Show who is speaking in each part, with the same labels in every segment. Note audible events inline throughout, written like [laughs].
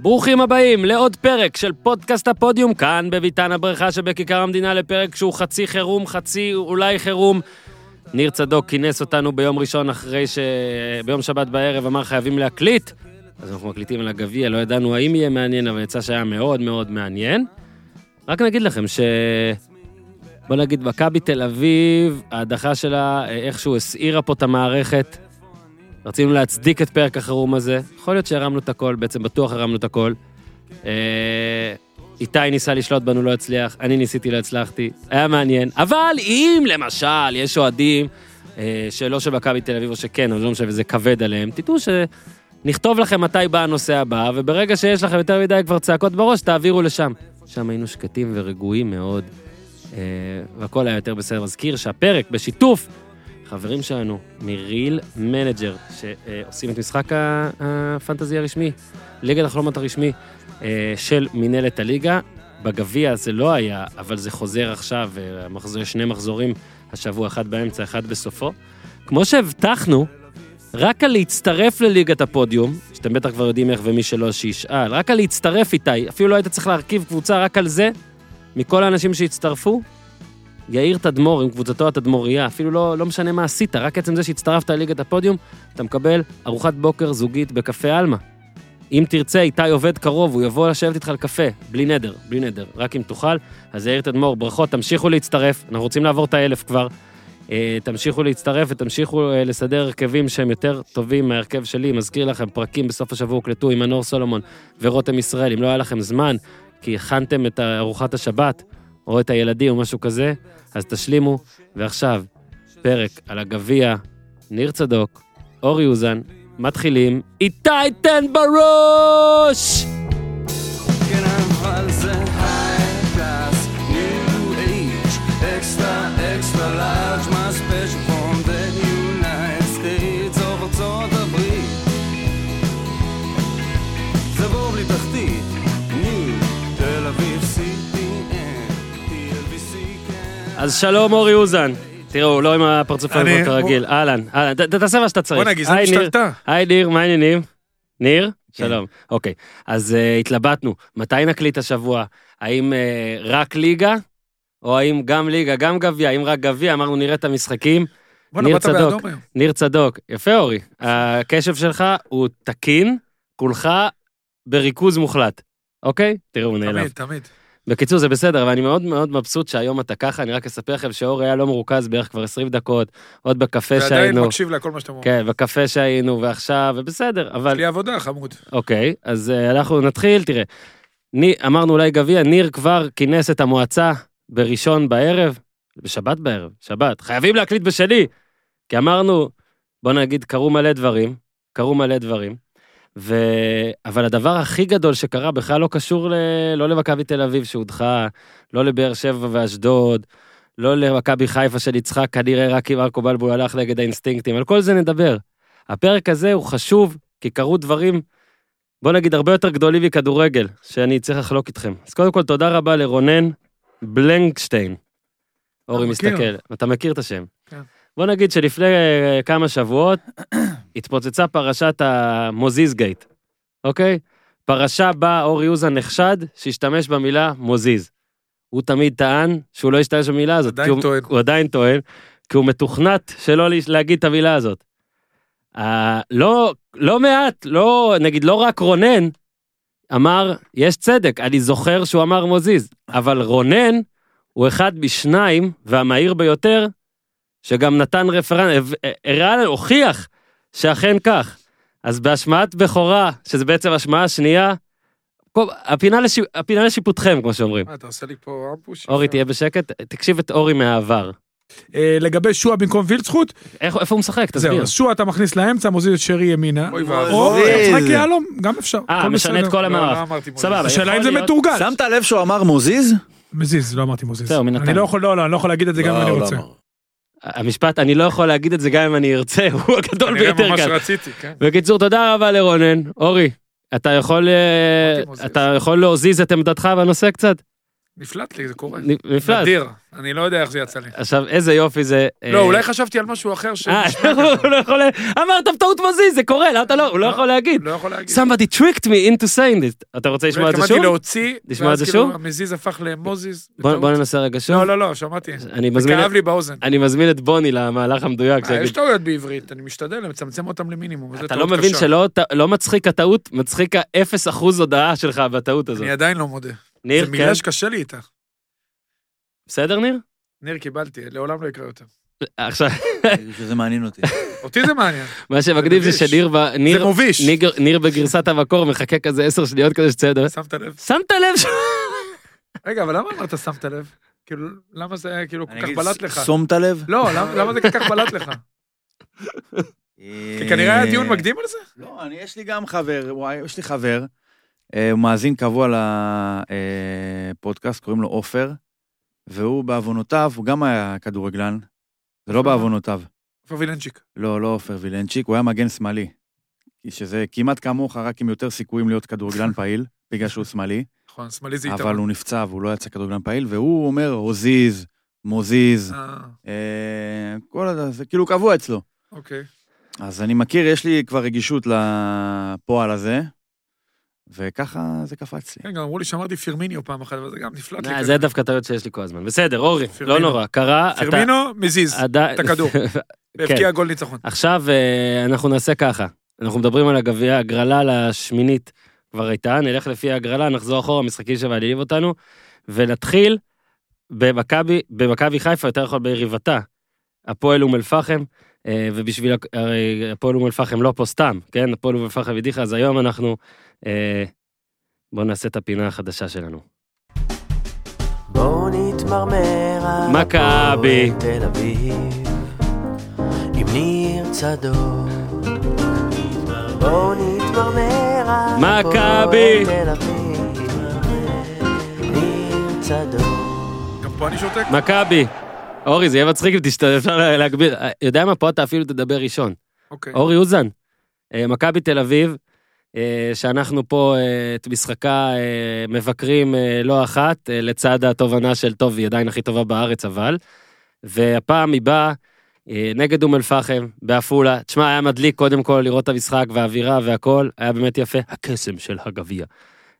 Speaker 1: ברוכים הבאים לעוד פרק של פודקאסט הפודיום, כאן בביתן הבריכה שבכיכר המדינה לפרק שהוא חצי חירום, חצי אולי חירום. ניר צדוק כינס אותנו ביום ראשון אחרי ש... ביום שבת בערב אמר חייבים להקליט, אז אנחנו מקליטים על הגביע, לא ידענו האם יהיה מעניין, אבל יצא שהיה מאוד מאוד מעניין. רק נגיד לכם ש... בוא נגיד, מכבי תל אביב, ההדחה שלה אה, איכשהו הסעירה פה את המערכת. רצינו להצדיק את פרק החירום הזה. יכול להיות שהרמנו את הכל, בעצם בטוח הרמנו את הכל. אה, איתי ניסה לשלוט בנו, לא הצליח, אני ניסיתי, לא הצלחתי, היה מעניין. אבל אם למשל יש אוהדים אה, שלא של מכבי תל אביב או שכן, או לא משנה, וזה כבד עליהם, תדעו שנכתוב לכם מתי בא הנושא הבא, וברגע שיש לכם יותר מדי כבר צעקות בראש, תעבירו לשם. שם היינו שקטים ורגועים מאוד, אה, והכל היה יותר בסדר. מזכיר שהפרק בשיתוף חברים שלנו מריל מנג'ר, שעושים את משחק ה- הפנטזי הרשמי, ליגת החלומות הרשמי אה, של מינהלת הליגה. בגביע זה לא היה, אבל זה חוזר עכשיו, אה, המחזור, שני מחזורים, השבוע אחד באמצע, אחד בסופו. כמו שהבטחנו, רק על להצטרף לליגת הפודיום, שאתם בטח כבר יודעים איך ומי שלא שישאל, רק על להצטרף איתי, אפילו לא היית צריך להרכיב קבוצה רק על זה, מכל האנשים שהצטרפו, יאיר תדמור עם קבוצתו התדמוריה, אפילו לא, לא משנה מה עשית, רק עצם זה שהצטרפת לליגת הפודיום, אתה מקבל ארוחת בוקר זוגית בקפה עלמה. אם תרצה, איתי עובד קרוב, הוא יבוא לשבת איתך על קפה, בלי נדר, בלי נדר, רק אם תוכל. אז יאיר תדמור, ברכות, תמשיכו להצטרף, אנחנו רוצים לעבור את האלף כבר. אה, תמשיכו להצטרף ותמשיכו אה, לסדר הרכבים שהם יותר טובים מההרכב שלי. מזכיר לכם, פרקים בסוף השבוע הוקלטו עם מנור סולומון ורותם ישראל. אם לא היה לכם זמן, כי הכנתם את ארוחת השבת, או את הילדים או משהו כזה, אז תשלימו. ועכשיו, פרק על הגביע, ניר צדוק, אורי אוזן, מתחילים איתי תן בראש!
Speaker 2: Can I valse high class, new age, extra, extra large, my special from the United States או ארצות הברית. זה בור בלי תחתית, ניו, תל אביב, CTN, TLVC, כן.
Speaker 1: אז שלום אורי אוזן. תראו, לא עם הפרצופים
Speaker 3: אני-
Speaker 1: כרגיל. אהלן, אהלן, ת- ת- תעשה מה שאתה צריך.
Speaker 3: בואנה, גזענות
Speaker 1: היי, ניר.
Speaker 3: השתלטה.
Speaker 1: היי ניר, מה העניינים? ניר?
Speaker 3: כן.
Speaker 1: שלום. אוקיי, אז אה, התלבטנו, מתי נקליט השבוע? האם אה, רק ליגה? או האם גם ליגה, גם גביע? אם רק גביע, אמרנו נראה את המשחקים.
Speaker 3: בואנה,
Speaker 1: ניר
Speaker 3: באת באדום
Speaker 1: צדוק.
Speaker 3: היום.
Speaker 1: ניר צדוק, יפה אורי, הקשב שלך הוא תקין, כולך בריכוז מוחלט. אוקיי? תראו, הוא נעלב.
Speaker 3: תמיד, תמיד.
Speaker 1: בקיצור, זה בסדר, אבל אני מאוד מאוד מבסוט שהיום אתה ככה, אני רק אספר לכם שאור היה לא מרוכז בערך כבר 20 דקות, עוד בקפה
Speaker 3: ועדיין
Speaker 1: שהיינו.
Speaker 3: מקשיב לכל מה שאתם אומרים.
Speaker 1: כן, בקפה שהיינו, ועכשיו, ובסדר,
Speaker 3: יש
Speaker 1: אבל
Speaker 3: לי עבודה, חמוד.
Speaker 1: אוקיי, אז אה, אנחנו נתחיל, תראה. ני, אמרנו אולי גביע, ניר כבר כינס את המועצה בראשון בערב, בשבת בערב, שבת, חייבים להקליט בשני, כי אמרנו, בוא נגיד, קרו מלא דברים, קרו מלא דברים, ו... אבל הדבר הכי גדול שקרה בכלל לא קשור ל... לא למכבי תל אביב שהודחה, לא לבאר שבע ואשדוד, לא למכבי חיפה שניצחה כנראה רק אם ארקו בלבול הלך נגד האינסטינקטים, על כל זה נדבר. הפרק הזה הוא חשוב, כי קרו דברים בוא נגיד, הרבה יותר גדולים מכדורגל, שאני צריך לחלוק איתכם. אז קודם כל, תודה רבה לרונן בלנקשטיין. אורי
Speaker 3: מכיר.
Speaker 1: מסתכל, אתה מכיר את השם.
Speaker 3: כן.
Speaker 1: בוא נגיד שלפני אה, כמה שבועות התפוצצה פרשת המוזיז גייט, אוקיי? פרשה בה אורי אוזן נחשד שהשתמש במילה מוזיז. הוא תמיד טען שהוא לא השתמש במילה הזאת.
Speaker 3: עדיין
Speaker 1: כי הוא-
Speaker 3: טוען.
Speaker 1: הוא עדיין טוען, כי הוא מתוכנת שלא לה- להגיד את המילה הזאת. אה, לא, לא מעט, לא, נגיד לא רק רונן, אמר, יש צדק, אני זוכר שהוא אמר מוזיז, אבל רונן הוא אחד משניים, והמהיר ביותר, שגם נתן רפרנס, הראה, הוכיח שאכן כך. אז בהשמעת בכורה, שזה בעצם השמעה שנייה, כל- הפינה, לש... הפינה לשיפוטכם, כמו שאומרים.
Speaker 3: מה, אתה עושה לי פה אה, אמבוש?
Speaker 1: אורי, תהיה בשקט, תקשיב את אורי מהעבר.
Speaker 4: אה, לגבי שועה במקום וילצחוט,
Speaker 1: איך, איפה הוא משחק? תסביר.
Speaker 4: זהו, אז שועה אתה מכניס לאמצע, מוזיל את שרי ימינה.
Speaker 3: אוי
Speaker 4: או
Speaker 3: ואבוי.
Speaker 5: מוזיל.
Speaker 4: משחק יהלום, גם אפשר.
Speaker 1: אה,
Speaker 4: הכל
Speaker 1: משנה את
Speaker 4: בסדר.
Speaker 1: כל
Speaker 3: לא, לא
Speaker 1: המערך.
Speaker 3: אמרתי מוזיל.
Speaker 1: סבבה.
Speaker 4: השאלה
Speaker 1: יכול
Speaker 4: אם זה
Speaker 1: להיות-
Speaker 4: מתורגל.
Speaker 5: שמת לב שהוא אמר מוזיז?
Speaker 4: מזיז, לא אמרתי מוזיז.
Speaker 1: זהו, מנתניה.
Speaker 4: אני לא יכול, לא, לא, אני לא יכול להגיד את זה גם אם
Speaker 5: לא,
Speaker 4: אני
Speaker 5: הוא לא
Speaker 4: רוצה.
Speaker 5: [laughs] אמר.
Speaker 1: המשפט, אני לא יכול להגיד את זה גם אם אני ארצה, [laughs] הוא הגדול
Speaker 3: כנראה
Speaker 1: ביותר
Speaker 3: ממש
Speaker 1: כאן.
Speaker 3: רציתי, כן.
Speaker 1: בקיצור, תודה רבה לרונן. אורי, אתה יכול אה,
Speaker 3: אמרתי מוזיז.
Speaker 1: אתה יכול להזיז את עמדתך בנושא קצת?
Speaker 3: נפלט לי, זה קורה.
Speaker 1: נפלט.
Speaker 3: נדיר. אני לא יודע איך זה יצא לי.
Speaker 1: עכשיו, איזה יופי זה...
Speaker 3: לא,
Speaker 1: אה,
Speaker 3: אולי חשבתי על משהו אחר ש...
Speaker 1: אה, הוא [laughs] לא יכול... לה- אמרת בטעות מזיז, זה קורה, למה אתה לא? הוא לא יכול להגיד.
Speaker 3: לא יכול להגיד. כאילו
Speaker 1: somebody tricked me into saying it. אתה רוצה לשמוע את זה
Speaker 3: התכוונתי
Speaker 1: שוב?
Speaker 3: להוציא,
Speaker 1: נשמע את
Speaker 3: ואז
Speaker 1: זה
Speaker 3: כאילו
Speaker 1: שוב?
Speaker 3: המזיז הפך למוזיז.
Speaker 1: בוא
Speaker 3: בטעות.
Speaker 1: בוא ננסה רגע שוב.
Speaker 3: לא, לא, לא, שמעתי.
Speaker 1: אני
Speaker 3: זה
Speaker 1: מזמין את-
Speaker 3: כאב לי באוזן.
Speaker 1: אני מזמין את בוני למהלך המדויק.
Speaker 3: אה,
Speaker 1: שיגיד-
Speaker 3: יש טעויות בעברית, אני משתדל לצמצם אותם למינימום. וזו
Speaker 1: אתה לא
Speaker 3: טעות
Speaker 1: מבין
Speaker 3: קשה.
Speaker 1: שלא ת- לא מצחיק הטעות, מצחיק האפס אחוז הודעה שלך בטעות הזאת.
Speaker 3: אני עדיין לא מודה.
Speaker 1: ניר,
Speaker 3: זו
Speaker 1: כן?
Speaker 3: מילה שקשה לי איתה.
Speaker 1: בסדר, ניר?
Speaker 3: ניר, קיבלתי, לעולם לא יקרה יותר.
Speaker 1: עכשיו,
Speaker 5: שזה מעניין
Speaker 3: [laughs]
Speaker 5: אותי.
Speaker 3: אותי זה מעניין.
Speaker 1: מה שמגניב זה
Speaker 3: מביש.
Speaker 1: שניר ב- [laughs] ניר-
Speaker 3: זה מוביש.
Speaker 1: ניר- ניר בגרסת המקור מחכה כזה עשר שניות כזה שצריך לדבר.
Speaker 3: שמת לב?
Speaker 1: שמת לב ש...
Speaker 3: רגע, אבל למה אמרת שמת לב? כאילו, למה זה היה כאילו כל
Speaker 5: אני
Speaker 3: כך
Speaker 5: אגיד,
Speaker 3: בלט לך?
Speaker 5: שומת לב?
Speaker 3: לא, למה- למה זה כל כך בלט לך? לא,
Speaker 1: אה,
Speaker 3: כי כנראה היה דיון מקדים על זה?
Speaker 5: לא, אני, יש לי גם חבר, וואי, יש לי חבר, אה, הוא מאזין קבוע לפודקאסט, קוראים לו עופר, והוא בעוונותיו, הוא גם היה כדורגלן, זה לא בעוונותיו.
Speaker 3: פבילנצ'יק.
Speaker 5: לא, לא עופר וילנצ'יק, הוא היה מגן שמאלי. שזה כמעט כמוך, רק עם יותר סיכויים
Speaker 3: [laughs]
Speaker 5: להיות כדורגלן פעיל, בגלל שהוא שמאלי,
Speaker 3: נכון, שמאלי זה
Speaker 5: אבל
Speaker 3: יתרון.
Speaker 5: הוא נפצע והוא לא יצא כדורגלן פעיל, והוא אומר, הוזיז, מוזיז,
Speaker 3: אה,
Speaker 5: אה, כל הזה, זה כאילו קבוע אצלו.
Speaker 3: אוקיי.
Speaker 5: אז אני מכיר, יש לי כבר רגישות לפועל הזה, וככה זה קפץ לי.
Speaker 3: כן, גם אמרו לי שאמרתי פירמיניו פעם אחת, אבל זה גם נפלט לי.
Speaker 1: אה,
Speaker 3: כזה.
Speaker 1: זה דווקא טעויות שיש לי כל הזמן. בסדר, אורי, לא
Speaker 3: אוקיי, כן. פירמינו.
Speaker 1: נורא, קרה. אתה- אה, כן.
Speaker 3: פירמינו מזיז,
Speaker 1: עדיין-
Speaker 3: את הכדור. והבקיע גול ניצחון.
Speaker 1: [laughs] עכשיו אה, אנחנו נעשה ככה, אנחנו מדברים על הגביע, הגרלה לשמינית כבר הייתה, נלך לפי ההגרלה, נחזור אחורה, משחקים שמעניינים אותנו, ונתחיל במכבי, במכבי חיפה, יותר נכון ביריבתה, הפועל אום אל-פחם, אה, ובשביל, הק- הרי הפועל אום אל-פחם לא פה סתם, כן? הפועל אום אל-פחם הדיחה, אז היום אנחנו, אה, בואו נעשה את הפינה החדשה שלנו.
Speaker 6: בואו נתמרמר על
Speaker 1: מכבי.
Speaker 6: הפועל תל אביב עם ניר צדוק בואו נתמרמר על
Speaker 1: מכבי.
Speaker 6: הפועל תל אביב ניר צדוק
Speaker 3: גם פה אני שותק.
Speaker 1: מכבי, אורי, זה יהיה מצחיק אם תשתדל, אפשר לה- להגביר, אה, יודע מה, פה אתה אפילו תדבר ראשון.
Speaker 3: אוקיי.
Speaker 1: אורי אוזן, אה, מכבי תל אביב, אה, שאנחנו פה אה, את משחקה אה, מבקרים אה, לא אחת, אה, לצד התובנה של טוב, היא עדיין הכי טובה בארץ, אבל. והפעם היא באה אה, נגד אום אל-פחם, בעפולה. תשמע, היה מדליק קודם כל לראות את המשחק והאווירה והכל, היה באמת יפה. הקסם של הגביע.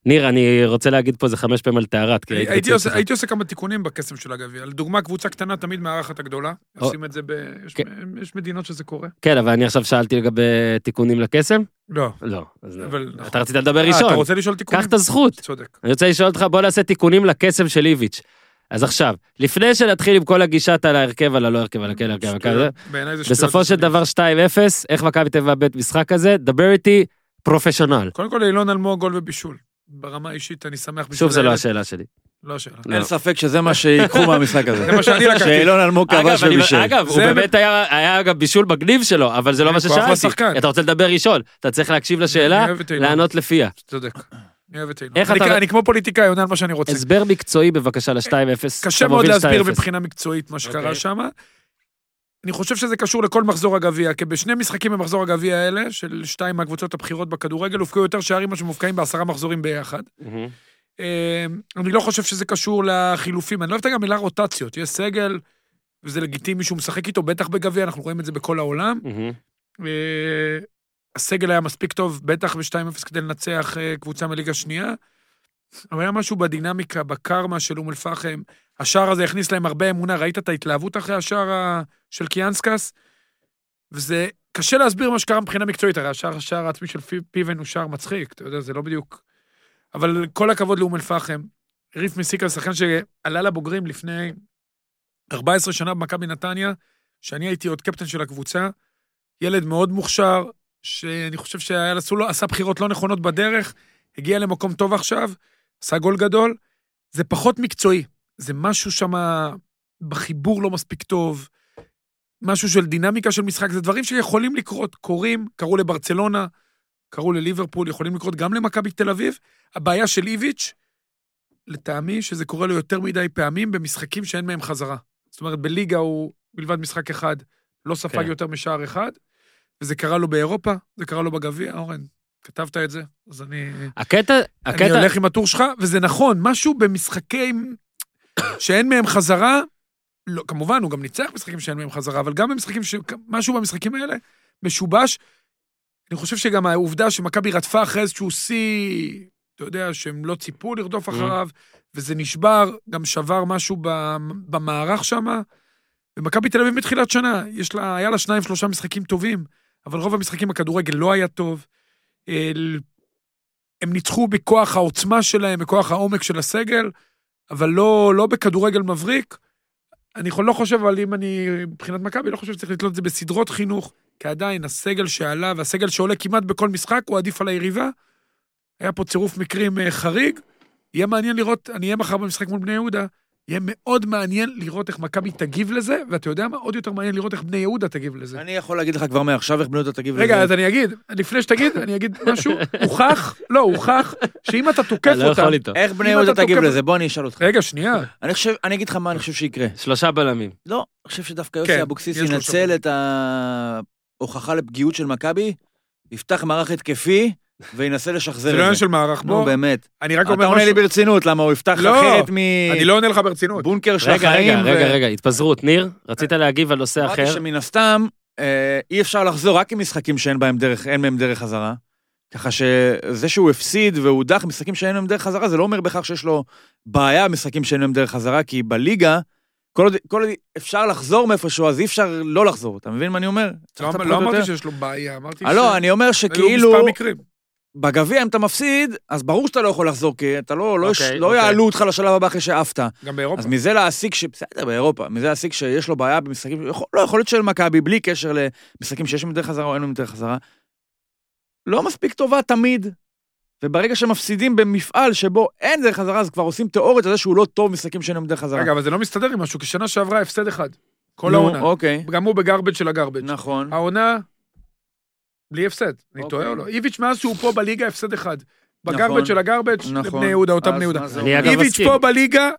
Speaker 1: ניר, אני רוצה להגיד פה איזה חמש פעמים על טהרת, כי
Speaker 3: אה, הייתי
Speaker 1: בציוץ
Speaker 3: עושה-
Speaker 1: שלך.
Speaker 3: הייתי עושה כמה תיקונים בקסם של הגביע. לדוגמה, קבוצה קטנה תמיד מארחת הגדולה. עושים את זה ב... יש- יש מדינות שזה קורה.
Speaker 1: כן, אבל אני עכשיו שאלתי לגבי תיקונים לקסם?
Speaker 3: לא.
Speaker 1: לא. אז לא.
Speaker 3: אבל נכון.
Speaker 1: אתה רצית לדבר
Speaker 3: אה,
Speaker 1: ראשון.
Speaker 3: אתה רוצה לשאול תיקונים?
Speaker 1: קח את הזכות.
Speaker 3: צודק.
Speaker 1: אני רוצה לשאול אותך, בוא נעשה תיקונים לקסם של איביץ'. אז עכשיו, לפני שנתחיל עם כל הגישת על ההרכב, על הלא הרכב, על הכל הרכב, על הכל,
Speaker 3: שטויות. בעיניי זה שטויות.
Speaker 1: כן, בסופו של דבר 2-0, איך מכבי תל אביב מאבד משחק כזה? דבר איתי פרופשיונל.
Speaker 3: קודם כל, אילון אלמוג גול ובישול. ברמה האישית, אני שמח בשביל
Speaker 1: שוב, זה לא
Speaker 3: הילד.
Speaker 1: השאלה שלי.
Speaker 3: לא השאלה.
Speaker 1: לא.
Speaker 5: אין ספק שזה מה [laughs] שיקחו מהמשחק הזה.
Speaker 3: זה מה שאני לקחתי.
Speaker 5: שאילון אלמוג
Speaker 1: אגב,
Speaker 5: כבש
Speaker 1: אני-
Speaker 5: ובישל.
Speaker 1: אגב, הוא
Speaker 3: זה-
Speaker 1: באמת היה, היה אגב בישול מגניב שלו, אבל זה לא מה
Speaker 3: כוח
Speaker 1: ששאלתי.
Speaker 3: לשחקן.
Speaker 1: אתה רוצה לדבר ראשון, אתה צריך להקשיב לשאלה,
Speaker 3: אני אוהב את אילון.
Speaker 1: לענות לפיה.
Speaker 3: צודק. אני אוהב את אילון.
Speaker 1: איך
Speaker 3: אני
Speaker 1: אתה-
Speaker 3: כ- אני כמו פוליטיקאי, עונה על מה שאני רוצה.
Speaker 1: הסבר מקצועי בבקשה ל-2-0.
Speaker 3: קשה
Speaker 1: אתה
Speaker 3: מאוד
Speaker 1: מוביל
Speaker 3: להסביר
Speaker 1: 2-0.
Speaker 3: מבחינה מקצועית מה שקרה
Speaker 1: אוקיי.
Speaker 3: שם. אני חושב שזה קשור לכל מחזור הגביע, כי בשני משחקים במחזור הגביע האלה, של שתיים מהקבוצות הבכירות בכדורגל, הופקעו יותר שערים ממה שמופקעים בעשרה מחזורים ביחד.
Speaker 1: מהמם.
Speaker 3: אה, אני לא חושב שזה קשור לחילופים, אני לא אוהב את המילה רוטציות, יש סגל, וזה לגיטימי שהוא משחק איתו, בטח בגביע, אנחנו רואים את זה בכל העולם.
Speaker 1: מהמם.
Speaker 3: אה, הסגל היה מספיק טוב, בטח ב-2-0 כדי לנצח אה, קבוצה מליגה שנייה. אבל היה משהו בדינמיקה, בקרמה של אום אל-פחם. השער הזה הכניס להם הרבה אמונה, ראית את ההתלהבות אחרי השער ה- של קיאנסקס? וזה קשה להסביר מה שקרה מבחינה מקצועית, הרי השער, השער העצמי של פי- פיבן הוא שער מצחיק, אתה יודע, זה לא בדיוק... אבל כל הכבוד לאום אל-פחם. ריף מסיקה, שחקן שעלה לבוגרים לפני 14 שנה במכבי נתניה, שאני הייתי עוד קפטן של הקבוצה, ילד מאוד מוכשר, שאני חושב שעשה בחירות לא נכונות בדרך, הגיע למקום טוב עכשיו, עשה גול גדול. זה פחות מקצועי, זה משהו שם בחיבור לא מספיק טוב, משהו של דינמיקה של משחק, זה דברים שיכולים לקרות, קורים, קרו לברצלונה, קרו לליברפול, יכולים לקרות גם למכבי תל אביב. הבעיה של איביץ', לטעמי, שזה קורה לו יותר מדי פעמים במשחקים שאין מהם חזרה. זאת אומרת, בליגה הוא מלבד משחק אחד, לא ספג
Speaker 1: כן.
Speaker 3: יותר משער אחד, וזה קרה לו באירופה, זה קרה לו בגביע, אורן, כתבת את זה, אז אני...
Speaker 1: הקטע,
Speaker 3: אני
Speaker 1: הקטע,
Speaker 3: הולך עם הטור שלך, וזה נכון, משהו במשחקי שאין מהם חזרה, לא, כמובן, הוא גם ניצח משחקים שאין מהם חזרה, אבל גם במשחקים, ש... משהו במשחקים האלה משובש. אני חושב שגם העובדה שמכבי רדפה אחרי איזשהו שיא, אתה יודע, שהם לא ציפו לרדוף אחריו, וזה נשבר, גם שבר משהו ב- במערך שם. ומכבי תל אביב מתחילת שנה, יש לה, היה לה שניים, שלושה משחקים טובים, אבל רוב המשחקים הכדורגל לא היה טוב. אל- הם ניצחו בכוח העוצמה שלהם, בכוח העומק של הסגל, אבל לא, לא בכדורגל מבריק. אני יכול- לא חושב, אבל אם אני, מבחינת מכבי, לא חושב שצריך לתלות את זה בסדרות חינוך, כי עדיין הסגל שעלה והסגל שעולה כמעט בכל משחק, הוא עדיף על היריבה. היה פה צירוף מקרים אה, חריג. יהיה מעניין לראות, אני אהיה מחר במשחק מול בני יהודה, יהיה מאוד מעניין לראות איך מכבי תגיב לזה, ואתה יודע מה? עוד יותר מעניין לראות איך בני יהודה תגיב לזה.
Speaker 5: אני יכול להגיד לך כבר מעכשיו איך בני יהודה תגיב
Speaker 3: רגע, אז אני אגיד, לפני שתגיד, אני אגיד משהו, הוכח, לא, הוכח, שאם אתה תוקף
Speaker 1: אני לא
Speaker 3: אותם...
Speaker 1: יכול איתו.
Speaker 5: איך בני
Speaker 3: אם
Speaker 5: יהודה
Speaker 3: אתה
Speaker 5: תגיב
Speaker 3: תוקף-
Speaker 5: לזה? בוא אני אשאל אותך.
Speaker 3: רגע, שנייה.
Speaker 5: אני חושב, אני אגיד לך מה אני חושב שיקרה.
Speaker 1: שלושה בלמים.
Speaker 5: לא, אני חושב שדווקא
Speaker 3: כן,
Speaker 5: יוסי אבוקסיס
Speaker 3: יש לו
Speaker 5: ינצל
Speaker 3: שם.
Speaker 5: את ההוכחה לפגיעות של מכבי, יפתח מערך התקפי וינסה
Speaker 3: זה
Speaker 5: לשחזר
Speaker 3: לא עניין
Speaker 5: את זה.
Speaker 3: של מערך,
Speaker 5: נו,
Speaker 3: בוא.
Speaker 5: באמת.
Speaker 3: אני רק
Speaker 5: אתה
Speaker 3: אומר
Speaker 5: עונה לי
Speaker 3: משהו,
Speaker 5: ברצינות, למה הוא יפתח
Speaker 3: לא,
Speaker 5: אחרת
Speaker 3: אני לא עונה לך ברצינות.
Speaker 5: מבונקר של
Speaker 1: רגע,
Speaker 5: החיים.
Speaker 1: רגע,
Speaker 5: ו-
Speaker 1: רגע, רגע, התפזרות. ניר, רצית להגיב על נושא
Speaker 5: אמרתי
Speaker 1: אחר?
Speaker 5: שמן הסתם, אה, אי אפשר לחזור רק עם משחקים שאין בהם דרך, אין מהם דרך חזרה. ככה שזה שהוא הפסיד והודח משחקים שאין להם דרך חזרה, זה לא אומר בהכרח שיש לו בעיה במשחקים שאין להם דרך חזרה, כי בליגה, כל עוד, כל עוד אפשר לחזור מאיפשהו, אז אי אפשר לא לחזור. אתה מבין מה אני אומר?
Speaker 3: לא
Speaker 5: צריך קצת
Speaker 3: לא
Speaker 5: פחות או
Speaker 3: אמרתי
Speaker 5: יותר.
Speaker 3: שיש לו בעיה, אמרתי
Speaker 5: אה, לא, אני אומר שכאילו,
Speaker 3: היו מספר מקרים.
Speaker 5: בגביע, אם אתה מפסיד, אז ברור שאתה לא יכול לחזור, כי אתה לא, לא,
Speaker 1: אוקיי,
Speaker 5: יש- לא
Speaker 1: אוקיי.
Speaker 5: יעלו אותך לשלב הבא אחרי שעפת.
Speaker 3: גם באירופה.
Speaker 5: אז מזה להסיק ש... בסדר, באירופה. מזה להסיק שיש לו בעיה במשחקים... יכול- לא, יכול להיות של מכבי, בלי קשר למשחקים שיש להם יותר חזרה או אין להם יותר חזרה. לא מספיק טובה תמיד. וברגע שמפסידים במפעל שבו אין דרך חזרה, אז כבר עושים תיאוריות על זה שהוא לא טוב משחקים שאין להם דרך חזרה.
Speaker 3: רגע, אבל זה לא מסתדר עם משהו, כי שנה שעברה הפסד אחד. כל
Speaker 5: נו,
Speaker 3: העונה.
Speaker 5: אוקיי,
Speaker 3: גם הוא בגרבג' של הגרבג'.
Speaker 5: נכון.
Speaker 3: העונה, בלי הפסד. אני
Speaker 5: אוקיי.
Speaker 3: טועה או לא? איביץ', מאז שהוא פה בליגה, הפסד אחד.
Speaker 5: נכון.
Speaker 3: בגרבג' של הגרבג',
Speaker 5: נכון.
Speaker 3: לבני יהודה, אותם
Speaker 5: אז
Speaker 3: אוקיי, בני יהודה.
Speaker 5: מה זה
Speaker 1: אני
Speaker 5: אומר?
Speaker 1: אגב-
Speaker 3: איביץ'
Speaker 1: מסכים.
Speaker 3: פה בליגה,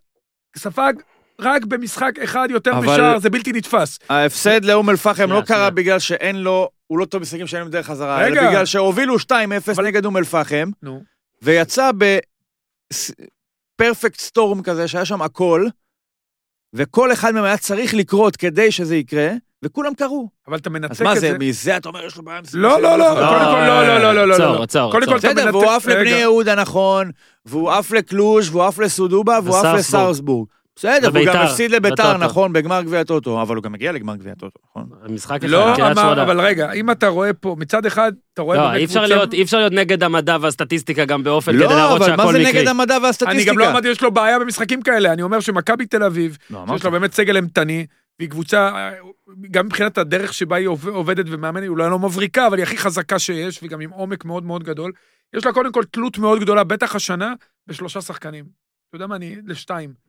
Speaker 3: ספג רק במשחק אחד יותר
Speaker 5: אבל-
Speaker 3: משער, זה בלתי נתפס.
Speaker 5: ההפסד לאום אל-פחם
Speaker 1: שנייה,
Speaker 5: לא קרה
Speaker 1: שנייה.
Speaker 5: בגלל שאין לו... הוא לא טוב משחקים שאין להם דרך חזרה, אלא
Speaker 3: רגע.
Speaker 5: בגלל שהובילו 2-0 נגד אום אל-פחם,
Speaker 3: נו.
Speaker 5: ויצא בפרפקט סטורם כזה, שהיה שם הכל, וכל אחד מהם היה צריך לקרות כדי שזה יקרה, וכולם קרו.
Speaker 3: אבל אתה מנתק
Speaker 5: אז מה
Speaker 3: את
Speaker 5: זה,
Speaker 3: זה.
Speaker 5: מזה אתה אומר יש לו בעיה עם זה?
Speaker 3: לא, לא, לא,
Speaker 1: לא,
Speaker 3: קודם כל, לא, לא, לא, לא, לא,
Speaker 1: עצור,
Speaker 3: לא.
Speaker 1: עצור,
Speaker 3: קודם כל,
Speaker 1: עצור.
Speaker 3: אתה
Speaker 5: בסדר,
Speaker 3: מנתק-
Speaker 5: והוא עף לבני
Speaker 3: רגע.
Speaker 5: יהודה, נכון, והוא עף לקלוז', והוא עף לסודובה, והוא עף
Speaker 1: וסרסבורג.
Speaker 5: לסרסבורג. בסדר, והוא
Speaker 1: וביתר,
Speaker 5: גם הפסיד לביתר,
Speaker 1: בטוטו.
Speaker 5: נכון, בגמר גביע הטוטו, אבל הוא גם הגיע לגמר גביע הטוטו, נכון?
Speaker 1: משחק אחד,
Speaker 3: לא
Speaker 1: קריית
Speaker 3: אמר,
Speaker 1: שמונה.
Speaker 3: אבל רגע, אם אתה רואה פה, מצד אחד, אתה רואה
Speaker 1: לא,
Speaker 3: באמת
Speaker 1: אי אפשר
Speaker 3: קבוצה-
Speaker 1: להיות- אי אפשר להיות נגד המדע והסטטיסטיקה גם באופן כדי
Speaker 5: לא,
Speaker 1: להראות
Speaker 5: אבל מה
Speaker 1: שהכל
Speaker 5: זה
Speaker 1: מקרי.
Speaker 5: נגד המדע
Speaker 3: אני
Speaker 5: והסטטיסטיקה?
Speaker 3: גם לא אמרתי, יש לו בעיה במשחקים כאלה. אני אומר שמכבי תל אביב,
Speaker 5: לא,
Speaker 3: שיש לה באמת סגל אימתני, והיא קבוצה, אה, גם מבחינת הדרך שבה היא עובד- עובדת ומאמנת, היא אולי לא מבריקה, אבל היא הכי חזקה שיש, וגם עם עומק מאוד מאוד גדול. יש לה קודם כל תלות מאוד גדולה, בטח השנה, בשלושה שחקנים. אתה יודע מה, אני... לשתיים.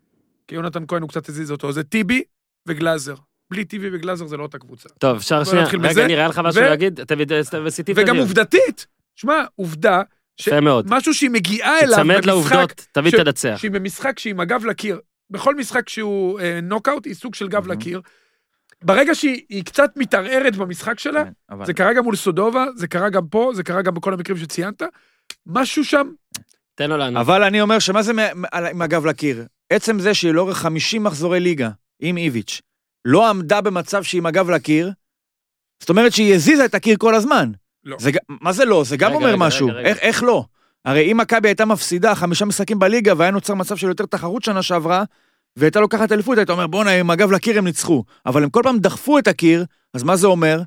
Speaker 3: כי יונתן כהן הוא קצת הזיז אותו. זה טיבי וגלאזר. בלי טיבי וגלאזר זה לא אותה קבוצה.
Speaker 1: טוב, אפשר
Speaker 3: בוא
Speaker 1: שנייה.
Speaker 3: נתחיל
Speaker 1: רגע,
Speaker 3: מזה.
Speaker 1: נראה לך משהו
Speaker 3: ו-
Speaker 1: להגיד? תביא- וסיטי
Speaker 3: וגם
Speaker 1: תביא.
Speaker 3: עובדתית, שמע, עובדה, ש-
Speaker 1: יפה מאוד.
Speaker 3: משהו שהיא מגיעה אליו
Speaker 1: תצמד
Speaker 3: במשחק,
Speaker 1: לעובדות, תביא
Speaker 3: ש-
Speaker 5: כן.
Speaker 1: תנצח.
Speaker 3: שהיא במשחק שהיא עם הגב לקיר. בכל משחק שהוא אה, נוקאוט, היא סוג של גב
Speaker 5: מהמם.
Speaker 3: לקיר. ברגע שהיא היא קצת מתערערת במשחק שלה,
Speaker 5: כן, אבל-
Speaker 3: זה קרה גם מול סודובה, זה קרה גם פה, זה קרה גם בכל המקרים שציינת, משהו שם,
Speaker 1: תן לו לענות.
Speaker 5: אבל אני אומר שמה זה מ- מ- על- עם הגב לקיר? עצם זה שהיא לאורך 50 מחזורי ליגה עם איביץ' לא עמדה במצב שהיא עם הגב לקיר, זאת אומרת שהיא הזיזה את הקיר כל הזמן.
Speaker 3: לא.
Speaker 5: זה, ג- מה זה לא? זה גם
Speaker 1: רגע,
Speaker 5: אומר
Speaker 1: רגע,
Speaker 5: משהו.
Speaker 1: רגע, רגע.
Speaker 5: איך, איך לא? הרי אם מכבי הייתה מפסידה חמישה משחקים בליגה והיה נוצר מצב של יותר תחרות שנה שעברה, והייתה לוקחת אליפות, היית אומר, בואנה, עם הגב לקיר הם ניצחו. אבל הם כל פעם דחפו את הקיר, אז מה זה אומר?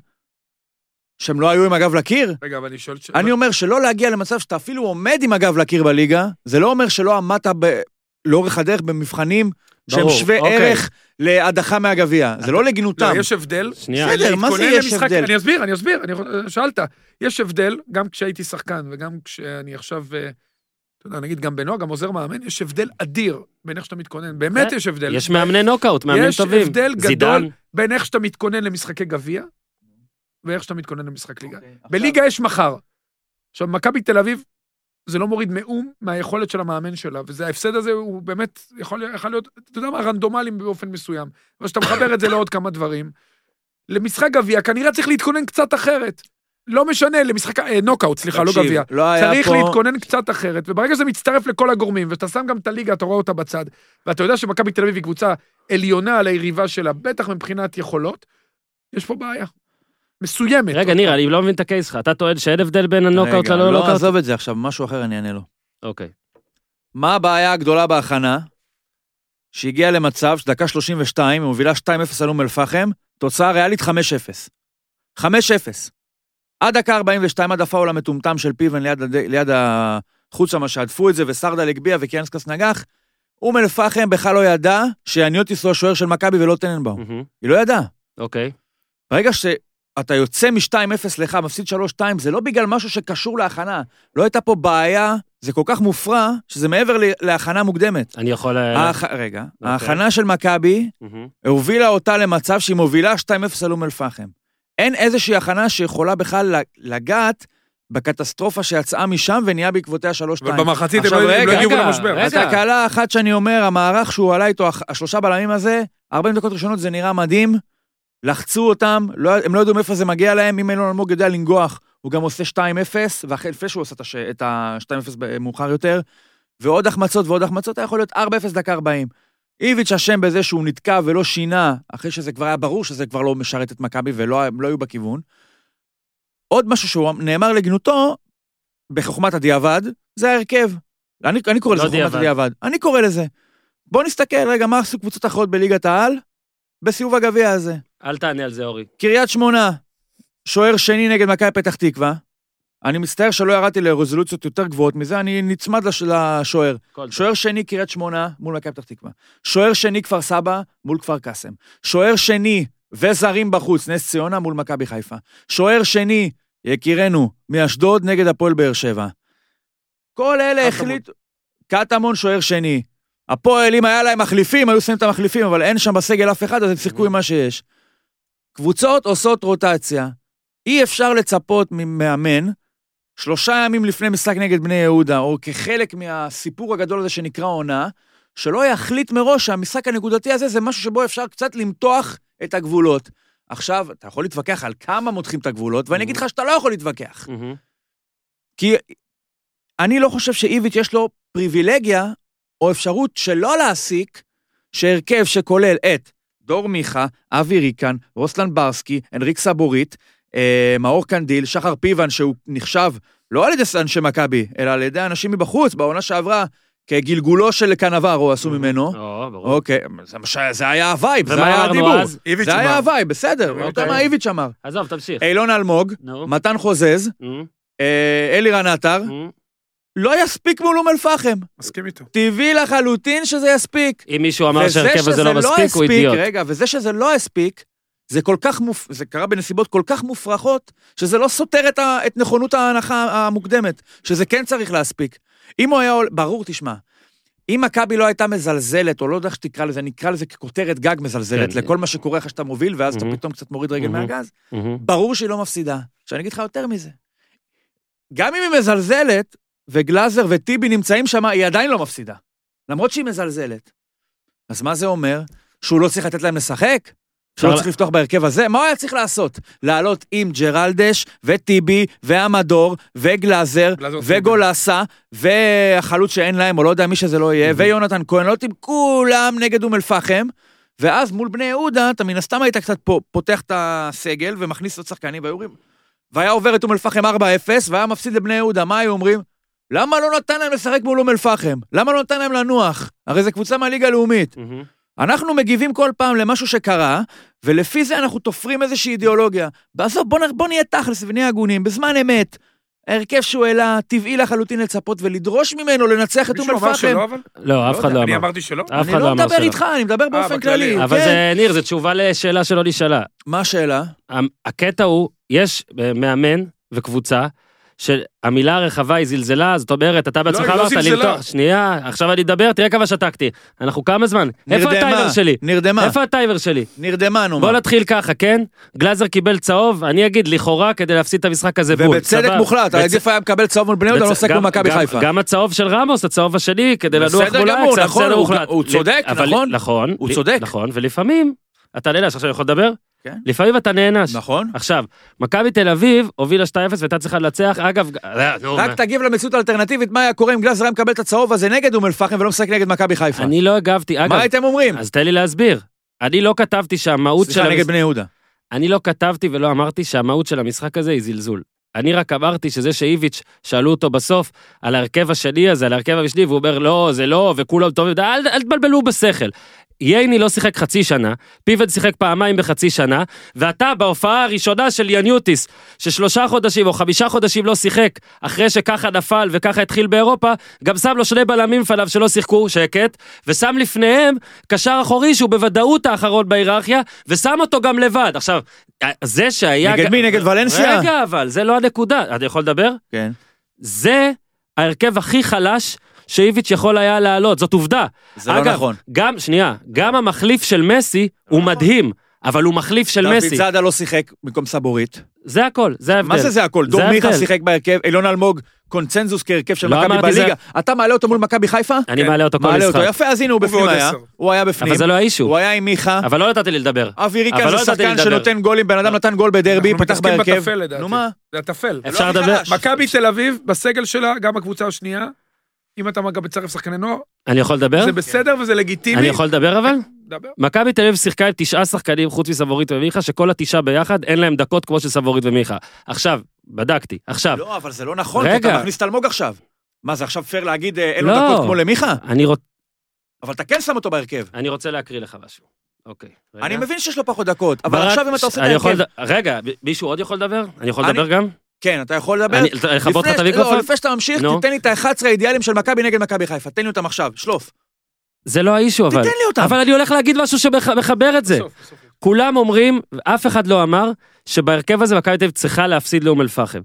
Speaker 5: שהם לא היו עם הגב לקיר?
Speaker 3: רגע, אבל אני שואל, ש-
Speaker 5: אני אומר שלא להגיע למצב שאתה אפילו עומד עם הגב לקיר בליגה, זה לא אומר שלא עמדת ב... לאורך הדרך במבחנים שהם
Speaker 1: ברור,
Speaker 5: שווה
Speaker 1: אוקיי.
Speaker 5: ערך להדחה מהגביע. זה לא
Speaker 3: לא,
Speaker 5: לגינותם.
Speaker 3: יש הבדל.
Speaker 1: שנייה.
Speaker 5: בסדר, מה זה
Speaker 3: להתכונן
Speaker 5: יש
Speaker 3: למשחק-
Speaker 5: הבדל?
Speaker 3: אני אסביר, אני אסביר, אני יכול- שאלת. יש הבדל, גם כשהייתי שחקן וגם כשאני עכשיו, אה, אתה יודע, נגיד גם בנועה, גם עוזר מאמן, יש הבדל אדיר בין איך שאתה מתכונן. באמת
Speaker 1: כן.
Speaker 3: יש הבדל.
Speaker 1: יש מאמני נוקאוט, מאמנים
Speaker 3: יש
Speaker 1: טובים.
Speaker 3: הבדל גדול.
Speaker 1: זידן,
Speaker 3: בין איך שאתה מתכונן למשחקי גביע, ואיך שאתה מתכונן למשחק ליגה.
Speaker 5: אוקיי.
Speaker 3: בליגה יש מחר. עכשיו, מכבי תל אביב, זה לא מוריד מאום מהיכולת של המאמן שלה, וזה, ההפסד הזה הוא באמת יכול, יכול להיות, אתה יודע מה, רנדומליים באופן מסוים. אבל כשאתה מחבר את זה לעוד כמה דברים, למשחק גביע כנראה צריך להתכונן קצת אחרת. לא משנה, למשחק, אה, נוקאוט, סליחה, לא
Speaker 5: תקשיב,
Speaker 3: גביע.
Speaker 5: לא היה
Speaker 3: צריך
Speaker 5: פה-
Speaker 3: להתכונן קצת אחרת, וברגע שזה מצטרף לכל הגורמים, ואתה שם גם את הליגה, אתה רואה אותה בצד, ואתה יודע שמכבי תל אביב היא קבוצה עליונה על היריבה שלה, בטח מבחינת יכולות, יש פה בעיה. מסוימת.
Speaker 1: רגע, ניר, אני לא מבין את הקייס שלך. אתה טוען שאין הבדל בין הנוקאוט
Speaker 5: רגע,
Speaker 1: ללא
Speaker 5: לא
Speaker 1: נוקאוט?
Speaker 5: עזוב את זה עכשיו, משהו אחר אני אענה לו.
Speaker 1: אוקיי.
Speaker 5: מה הבעיה הגדולה בהכנה? שהגיעה למצב שדקה 32, היא מובילה 2-0 על אום אל-פחם, תוצאה ריאלית 5-0. 5-0. עד דקה 42, עד הפאול המטומטם של פיבן ליד, הד- ליד החוץ שם, שעדפו את זה, וסרדל הגביה וקיאנסקס נגח, אום אל-פחם בכלל לא ידע שאניוטיס הוא השוער של מכבי ולא טננבאום.
Speaker 1: מהמם.
Speaker 5: היא לא ידעה.
Speaker 1: אוקיי.
Speaker 5: ברגע שאתה יוצא מ-2-0 לך, מפסיד 3-2, זה לא בגלל משהו שקשור להכנה. לא הייתה פה בעיה, זה כל כך מופרע, שזה מעבר ל- להכנה מוקדמת.
Speaker 1: אני יכול... אה,
Speaker 5: ההכ... רגע,
Speaker 1: אוקיי.
Speaker 5: ההכנה של מכבי
Speaker 1: מהמם.
Speaker 5: הובילה אותה למצב שהיא מובילה 2-0 על אום אל-פחם. אין איזושהי הכנה שיכולה בכלל ל- לגעת בקטסטרופה שיצאה משם ונהיה בעקבותיה 3-2.
Speaker 3: אבל במחצית הם
Speaker 5: עכשיו,
Speaker 3: לא הם לא
Speaker 5: רגע,
Speaker 3: הגיעו
Speaker 1: רגע,
Speaker 3: למשבר.
Speaker 1: רגע.
Speaker 5: התקלה אחת שאני אומר, המערך שהוא עלה איתו, הח- השלושה בלמים הזה, 40 דקות ראשונות זה נראה מדהים, לחצו אותם, לא, הם לא ידעו מאיפה זה מגיע להם, אם אילון אלמוג יודע לנגוח, הוא גם עושה 2-0, ואחרי, לפני שהוא עושה את הש- את ה-2-0 ב- מאוחר יותר, ועוד החמצות ועוד החמצות, היה יכול להיות 4-0 דקה 40. איביץ' אשם בזה שהוא נתקע ולא שינה, אחרי שזה כבר היה ברור שזה כבר לא משרת את מכבי ולא הם לא היו בכיוון. עוד משהו שהוא נאמר לגנותו, בחוכמת הדיעבד, זה ההרכב. אני, אני קורא
Speaker 1: לא
Speaker 5: לזה חוכמת
Speaker 1: דיעבד.
Speaker 5: הדיעבד. אני קורא לזה. בואו נסתכל רגע מה עשו קבוצות אחרות בליגת העל בסיבוב הגביע הזה.
Speaker 1: אל תענה על זה, אורי.
Speaker 5: קריית שמונה, שוער שני נגד מכבי פתח תקווה. אני מצטער שלא ירדתי לרזולוציות יותר גבוהות מזה, אני נצמד לש- לשוער.
Speaker 1: כל טוב.
Speaker 5: שוער שני קריית שמונה מול מכבי פתח תקווה. שוער שני כפר סבא מול כפר קאסם. שוער שני וזרים בחוץ, נס ציונה מול מכבי חיפה. שוער שני, יקירנו, מאשדוד נגד הפועל באר שבע. כל אלה
Speaker 3: קטמון.
Speaker 5: החליטו... קטמון שוער שני. הפועל, אם היה להם מחליפים, היו שמים את המחליפים, אבל אין שם בסגל אף אחד, אז הם שיחקו עם מה שיש. קבוצות עושות רוטציה. אי אפשר לצפות ממאמן שלושה ימים לפני משחק נגד בני יהודה, או כחלק מהסיפור הגדול הזה שנקרא עונה, שלא יחליט מראש שהמשחק הנקודתי הזה זה משהו שבו אפשר קצת למתוח את הגבולות. עכשיו, אתה יכול להתווכח על כמה מותחים את הגבולות, ואני אגיד לך שאתה לא יכול להתווכח.
Speaker 1: מהמם.
Speaker 5: כי אני לא חושב שאיביץ' יש לו פריבילגיה או אפשרות שלא להסיק שהרכב שכולל את דור מיכה, אבי ריקן, רוסלן ברסקי, הנריק סבורית, אה, מאור קנדיל, שחר פיבן, שהוא נחשב לא על ידי אנשי מכבי, אלא על ידי אנשים מבחוץ, בעונה שעברה, כגלגולו של קנברו עשו ממנו.
Speaker 1: או, ברור.
Speaker 5: אוקיי, זה מה ש- זה היה הווייב, זה
Speaker 1: אה, ומה
Speaker 5: היה
Speaker 1: אמרנו
Speaker 5: הדיבור.
Speaker 1: אז?
Speaker 3: איביץ'
Speaker 5: זה היה
Speaker 3: אמר.
Speaker 5: הווייב, בסדר, ראית
Speaker 1: אוקיי.
Speaker 5: מה איביץ' אמר.
Speaker 1: עזוב, תמשיך.
Speaker 5: אילון אלמוג,
Speaker 1: נו.
Speaker 5: מתן חוזז,
Speaker 1: מהמם.
Speaker 5: אה, אלירן עטר,
Speaker 1: מהמם.
Speaker 5: לא יספיק מול אום אל-פחם.
Speaker 3: מסכים איתו.
Speaker 5: טבעי לחלוטין שזה יספיק.
Speaker 1: אם מישהו אמר
Speaker 5: וזה
Speaker 1: שהרכב הזה
Speaker 5: שזה
Speaker 1: לא מספיק, הוא
Speaker 5: הספיק,
Speaker 1: אידיוט.
Speaker 5: רגע, וזה שזה לא הספיק, זה כל כך מופ... זה קרה בנסיבות כל כך מופרכות, שזה לא סותר את, ה... את נכונות ההנחה המוקדמת, שזה כן צריך להספיק. אם הוא היה... עול- ברור, תשמע. אם מכבי לא הייתה מזלזלת, או לא יודע איך שתקרא לזה, נקרא לזה ככותרת גג מזלזלת,
Speaker 1: כן.
Speaker 5: לכל מה שקורה לך שאתה מוביל, ואז אתה
Speaker 1: מהמם.
Speaker 5: פתאום קצת מוריד רגל
Speaker 1: מהמם.
Speaker 5: מהגז,
Speaker 1: מהמם.
Speaker 5: ברור שהיא לא מפסידה. עכשיו אני אגיד לך יותר מזה. גם אם היא מזלזלת, וגלאזר וטיבי נמצאים שם, היא עדיין לא מפסידה. למרות שהיא מזלזלת. אז מה זה אומר? שהוא לא צריך לתת להם לשחק? שהוא
Speaker 1: אפשר-
Speaker 5: לא צריך לפתוח בהרכב הזה? מה הוא היה צריך לעשות? לעלות עם ג'רלדש, וטיבי, ועמדור, וגלאזר,
Speaker 3: גלאזר סילבן.
Speaker 5: וגולסה, והחלוץ שאין להם, או לא יודע מי שזה לא יהיה, ויונתן כהן, לעלות עם כולם נגד אום אל-פחם, ואז מול בני יהודה, אתה מן הסתם היית קצת פה, פותח את הסגל ומכניס עוד שחקנים, והיו אומרים... והיה עובר את אום אל-פחם 4-0, והיה מפסיד לבני יהודה, מה היו אומרים? למה לא נתן להם לשחק מול אום אל-פחם? למה לא נתן להם לנוח? הרי זו קבוצה מהליגה הלאומית.
Speaker 1: מהמם.
Speaker 5: אנחנו מגיבים כל פעם למשהו שקרה, ולפי זה אנחנו תופרים איזושהי אידיאולוגיה. בסוף בוא, נ- בוא נהיה תכלס ונהיה הגונים, בזמן אמת. ההרכב שהוא העלה, טבעי לחלוטין לצפות ולדרוש ממנו לנצח את אום
Speaker 3: מישהו אמר
Speaker 5: אל-פחם.
Speaker 3: שלא, אבל?
Speaker 1: לא, אף אחד
Speaker 3: יודע,
Speaker 1: לא
Speaker 3: אני
Speaker 1: אמר.
Speaker 3: אמרתי שלא?
Speaker 1: אף
Speaker 5: אני
Speaker 1: אחד לא
Speaker 5: לא
Speaker 1: אמר
Speaker 5: מדבר
Speaker 1: שלא.
Speaker 5: איתך, אני מדבר באופן
Speaker 3: אה, בכללי.
Speaker 5: כללי.
Speaker 1: אבל
Speaker 5: כן.
Speaker 1: זה, ניר, זו תשובה לשאלה שלא נשאלה.
Speaker 5: מה השאלה?
Speaker 1: המ- הקטע הוא, יש אה, מאמן וקבוצה, שהמילה הרחבה היא זלזלה, זאת אומרת, אתה בעצמך
Speaker 3: היא לא
Speaker 1: אמרת
Speaker 3: זלזלה.
Speaker 1: למתוח, שנייה, עכשיו אני אדבר, תראה כמה שתקתי. אנחנו כמה זמן? איפה הטיימר שלי?
Speaker 5: נרדמה,
Speaker 1: איפה הטיימר שלי?
Speaker 5: נרדמה נו.
Speaker 1: בוא
Speaker 5: מה.
Speaker 1: נתחיל ככה, כן? גלאזר קיבל צהוב, אני אגיד לכאורה כדי להפסיד את המשחק הזה בול.
Speaker 5: ובצדק
Speaker 1: סבבה.
Speaker 5: מוחלט,
Speaker 1: בצ-
Speaker 5: העדיף היה מקבל צהוב מול בני יהודה,
Speaker 1: בצ-
Speaker 5: לא עוסק
Speaker 1: גם-
Speaker 5: במכבי
Speaker 1: גם-
Speaker 5: חיפה.
Speaker 1: גם הצהוב של רמוס, הצהוב השני, כדי לנוח
Speaker 5: בסדר
Speaker 1: מולקס,
Speaker 5: גמור,
Speaker 1: זה
Speaker 5: נכון,
Speaker 1: בסדר
Speaker 5: הוא-
Speaker 1: מוחלט.
Speaker 5: הוא
Speaker 1: ל-
Speaker 5: צודק,
Speaker 1: אבל-
Speaker 5: נכון?
Speaker 1: נכון.
Speaker 5: הוא
Speaker 1: ל-
Speaker 5: צודק.
Speaker 1: נכון, ולפעמים, אתה נענש, עכשיו אני יכול לדבר?
Speaker 5: כן.
Speaker 1: לפעמים אתה נענש.
Speaker 5: נכון?
Speaker 1: עכשיו, מכבי תל אביב הובילה 2-0 והייתה צריכה לנצח, אגב, אה, נו, מה?
Speaker 5: רק תגיב למציאות האלטרנטיבית, מה היה קורה אם גלאזר היה מקבל את הצהוב הזה נגד אום אל-פחם ולא משחק נגד מכבי חיפה?
Speaker 1: אני לא הגבתי, אגב,
Speaker 5: מה הייתם אומרים?
Speaker 1: אז תן לי להסביר. אני לא כתבתי שהמהות של...
Speaker 5: סליחה, נגד
Speaker 1: המש-
Speaker 5: בני יהודה.
Speaker 1: אני לא כתבתי ולא אמרתי שהמהות של המשחק הזה היא זלזול. אני רק אמרתי שזה שאיביץ', שאלו אותו בסוף על ההרכב השני הזה, על ההרכב המשני, והוא אומר, לא, זה לא, וכולם טובים, אל, אל תבלבלו בשכל. ייני לא שיחק חצי שנה, פיבן שיחק פעמיים בחצי שנה, ואתה בהופעה הראשונה של יניוטיס, ששלושה חודשים או חמישה חודשים לא שיחק, אחרי שככה נפל וככה התחיל באירופה, גם שם לו שני בלמים לפניו שלא שיחקו, שקט, ושם לפניהם קשר אחורי שהוא בוודאות האחרון בהיררכיה, ושם אותו גם לבד. עכשיו, זה שהיה...
Speaker 5: נגד מי? נגד ולנסיה?
Speaker 1: רגע, אבל זה לא הנקודה. אתה יכול לדבר?
Speaker 5: כן.
Speaker 1: זה ההרכב הכי חלש שאיביץ' יכול היה להעלות, זאת עובדה.
Speaker 5: זה לא
Speaker 1: אגב,
Speaker 5: נכון. לא
Speaker 1: גם, שנייה, גם המחליף של מסי הוא מדהים, אבל הוא מחליף של
Speaker 5: דוד
Speaker 1: מסי.
Speaker 5: זאדה לא שיחק במקום סבורית.
Speaker 1: זה הכל, זה ההבדל.
Speaker 5: מה זה זה הכל?
Speaker 1: זה
Speaker 5: דור מיכה
Speaker 1: ההבדל.
Speaker 5: שיחק בהרכב, אילון אלמוג, קונצנזוס כהרכב של
Speaker 1: לא
Speaker 5: מכבי
Speaker 1: אמרתי
Speaker 5: בליגה. אתה מעלה אותו מול מכבי חיפה?
Speaker 1: אני
Speaker 3: כן.
Speaker 1: מעלה אותו כל
Speaker 5: מעלה אותו,
Speaker 1: משחק.
Speaker 5: יפה, אז הנה הוא בפנים
Speaker 3: ועוד
Speaker 5: היה.
Speaker 3: עשר.
Speaker 5: הוא היה בפנים.
Speaker 1: אבל זה לא האישו.
Speaker 5: הוא היה עם מיכה.
Speaker 1: אבל לא נתתי לי לדבר.
Speaker 5: אבי
Speaker 1: אבל
Speaker 5: ריקן
Speaker 1: לא
Speaker 5: זה
Speaker 1: נתתי
Speaker 5: שחקן
Speaker 1: לדבר. לא.
Speaker 5: שנותן גולים, בן אדם נתן גול בדרבי,
Speaker 3: אנחנו
Speaker 5: פתח
Speaker 3: מתעסקים
Speaker 5: בהרכב.
Speaker 3: בטפל לדעתי.
Speaker 5: נו מה?
Speaker 3: זה הטפל.
Speaker 1: אפשר
Speaker 5: הכי
Speaker 1: לדבר?
Speaker 5: חלש.
Speaker 3: מכבי תל אביב, בסגל שלה, גם הקבוצה השנייה, אם אתה גם מצרף שחקני נוער,
Speaker 1: אני יכול לדבר?
Speaker 3: זה בסדר וזה
Speaker 1: כן? אני
Speaker 3: לגיטימי.
Speaker 1: יכול לדבר אבל?
Speaker 3: דבר.
Speaker 1: מכבי תל אביב שיחקה עם תשעה שחקנים חוץ מסבורית ומיכה, שכל התשעה ביחד אין להם דקות כמו של סבורית ומיכה. עכשיו, בדקתי, עכשיו,
Speaker 5: לא, אבל זה לא נכון, כי
Speaker 1: רגע.
Speaker 5: אתה מכניס את אלמוג עכשיו. מה, זה עכשיו פייר להגיד אה, אין לו
Speaker 1: לא.
Speaker 5: דקות כמו למיכה?
Speaker 1: אני רוצ-
Speaker 5: אבל אתה כן שם אותו בהרכב.
Speaker 1: אני רוצה להקריא לך משהו. אוקיי. רגע.
Speaker 5: אני מבין שיש לו פחות דקות, אבל
Speaker 1: ברק-
Speaker 5: עכשיו אם אתה עושה את
Speaker 1: אני יכול
Speaker 5: ההרכב...
Speaker 1: לד- רגע, מ- מישהו עוד יכול לדבר? אני יכול
Speaker 5: אני-
Speaker 1: לדבר גם?
Speaker 5: כן, אתה יכול לדבר.
Speaker 1: אני- לכבות לך את
Speaker 5: לפני- לא,
Speaker 1: המיקרופון?
Speaker 5: לפני שאתה ממשיך,
Speaker 1: נו.
Speaker 5: תיתן לי את ה-11 האידיאלים של מכבי נגד מכבי חיפה. תן לי אותם עכשיו, שלוף.
Speaker 1: זה לא האישו אבל.
Speaker 5: תיתן לי אותם.
Speaker 1: אבל אני הולך להגיד משהו שמחבר את זה.
Speaker 3: בסוף, בסוף.
Speaker 1: כולם אומרים, אף אחד לא אמר, שבהרכב הזה מכבי תל אביב צריכה להפסיד לאום אל-פחם.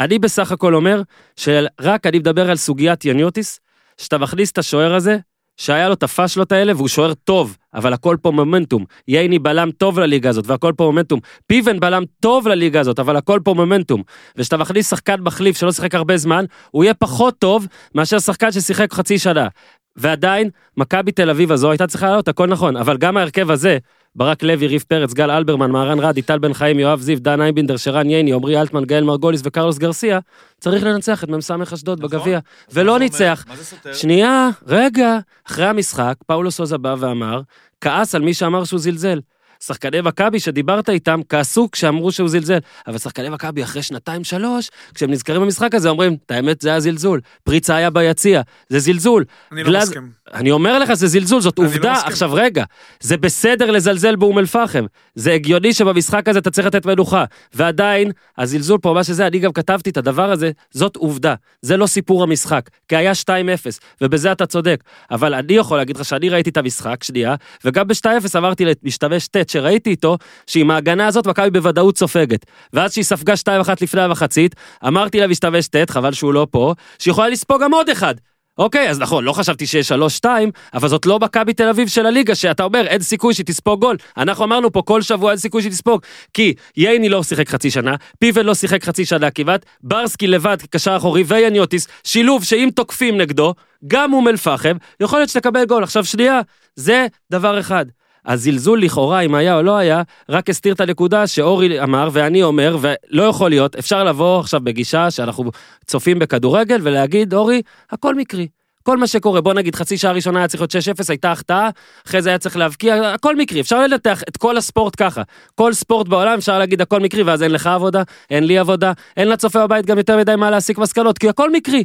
Speaker 1: אני בסך הכל אומר, שרק אני מדבר על סוגיית יניוטיס, שאתה מכניס את השוער הזה, שהיה לו את הפאשלות האלה, והוא שוער טוב, אבל הכל פה מומנטום. ייני בלם טוב לליגה הזאת, והכל פה מומנטום. פיבן בלם טוב לליגה הזאת, אבל הכל פה מומנטום. וכשאתה מכניס שחקן מחליף שלא שיחק הרבה זמן, הוא יהיה פחות טוב מאשר שחקן ששיחק חצי שנה. ועדיין, מכבי תל אביב הזו הייתה צריכה לעלות, הכל נכון, אבל גם ההרכב הזה, ברק לוי, ריף פרץ, גל אלברמן, מהרן רדי, טל בן חיים, יואב זיו, דן אייבינדר, שרן ייני, עמרי אלטמן, גאל מרגוליס וקרלוס גרסיה, צריך לנצח את מ"ס אשדוד בגביע, ולא ניצח.
Speaker 5: מה זה סותר?
Speaker 1: שנייה, רגע. אחרי המשחק, פאולו סוזה בא ואמר, כעס על מי שאמר שהוא זלזל. שחקני מכבי שדיברת איתם כעסו כשאמרו שהוא זלזל, אבל שחקני מכבי אחרי שנתיים-שלוש, כשהם נזכרים במשחק הזה, אומרים, את האמת, זה היה זלזול. פריצה היה ביציע, זה זלזול.
Speaker 3: אני לא
Speaker 1: גלאז-
Speaker 3: מסכים.
Speaker 1: אני אומר לך, זה זלזול, זאת
Speaker 3: אני לא
Speaker 1: עובדה.
Speaker 3: מסכים.
Speaker 1: עכשיו רגע, זה בסדר לזלזל באום אל-פחם. זה הגיוני שבמשחק הזה אתה צריך לתת מנוחה. ועדיין, הזלזול פה, מה שזה, אני גם כתבתי את הדבר הזה, זאת עובדה. זה לא סיפור המשחק, כי היה 2-0, ובזה אתה צודק. אבל אני יכול להגיד לך שאני ראיתי את המשחק, שנייה, וגם ב-2-0 אמרתי למשתמש ט' שראיתי איתו, שעם ההגנה הזאת מכבי בוודאות סופגת. ואז שהיא ספגה 2-1 לפני המחצית, אמרתי למשתמש ט', חבל שהוא לא פה, שיכולה לספוג גם עוד אחד. אוקיי, אז נכון, לא חשבתי שיש 3-2, אבל זאת לא מכבי תל אביב של הליגה, שאתה אומר, אין סיכוי שהיא תספוג גול. אנחנו אמרנו פה כל שבוע אין סיכוי שהיא תספוג, כי ייני לא שיחק חצי שנה, פיבן לא שיחק חצי שנה כמעט, ברסקי לבד כקשר אחורי ויאניוטיס, שילוב שאם תוקפים נגדו, גם אום אל-פחם, יכול להיות שתקבל גול. עכשיו שנייה, זה דבר אחד. הזלזול לכאורה, אם היה או לא היה, רק הסתיר את הנקודה שאורי אמר ואני אומר, ולא יכול להיות, אפשר לבוא עכשיו בגישה שאנחנו צופים בכדורגל ולהגיד, אורי, הכל מקרי. כל מה שקורה, בוא נגיד חצי שעה ראשונה היה צריך להיות 6-0, הייתה החטאה, אחרי זה היה צריך להבקיע, הכל מקרי, אפשר לנתח את כל הספורט ככה. כל ספורט בעולם אפשר להגיד הכל מקרי, ואז אין לך עבודה, אין לי עבודה, אין לצופה בבית גם יותר מדי מה להסיק מסקנות, כי הכל מקרי.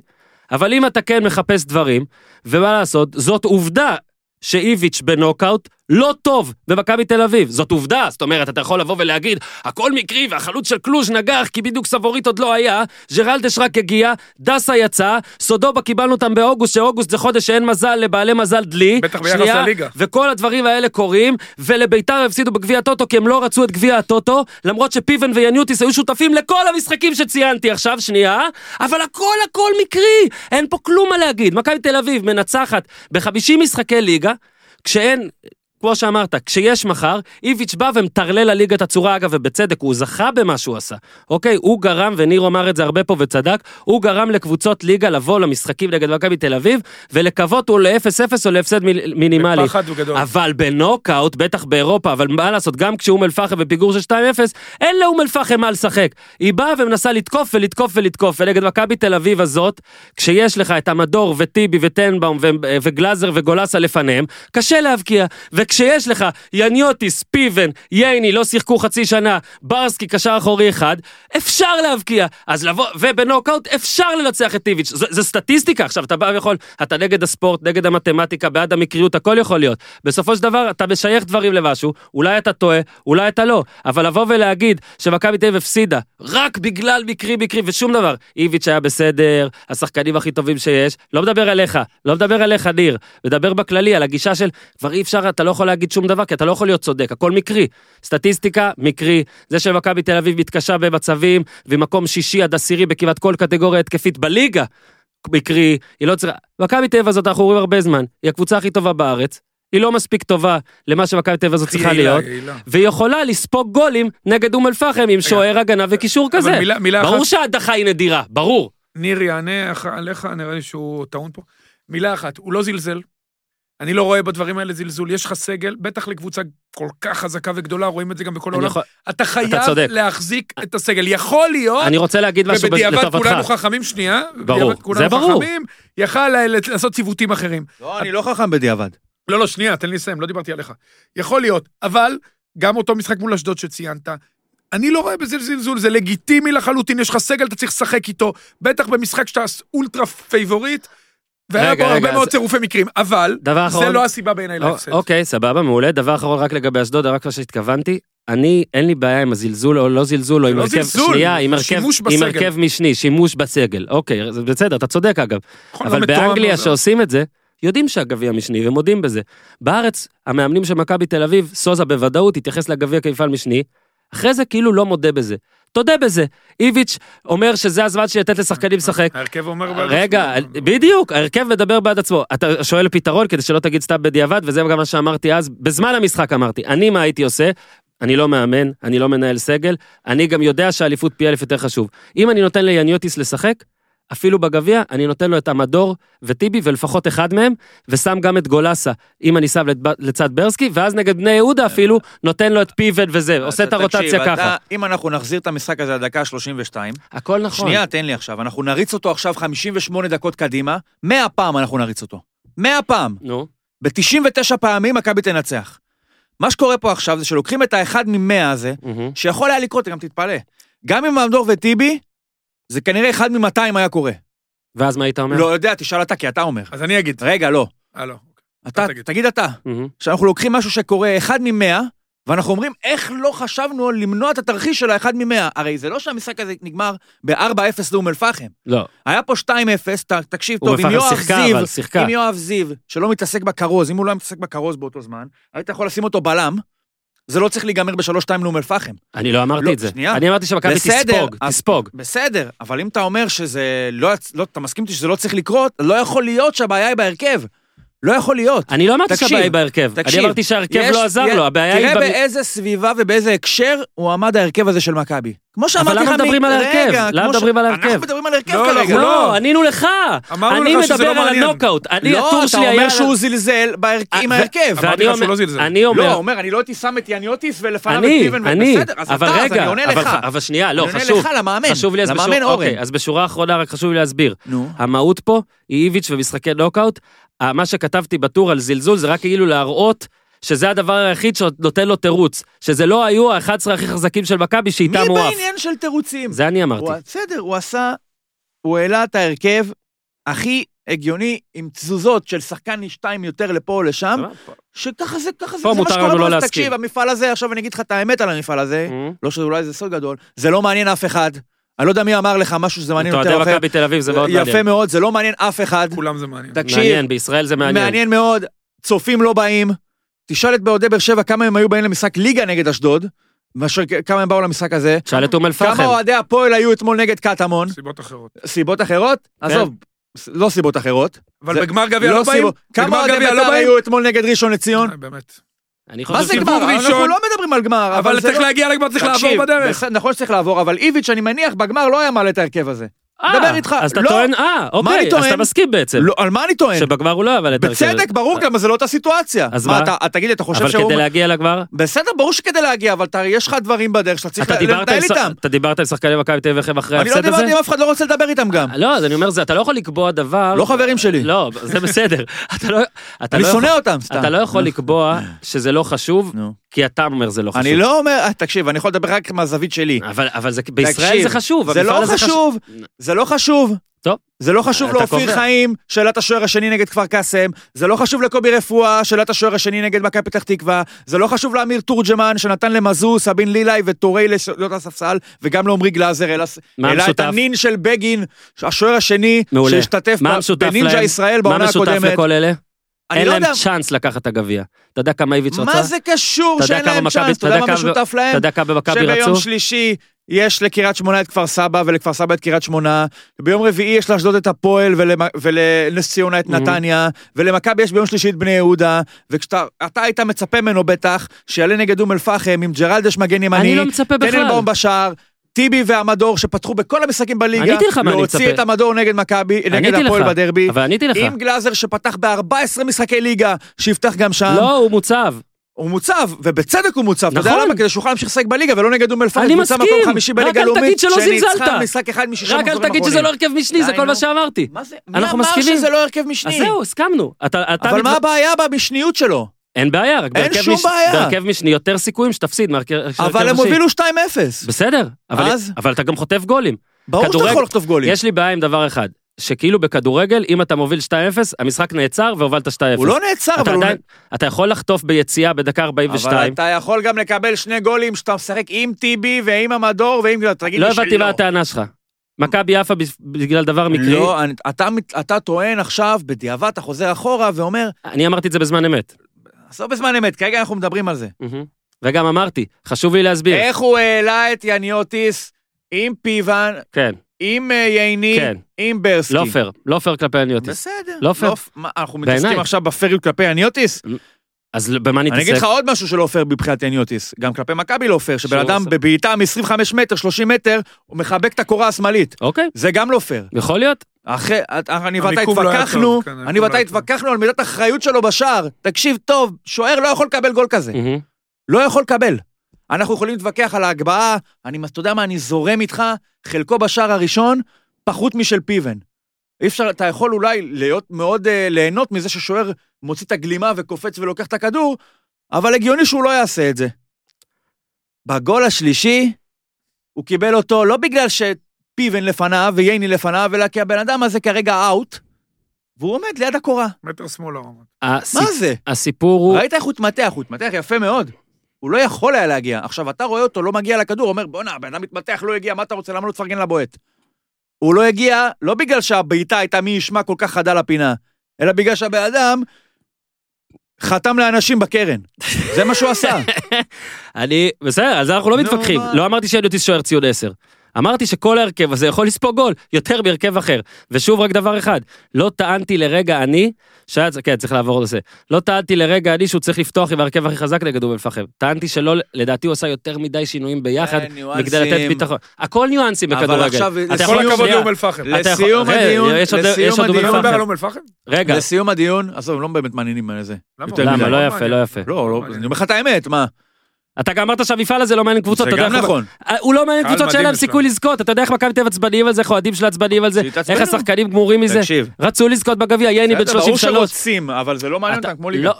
Speaker 1: אבל אם אתה כן מחפש דברים, ומה לעשות, זאת עובדה שאיביץ' בנוקאוט לא טוב במכבי תל אביב. זאת עובדה, זאת אומרת, אתה יכול לבוא ולהגיד, הכל מקרי והחלוץ של קלוז' נגח כי בדיוק סבורית עוד לא היה, ג'רלדש רק הגיע, דסה יצא, סודובה קיבלנו אותם באוגוסט, שאוגוסט זה חודש שאין מזל לבעלי מזל דלי.
Speaker 3: בטח ביחס
Speaker 1: שנייה,
Speaker 3: לליגה.
Speaker 1: וכל הדברים האלה קורים, ולביתר הפסידו בגביע הטוטו כי הם לא רצו את גביע הטוטו, למרות שפיבן ויאניוטיס היו שותפים לכל המשחקים שציינתי עכשיו, שנייה, אבל הכל הכל מקרי, אין פה כלום מה להגיד. מכבי תל אביב מנצחת ב-50 משחקי ליגה, כשאין... כמו שאמרת, כשיש מחר, איביץ' בא ומטרלל לליגה את הצורה, אגב, ובצדק, הוא זכה במה שהוא עשה. אוקיי, הוא גרם, וניר אמר את זה הרבה פה וצדק, הוא גרם לקבוצות ליגה לבוא למשחקים נגד מכבי תל אביב, ולקוות הוא ל-0-0 או להפסד מיל- מינימלי.
Speaker 3: בפחד הוא גדול.
Speaker 1: אבל בנוקאוט, בטח באירופה, אבל מה לעשות, גם כשאום אל-פחם בפיגור של 2-0, אין לאום אל-פחם מה לשחק. היא באה ומנסה לתקוף ולתקוף ולתקוף, ונגד מכבי תל אביב הזאת, כשיש לך את המדור וטיבי וטנבאום ו- וגלאזר וגולסה לפניהם, קשה להבקיע. וכשיש לך יניוטיס, פיבן, ייני, לא שיחקו חצי שנה, ברסקי, קשר אחורי אחד, אפשר להבקיע. אז לבוא, ובנוקאוט אפשר לנצח את איביץ'. זו, זו סטטיסטיקה, עכשיו אתה בא ויכול, אתה נגד הספורט, נגד המתמטיקה, בעד המקריות, הכל יכול להיות. בסופו של דבר, אתה משייך דברים למשהו, אולי אתה טועה, אולי אתה לא. אבל לבוא ולהגיד שמכבי תל אביב הפסידה, רק בגלל מקרי מקרי ושום דבר. איביץ' היה בסדר, השחקנים הכי טובים שיש, לא מדבר עליך, לא מדבר עליך, ניר. מדבר בכללי על הגישה של כבר אי אפשר, אתה לא יכול להגיד שום דבר, כי אתה לא יכול להיות צודק, הכל מקרי. סטטיסטיקה, מקרי. זה שמכבי תל אביב מתקשה במצבים, ומקום שישי עד עשירי בכמעט כל קטגוריה התקפית בליגה, מקרי, היא לא צריכה... מכבי תל אביב הזאת, אנחנו רואים הרבה זמן, היא הקבוצה הכי טובה בארץ, היא לא מספיק טובה למה שמכבי תל אביב הזאת צריכה
Speaker 3: יעילה,
Speaker 1: להיות,
Speaker 3: יעילה.
Speaker 1: והיא יכולה לספוג גולים נגד אום אל-פחם עם שוער הגנה וקישור
Speaker 3: אבל
Speaker 1: כזה.
Speaker 3: מילה- מילה
Speaker 1: ברור
Speaker 3: אחת.
Speaker 1: שההדחה היא נדירה, ברור.
Speaker 3: ניר יענה אח- עליך, נראה לי שהוא טעון פה. מילה אחת, הוא לא זלזל. אני לא רואה בדברים האלה זלזול. יש לך סגל, בטח לקבוצה כל כך חזקה וגדולה, רואים את זה גם בכל
Speaker 1: אני
Speaker 3: העולם.
Speaker 1: יכול-
Speaker 3: אתה חייב
Speaker 1: צודק.
Speaker 3: להחזיק את הסגל. יכול להיות,
Speaker 1: אני רוצה להגיד משהו בז-
Speaker 3: ובדיעבד כולנו
Speaker 1: לטובתך.
Speaker 3: חכמים שנייה.
Speaker 1: ברור,
Speaker 3: ובדיעבד כולנו
Speaker 1: זה ברור.
Speaker 3: חכמים, יכל ל- ל- לעשות ציוותים אחרים.
Speaker 5: לא, אני לא חכם בדיעבד.
Speaker 3: לא, לא, שנייה, תן לי לסיים, לא דיברתי עליך. יכול להיות, אבל גם אותו משחק מול אשדוד שציינת, אני לא רואה בזה זלזול, זה לגיטימי לחלוטין, יש לך סגל, אתה צריך לשחק איתו, בטח במשחק שאתה אולטרה פייבוריט, והיה
Speaker 1: רגע,
Speaker 3: בו
Speaker 1: רגע,
Speaker 3: הרבה מאוד
Speaker 1: אז-
Speaker 3: צירופי מקרים, אבל
Speaker 1: דבר אחרון.
Speaker 3: זה לא הסיבה בעיניי
Speaker 1: או-
Speaker 3: להפסד.
Speaker 1: אוקיי, סבבה, מעולה. דבר אחרון רק לגבי אשדוד, רק מה שהתכוונתי. אני, אין לי בעיה עם הזלזול או לא זלזול, או עם
Speaker 3: לא
Speaker 1: הרכב,
Speaker 3: זלזול,
Speaker 1: שנייה, עם הרכב,
Speaker 3: שימוש
Speaker 1: עם
Speaker 3: בסגל.
Speaker 1: הרכב משני, שימוש בסגל. אוקיי, זה בסדר, אתה צודק אגב.
Speaker 3: נכון, לא
Speaker 1: אבל
Speaker 3: מתואם,
Speaker 1: באנגליה
Speaker 3: לא-
Speaker 1: שעושים את זה, יודעים שהגביע משני ומודים בזה. בארץ, המאמנים של מכבי תל אביב, סוזה בוודאות התייחס לגביע כמפעל משני, אחרי זה כאילו לא מודה בזה. תודה בזה. איביץ' אומר שזה הזמן לתת לשחקנים לשחק.
Speaker 3: ההרכב אומר... לא,
Speaker 1: רגע,
Speaker 3: בעצמו.
Speaker 1: בדיוק, ההרכב מדבר בעד עצמו. אתה שואל פתרון כדי שלא תגיד סתם בדיעבד, וזה גם מה שאמרתי אז, בזמן המשחק אמרתי. אני, מה הייתי עושה? אני לא מאמן, אני לא מנהל סגל, אני גם יודע שהאליפות פי אלף יותר חשוב. אם אני נותן ליאניוטיס לשחק, אפילו בגביע, אני נותן לו את המדור וטיבי ולפחות אחד מהם, ושם גם את גולסה, אם אני שם לד- לצד ברסקי, ואז נגד בני יהודה אפילו, נותן לו את פיבן וזה, עושה את
Speaker 5: אתה- תקשיב,
Speaker 1: הרוטציה
Speaker 5: אתה-
Speaker 1: ככה.
Speaker 5: אם אנחנו נחזיר את המשחק הזה לדקה ה-32,
Speaker 1: הכל נכון.
Speaker 5: שנייה, תן לי עכשיו, אנחנו נריץ אותו עכשיו 58 דקות קדימה, 100 פעם אנחנו נריץ אותו. 100 פעם.
Speaker 1: נו,
Speaker 5: ב-99 פעמים מכבי תנצח. מה שקורה פה עכשיו זה שלוקחים את האחד ממאה הזה,
Speaker 1: מהמם.
Speaker 5: שיכול היה לקרות, אתה גם תתפלא. גם עם אמדור וטיבי, זה כנראה אחד מ-200 היה קורה.
Speaker 1: ואז מה היית אומר?
Speaker 5: לא יודע, תשאל אתה, כי אתה אומר.
Speaker 3: אז אני אגיד.
Speaker 5: רגע, לא.
Speaker 3: אה, לא.
Speaker 5: אתה,
Speaker 3: אתה תגיד.
Speaker 5: תגיד אתה.
Speaker 1: מהמם.
Speaker 5: שאנחנו לוקחים משהו שקורה אחד ממאה, ואנחנו אומרים, איך לא חשבנו למנוע את התרחיש של האחד ממאה? הרי זה לא שהמשחק הזה נגמר ב-4-0 לאום אל-פחם.
Speaker 1: לא.
Speaker 5: היה פה 2-0, ת- תקשיב
Speaker 1: אום
Speaker 5: טוב, עם
Speaker 1: אל-פחם
Speaker 5: יואב
Speaker 1: שיחקה,
Speaker 5: זיו,
Speaker 1: אבל שיחקה.
Speaker 5: עם יואב זיו, שלא מתעסק בכרוז, אם הוא לא היה מתעסק בכרוז באותו זמן, היית יכול לשים אותו בלם, זה לא צריך להיגמר ב-3-2 לאום אל-פחם.
Speaker 1: אני לא אמרתי
Speaker 5: לא,
Speaker 1: את זה.
Speaker 5: שנייה.
Speaker 1: אני אמרתי שמכבי
Speaker 5: בסדר,
Speaker 1: תספוג,
Speaker 5: אז-
Speaker 1: תספוג.
Speaker 5: בסדר, אבל אם אתה אומר שזה לא, יצ- לא, אתה מסכים איתי שזה לא צריך לקרות, לא יכול להיות שהבעיה היא בהרכב. לא יכול להיות.
Speaker 1: אני לא אמרתי
Speaker 5: תקשיב,
Speaker 1: שהבעיה היא בהרכב.
Speaker 5: תקשיב,
Speaker 1: אני אמרתי שההרכב
Speaker 5: יש-
Speaker 1: לא עזר
Speaker 5: יש-
Speaker 1: לו, הבעיה היא...
Speaker 5: תראה
Speaker 1: במ-
Speaker 5: באיזה סביבה ובאיזה הקשר הוא עמד ההרכב הזה של מכבי. כמו שאמרתי לך...
Speaker 1: למה
Speaker 5: מ-
Speaker 1: מדברים על ההרכב?
Speaker 5: רגע,
Speaker 1: למה
Speaker 5: כמו ש-
Speaker 1: מדברים על
Speaker 5: אנחנו
Speaker 1: ההרכב?
Speaker 5: מדברים על ההרכב
Speaker 3: לא,
Speaker 5: כרגע.
Speaker 3: אנחנו
Speaker 1: לא,
Speaker 3: לא.
Speaker 1: ענינו לך.
Speaker 3: אמרנו
Speaker 1: אני
Speaker 3: לך שזה
Speaker 1: מדבר
Speaker 3: לא
Speaker 1: על
Speaker 3: מעניין.
Speaker 1: הנוקאוט. אני,
Speaker 5: לא,
Speaker 1: הטור
Speaker 5: אתה
Speaker 1: שלי היה... אה,
Speaker 5: אומר שהוא זלזל בהרכב עם ההרכב.
Speaker 1: ואני
Speaker 3: אמרתי לך שהוא
Speaker 1: אומר-
Speaker 3: לא זלזל.
Speaker 1: אני
Speaker 5: לא, הוא
Speaker 1: אומר...
Speaker 5: אומר, אני לא הייתי שם את יניוטיס ולפניו את
Speaker 1: אני,
Speaker 5: טיבן,
Speaker 1: אני,
Speaker 5: בסדר, אז
Speaker 1: אבל
Speaker 5: אתה, אז
Speaker 1: רגע,
Speaker 5: אני עונה
Speaker 1: אבל
Speaker 5: לך.
Speaker 1: ח- אבל שנייה, לא,
Speaker 5: אני עונה
Speaker 1: חשוב,
Speaker 5: לך, למאמן,
Speaker 1: חשוב לי אז
Speaker 5: למאמן
Speaker 1: בשורה-
Speaker 5: אורן.
Speaker 1: אוקיי, אז בשורה אחרונה רק חשוב לי להסביר.
Speaker 5: נו.
Speaker 1: המהות פה היא איביץ' ומשחקי נוקאוט. ה- מה שכתבתי בטור על זלזול זה רק כאילו להראות שזה הדבר היחיד שנותן לו תירוץ. שזה לא היו ה-11 הכי חזקים של מכבי
Speaker 5: מי
Speaker 1: שאיתם הוא עף.
Speaker 5: בעניין של תירוצים?
Speaker 1: זה אני אמרתי.
Speaker 5: הוא- בסדר, הוא עשה, הוא העלה את ההרכב הכי הגיוני, עם תזוזות של שחקן שתיים יותר לפה או לשם, שככה זה, ככה זה,
Speaker 1: פה
Speaker 5: זה מה
Speaker 1: מותר לנו
Speaker 5: שקורה
Speaker 1: לא
Speaker 5: פה. אז
Speaker 1: להסכים.
Speaker 5: תקשיב, המפעל הזה, עכשיו אני אגיד לך את האמת על המפעל הזה,
Speaker 1: אה?
Speaker 5: לא שאולי זה סוד גדול, זה לא מעניין אף אחד. אני לא יודע מי אמר לך משהו שזה מעניין
Speaker 1: אתה
Speaker 5: יותר
Speaker 1: יודע
Speaker 5: אחר.
Speaker 1: אוקיי. מכבי תל אביב זה מאוד מעניין.
Speaker 5: יפה מאוד, זה לא מעניין אף אחד.
Speaker 3: כולם זה מעניין.
Speaker 5: תקשיב,
Speaker 1: מעניין, בישראל זה מעניין.
Speaker 5: מעניין מאוד, צופים לא באים. תשאל את באוהדי באר שבע כמה הם היו באים למשחק ליגה נגד אשדוד, מאשר כמה הם באו למשחק הזה.
Speaker 1: שאל את אום אל-פחם.
Speaker 5: כמה אוהדי הפועל היו אתמול נגד קטמון?
Speaker 3: סיבות אחרות.
Speaker 5: סיבות אחרות?
Speaker 1: כן.
Speaker 5: עזוב, לא סיבות אחרות.
Speaker 3: אבל
Speaker 5: זה-
Speaker 3: בגמר גביע לא באים?
Speaker 5: סיבות- כמה
Speaker 3: בגמר
Speaker 5: אוהדי
Speaker 3: גביע לא
Speaker 5: בית"ר
Speaker 3: באים?
Speaker 5: היו אתמול נגד ראשון לציון?
Speaker 3: אה, באמת.
Speaker 1: אני חושב
Speaker 5: מה זה
Speaker 1: ש-
Speaker 5: גמר?
Speaker 3: סיבוב
Speaker 5: אנחנו
Speaker 3: ראשון.
Speaker 5: לא מדברים על גמר,
Speaker 3: אבל
Speaker 5: אבל זה
Speaker 3: צריך
Speaker 5: לא...
Speaker 3: להגיע לגמר, צריך לעבור
Speaker 5: תקשיב,
Speaker 3: בדרך.
Speaker 5: בסדר, נכון שצריך לעבור, אבל איביץ', אני מניח, בגמר לא היה מעלה את ההרכב הזה.
Speaker 1: אה,
Speaker 5: מדבר איתך.
Speaker 1: אז אתה
Speaker 5: לא.
Speaker 1: טוען, אה,
Speaker 5: אני
Speaker 1: אוקיי, אז
Speaker 5: טוען?
Speaker 1: אתה מסכים בעצם.
Speaker 5: לא, על מה אני טוען?
Speaker 1: שבגמר הוא לא, אבל... את הרכבת.
Speaker 5: בצדק, ברור, גם זה לא אותה סיטואציה.
Speaker 1: אז
Speaker 5: מה?
Speaker 1: מה?
Speaker 5: אתה- תגיד, אתה חושב
Speaker 1: אבל
Speaker 5: שהוא...
Speaker 1: כדי להגיע לגמר?
Speaker 5: בסדר, ברור שכדי להגיע, אבל אתה- יש לך דברים בדרך שאתה צריך
Speaker 1: אתה
Speaker 5: ל-
Speaker 1: דיברת עם
Speaker 5: לנהל
Speaker 1: ש-
Speaker 5: איתם.
Speaker 1: אתה דיברת עם שחקני מכבי תל אביב אחרי
Speaker 5: אני לא
Speaker 1: ההפסד הזה?
Speaker 5: דיברתי עם אף אחד, לא רוצה לדבר איתם גם.
Speaker 1: לא, אז אני אומר, זה- אתה לא יכול לקבוע דבר...
Speaker 5: לא חברים שלי.
Speaker 1: לא, זה בסדר. [laughs] אתה לא... אתה
Speaker 5: אני
Speaker 1: לא
Speaker 5: שונא
Speaker 1: יכול-
Speaker 5: אותם, סתם.
Speaker 1: אתה לא יכול לקבוע שזה לא חשוב,
Speaker 5: נו.
Speaker 1: כי אתה אומר זה לא חשוב.
Speaker 5: אני לא אומר, אה, תקשיב, אני יכול לדבר רק מהזווית שלי.
Speaker 1: אבל, אבל זה, בישראל
Speaker 5: תקשיב,
Speaker 1: זה חשוב.
Speaker 5: זה
Speaker 1: המפעל
Speaker 5: לא
Speaker 1: הזה
Speaker 5: חשוב, זה לא חשוב.
Speaker 1: טוב.
Speaker 5: זה לא חשוב
Speaker 1: אתה
Speaker 5: לאופיר
Speaker 1: קובע.
Speaker 5: חיים, שאלת השוער השני נגד כפר קאסם, זה לא חשוב לקובי רפואה, שאלת השוער השני נגד מכבי פתח תקווה, זה לא חשוב לאמיר תורג'מן, שנתן למזוז, סבין לילאי וטורי לשדות הספסל, וגם לעומרי גלאזר, אלא-
Speaker 1: מה
Speaker 5: אלא את
Speaker 1: המשותף?
Speaker 5: הנין של בגין, השוער השני,
Speaker 1: מעולה.
Speaker 5: שהשתתף
Speaker 1: מה
Speaker 5: ב-
Speaker 1: המשותף
Speaker 5: בנינג'ה
Speaker 1: להם?
Speaker 5: ישראל
Speaker 1: מה
Speaker 5: בעונה
Speaker 1: משותף
Speaker 5: הקודמת.
Speaker 1: לכל אלה?
Speaker 5: אני
Speaker 1: אין
Speaker 5: לא
Speaker 1: להם
Speaker 5: יודע-
Speaker 1: צ'אנס לקחת את הגביע. אתה יודע כמה איביץ' רצה?
Speaker 5: מה זה קשור
Speaker 1: אתה יודע
Speaker 5: שאין
Speaker 1: כמה
Speaker 5: להם
Speaker 1: מכבי-
Speaker 5: צ'אנס?
Speaker 1: אתה
Speaker 5: אתה יודע
Speaker 1: יודע
Speaker 5: מה
Speaker 1: כמה-
Speaker 5: משותף להם?
Speaker 1: אתה יודע כמה במכבי רצו?
Speaker 5: שביום שלישי יש לקריית שמונה את כפר סבא ולכפר סבא את קריית שמונה, וביום רביעי יש לאשדוד את הפועל ולמ- ולנס ציונה את
Speaker 1: Mhm.
Speaker 5: נתניה, ולמכבי יש ביום שלישי את בני יהודה, וכשאתה אתה היית מצפה ממנו בטח, שיעלה נגד אום אל-פחם עם ג'רלדש מגן
Speaker 1: אני
Speaker 5: ימני,
Speaker 1: לא מצפה בכלל.
Speaker 5: טננבאום בשער. טיבי והמדור שפתחו בכל המשחקים בליגה,
Speaker 1: עניתי לך מה אני
Speaker 5: להוציא
Speaker 1: מצפה.
Speaker 5: את המדור נגד מכבי, נגד
Speaker 1: עניתי
Speaker 5: הפועל
Speaker 1: לך,
Speaker 5: בדרבי,
Speaker 1: אבל עניתי לך.
Speaker 5: עם גלאזר שפתח ב-14 משחקי ליגה, שיפתח גם שם.
Speaker 1: לא, הוא מוצב.
Speaker 5: הוא מוצב, ובצדק הוא מוצב, אתה יודע
Speaker 1: נכון.
Speaker 5: למה? כדי שיוכל להמשיך לשחק בליגה ולא נגד אום אל-פחם,
Speaker 1: אני
Speaker 5: קבוצה
Speaker 1: מסכים.
Speaker 5: מקום חמישי
Speaker 1: רק
Speaker 5: בליגה
Speaker 1: אל תגיד
Speaker 5: הלאומית,
Speaker 1: שלא
Speaker 5: שניצחה
Speaker 1: זלזלת.
Speaker 5: משחק אחד משישה
Speaker 1: רק
Speaker 5: מחזורים
Speaker 1: אל
Speaker 5: אחרונים.
Speaker 1: תגיד שזה לא הרכב משני, זה
Speaker 5: די,
Speaker 1: כל
Speaker 5: נו.
Speaker 1: מה שאמרתי.
Speaker 5: מה זה? מי
Speaker 1: אנחנו
Speaker 5: אמר
Speaker 1: מסכימים.
Speaker 5: שזה לא הרכב
Speaker 1: אז
Speaker 5: משני?
Speaker 1: זהו, הסכמנו. אתה, אתה
Speaker 5: אבל
Speaker 1: מתו-
Speaker 5: מה הבעיה במשניות שלו?
Speaker 1: אין בעיה, רק
Speaker 5: אין
Speaker 1: בהרכב
Speaker 5: שום
Speaker 1: מש-
Speaker 5: בעיה.
Speaker 1: בהרכב משני יותר סיכויים שתפסיד מהרכב של הרכב
Speaker 5: אבל הם
Speaker 1: ראשי.
Speaker 5: הובילו 2-0.
Speaker 1: בסדר, אבל,
Speaker 5: אז?
Speaker 1: אבל אתה גם חוטף גולים.
Speaker 5: ברור שאתה
Speaker 1: כדורגל-
Speaker 5: יכול לחטוף גולים.
Speaker 1: יש לי בעיה עם דבר אחד, שכאילו בכדורגל, אם אתה מוביל 2-0, המשחק נעצר והובלת 2-0.
Speaker 5: הוא לא נעצר,
Speaker 1: אתה,
Speaker 5: אבל הוא...
Speaker 1: עדיין, אתה יכול לחטוף ביציאה בדקה
Speaker 5: אבל
Speaker 1: 42.
Speaker 5: אתה יכול גם לקבל שני גולים שאתה משחק עם טיבי ועם המדור ועם... תגיד
Speaker 1: לא
Speaker 5: לי
Speaker 1: הבנתי
Speaker 5: שלא.
Speaker 1: מה הטענה שלך. מכבי יפה בש- בגלל דבר מקרי,
Speaker 5: לא, אני- אתה מת- אתה טוען עכשיו, בדיעבד, אתה חוזר אחורה ואומר,
Speaker 1: אני אמרתי את זה בזמן אמת.
Speaker 5: עזוב בזמן אמת, כרגע אנחנו מדברים על זה.
Speaker 1: מהמם. וגם אמרתי, חשוב לי להסביר.
Speaker 5: איך הוא העלה את יניוטיס עם פיוון,
Speaker 1: כן,
Speaker 5: עם אה, ייני,
Speaker 1: כן.
Speaker 5: עם ברסקי.
Speaker 1: לא פייר, לא פייר כלפי הניוטיס.
Speaker 5: בסדר.
Speaker 1: לא פייר.
Speaker 5: פ- מה, אנחנו
Speaker 1: בעיניי.
Speaker 5: מתעסקים עכשיו בפריות כלפי יניוטיס?
Speaker 1: אז ל- במה
Speaker 5: אני אגיד לך
Speaker 1: נתעסק?
Speaker 5: עוד משהו שלא פייר מבחינת יניוטיס. גם כלפי מכבי לא פייר, שבן
Speaker 1: שהוא
Speaker 5: אדם
Speaker 1: עושה.
Speaker 5: בבעיטה מ-25 מטר, 30 מטר, הוא מחבק את הקורה השמאלית.
Speaker 1: אוקיי,
Speaker 5: זה גם לא פייר.
Speaker 1: יכול להיות.
Speaker 5: אחרי, את- אני ואתה
Speaker 3: המיקום לא היה
Speaker 5: התווכחנו,
Speaker 3: טוב, כן,
Speaker 5: אני
Speaker 3: המיקום לא
Speaker 5: ואתה
Speaker 3: היה טוב.
Speaker 5: התווכחנו על מידת האחריות שלו בשער. תקשיב טוב, שוער לא יכול לקבל גול כזה.
Speaker 1: מהמם.
Speaker 5: לא יכול לקבל. אנחנו יכולים להתווכח על ההגבהה, אני, אתה יודע מה, אני זורם איתך, חלקו בשער הראשון, פחות משל פיבן. אי אפשר, אתה יכול אולי להיות מאוד, אה, ליהנות מזה ששוער מוציא את הגלימה וקופץ ולוקח את הכדור, אבל הגיוני שהוא לא יעשה את זה. בגול השלישי, הוא קיבל אותו לא בגלל שפיבן לפניו וייני לפניו, אלא כי הבן אדם הזה כרגע אאוט, והוא עומד ליד הקורה.
Speaker 3: מטר לא שמאלה. הוא אמר.
Speaker 1: הסיפ-
Speaker 5: מה זה?
Speaker 1: הסיפור הוא...
Speaker 5: ראית איך הוא התמתח, הוא התמתח יפה מאוד. הוא לא יכול היה להגיע. עכשיו, אתה רואה אותו לא מגיע לכדור, אומר, בואנה, הבן אדם מתמתח, לא הגיע, מה אתה רוצה, למה לא תפרגן לבועט? הוא לא הגיע, לא בגלל שהבעיטה הייתה מי ישמע כל כך חדה לפינה, אלא בגלל שהבן אדם חתם לאנשים בקרן. זה מה שהוא עשה.
Speaker 1: אני, בסדר, על זה אנחנו לא
Speaker 5: נו,
Speaker 1: מתווכחים.
Speaker 5: מה?
Speaker 1: לא אמרתי שאליוטיס שוער ציוד 10. אמרתי שכל ההרכב הזה יכול לספוג גול, יותר מהרכב אחר. ושוב, רק דבר אחד, לא טענתי לרגע אני, שהיה, כן, צריך לעבור לזה, לא טענתי לרגע אני שהוא צריך לפתוח עם ההרכב הכי חזק נגד אום אל-פחם. טענתי שלא, לדעתי הוא עשה יותר מדי שינויים ביחד,
Speaker 5: כן, ניואנסים.
Speaker 1: מכדי לתת ביטחון. הכל ניואנסים
Speaker 5: אבל
Speaker 1: בכדורגל.
Speaker 5: עכשיו,
Speaker 1: אתה
Speaker 5: לכל
Speaker 1: יכול-
Speaker 3: כל הכבוד
Speaker 1: שנייה,
Speaker 3: לאום אל-פחם.
Speaker 1: אתה יכול-
Speaker 5: לסיום
Speaker 1: רגע,
Speaker 5: הדיון,
Speaker 1: יש עוד-
Speaker 5: לסיום
Speaker 1: יש עוד אום
Speaker 5: הדיון.
Speaker 3: אתה לא מדבר
Speaker 1: אל-פחם.
Speaker 3: על אום אל-פחם?
Speaker 1: [laughs] רגע,
Speaker 5: לסיום הדיון, עזוב, הם לא באמת מעניינים על זה.
Speaker 3: למה?
Speaker 5: יותר
Speaker 1: למה?
Speaker 5: מדי.
Speaker 1: לא
Speaker 3: לא
Speaker 1: יפה,
Speaker 3: מעניין.
Speaker 1: לא יפה.
Speaker 5: לא, לא, אני אומר לך את האמת, מה?
Speaker 1: אתה גם אמרת שהמפעל הזה לא מעניין קבוצות,
Speaker 5: זה
Speaker 1: אתה יודע
Speaker 5: גם
Speaker 1: איך...
Speaker 5: נכון.
Speaker 1: הוא לא מעניין
Speaker 3: קהל
Speaker 1: קבוצות שאין
Speaker 3: מדהים
Speaker 1: להם
Speaker 3: אצלם.
Speaker 1: סיכוי לזכות, אתה יודע איך מכבי תל אביב עצבניים על זה, איך האוהדים שלה עצבניים על זה,
Speaker 5: שהתעצבנו.
Speaker 1: איך השחקנים גמורים מזה,
Speaker 5: תקשיב.
Speaker 1: רצו לזכות בגביע, ייני בן
Speaker 5: בסדר, ברור
Speaker 1: 33.
Speaker 5: שרוצים, אבל זה לא מעניין
Speaker 1: אתה-
Speaker 5: אותם כמו ליגה.
Speaker 1: לא.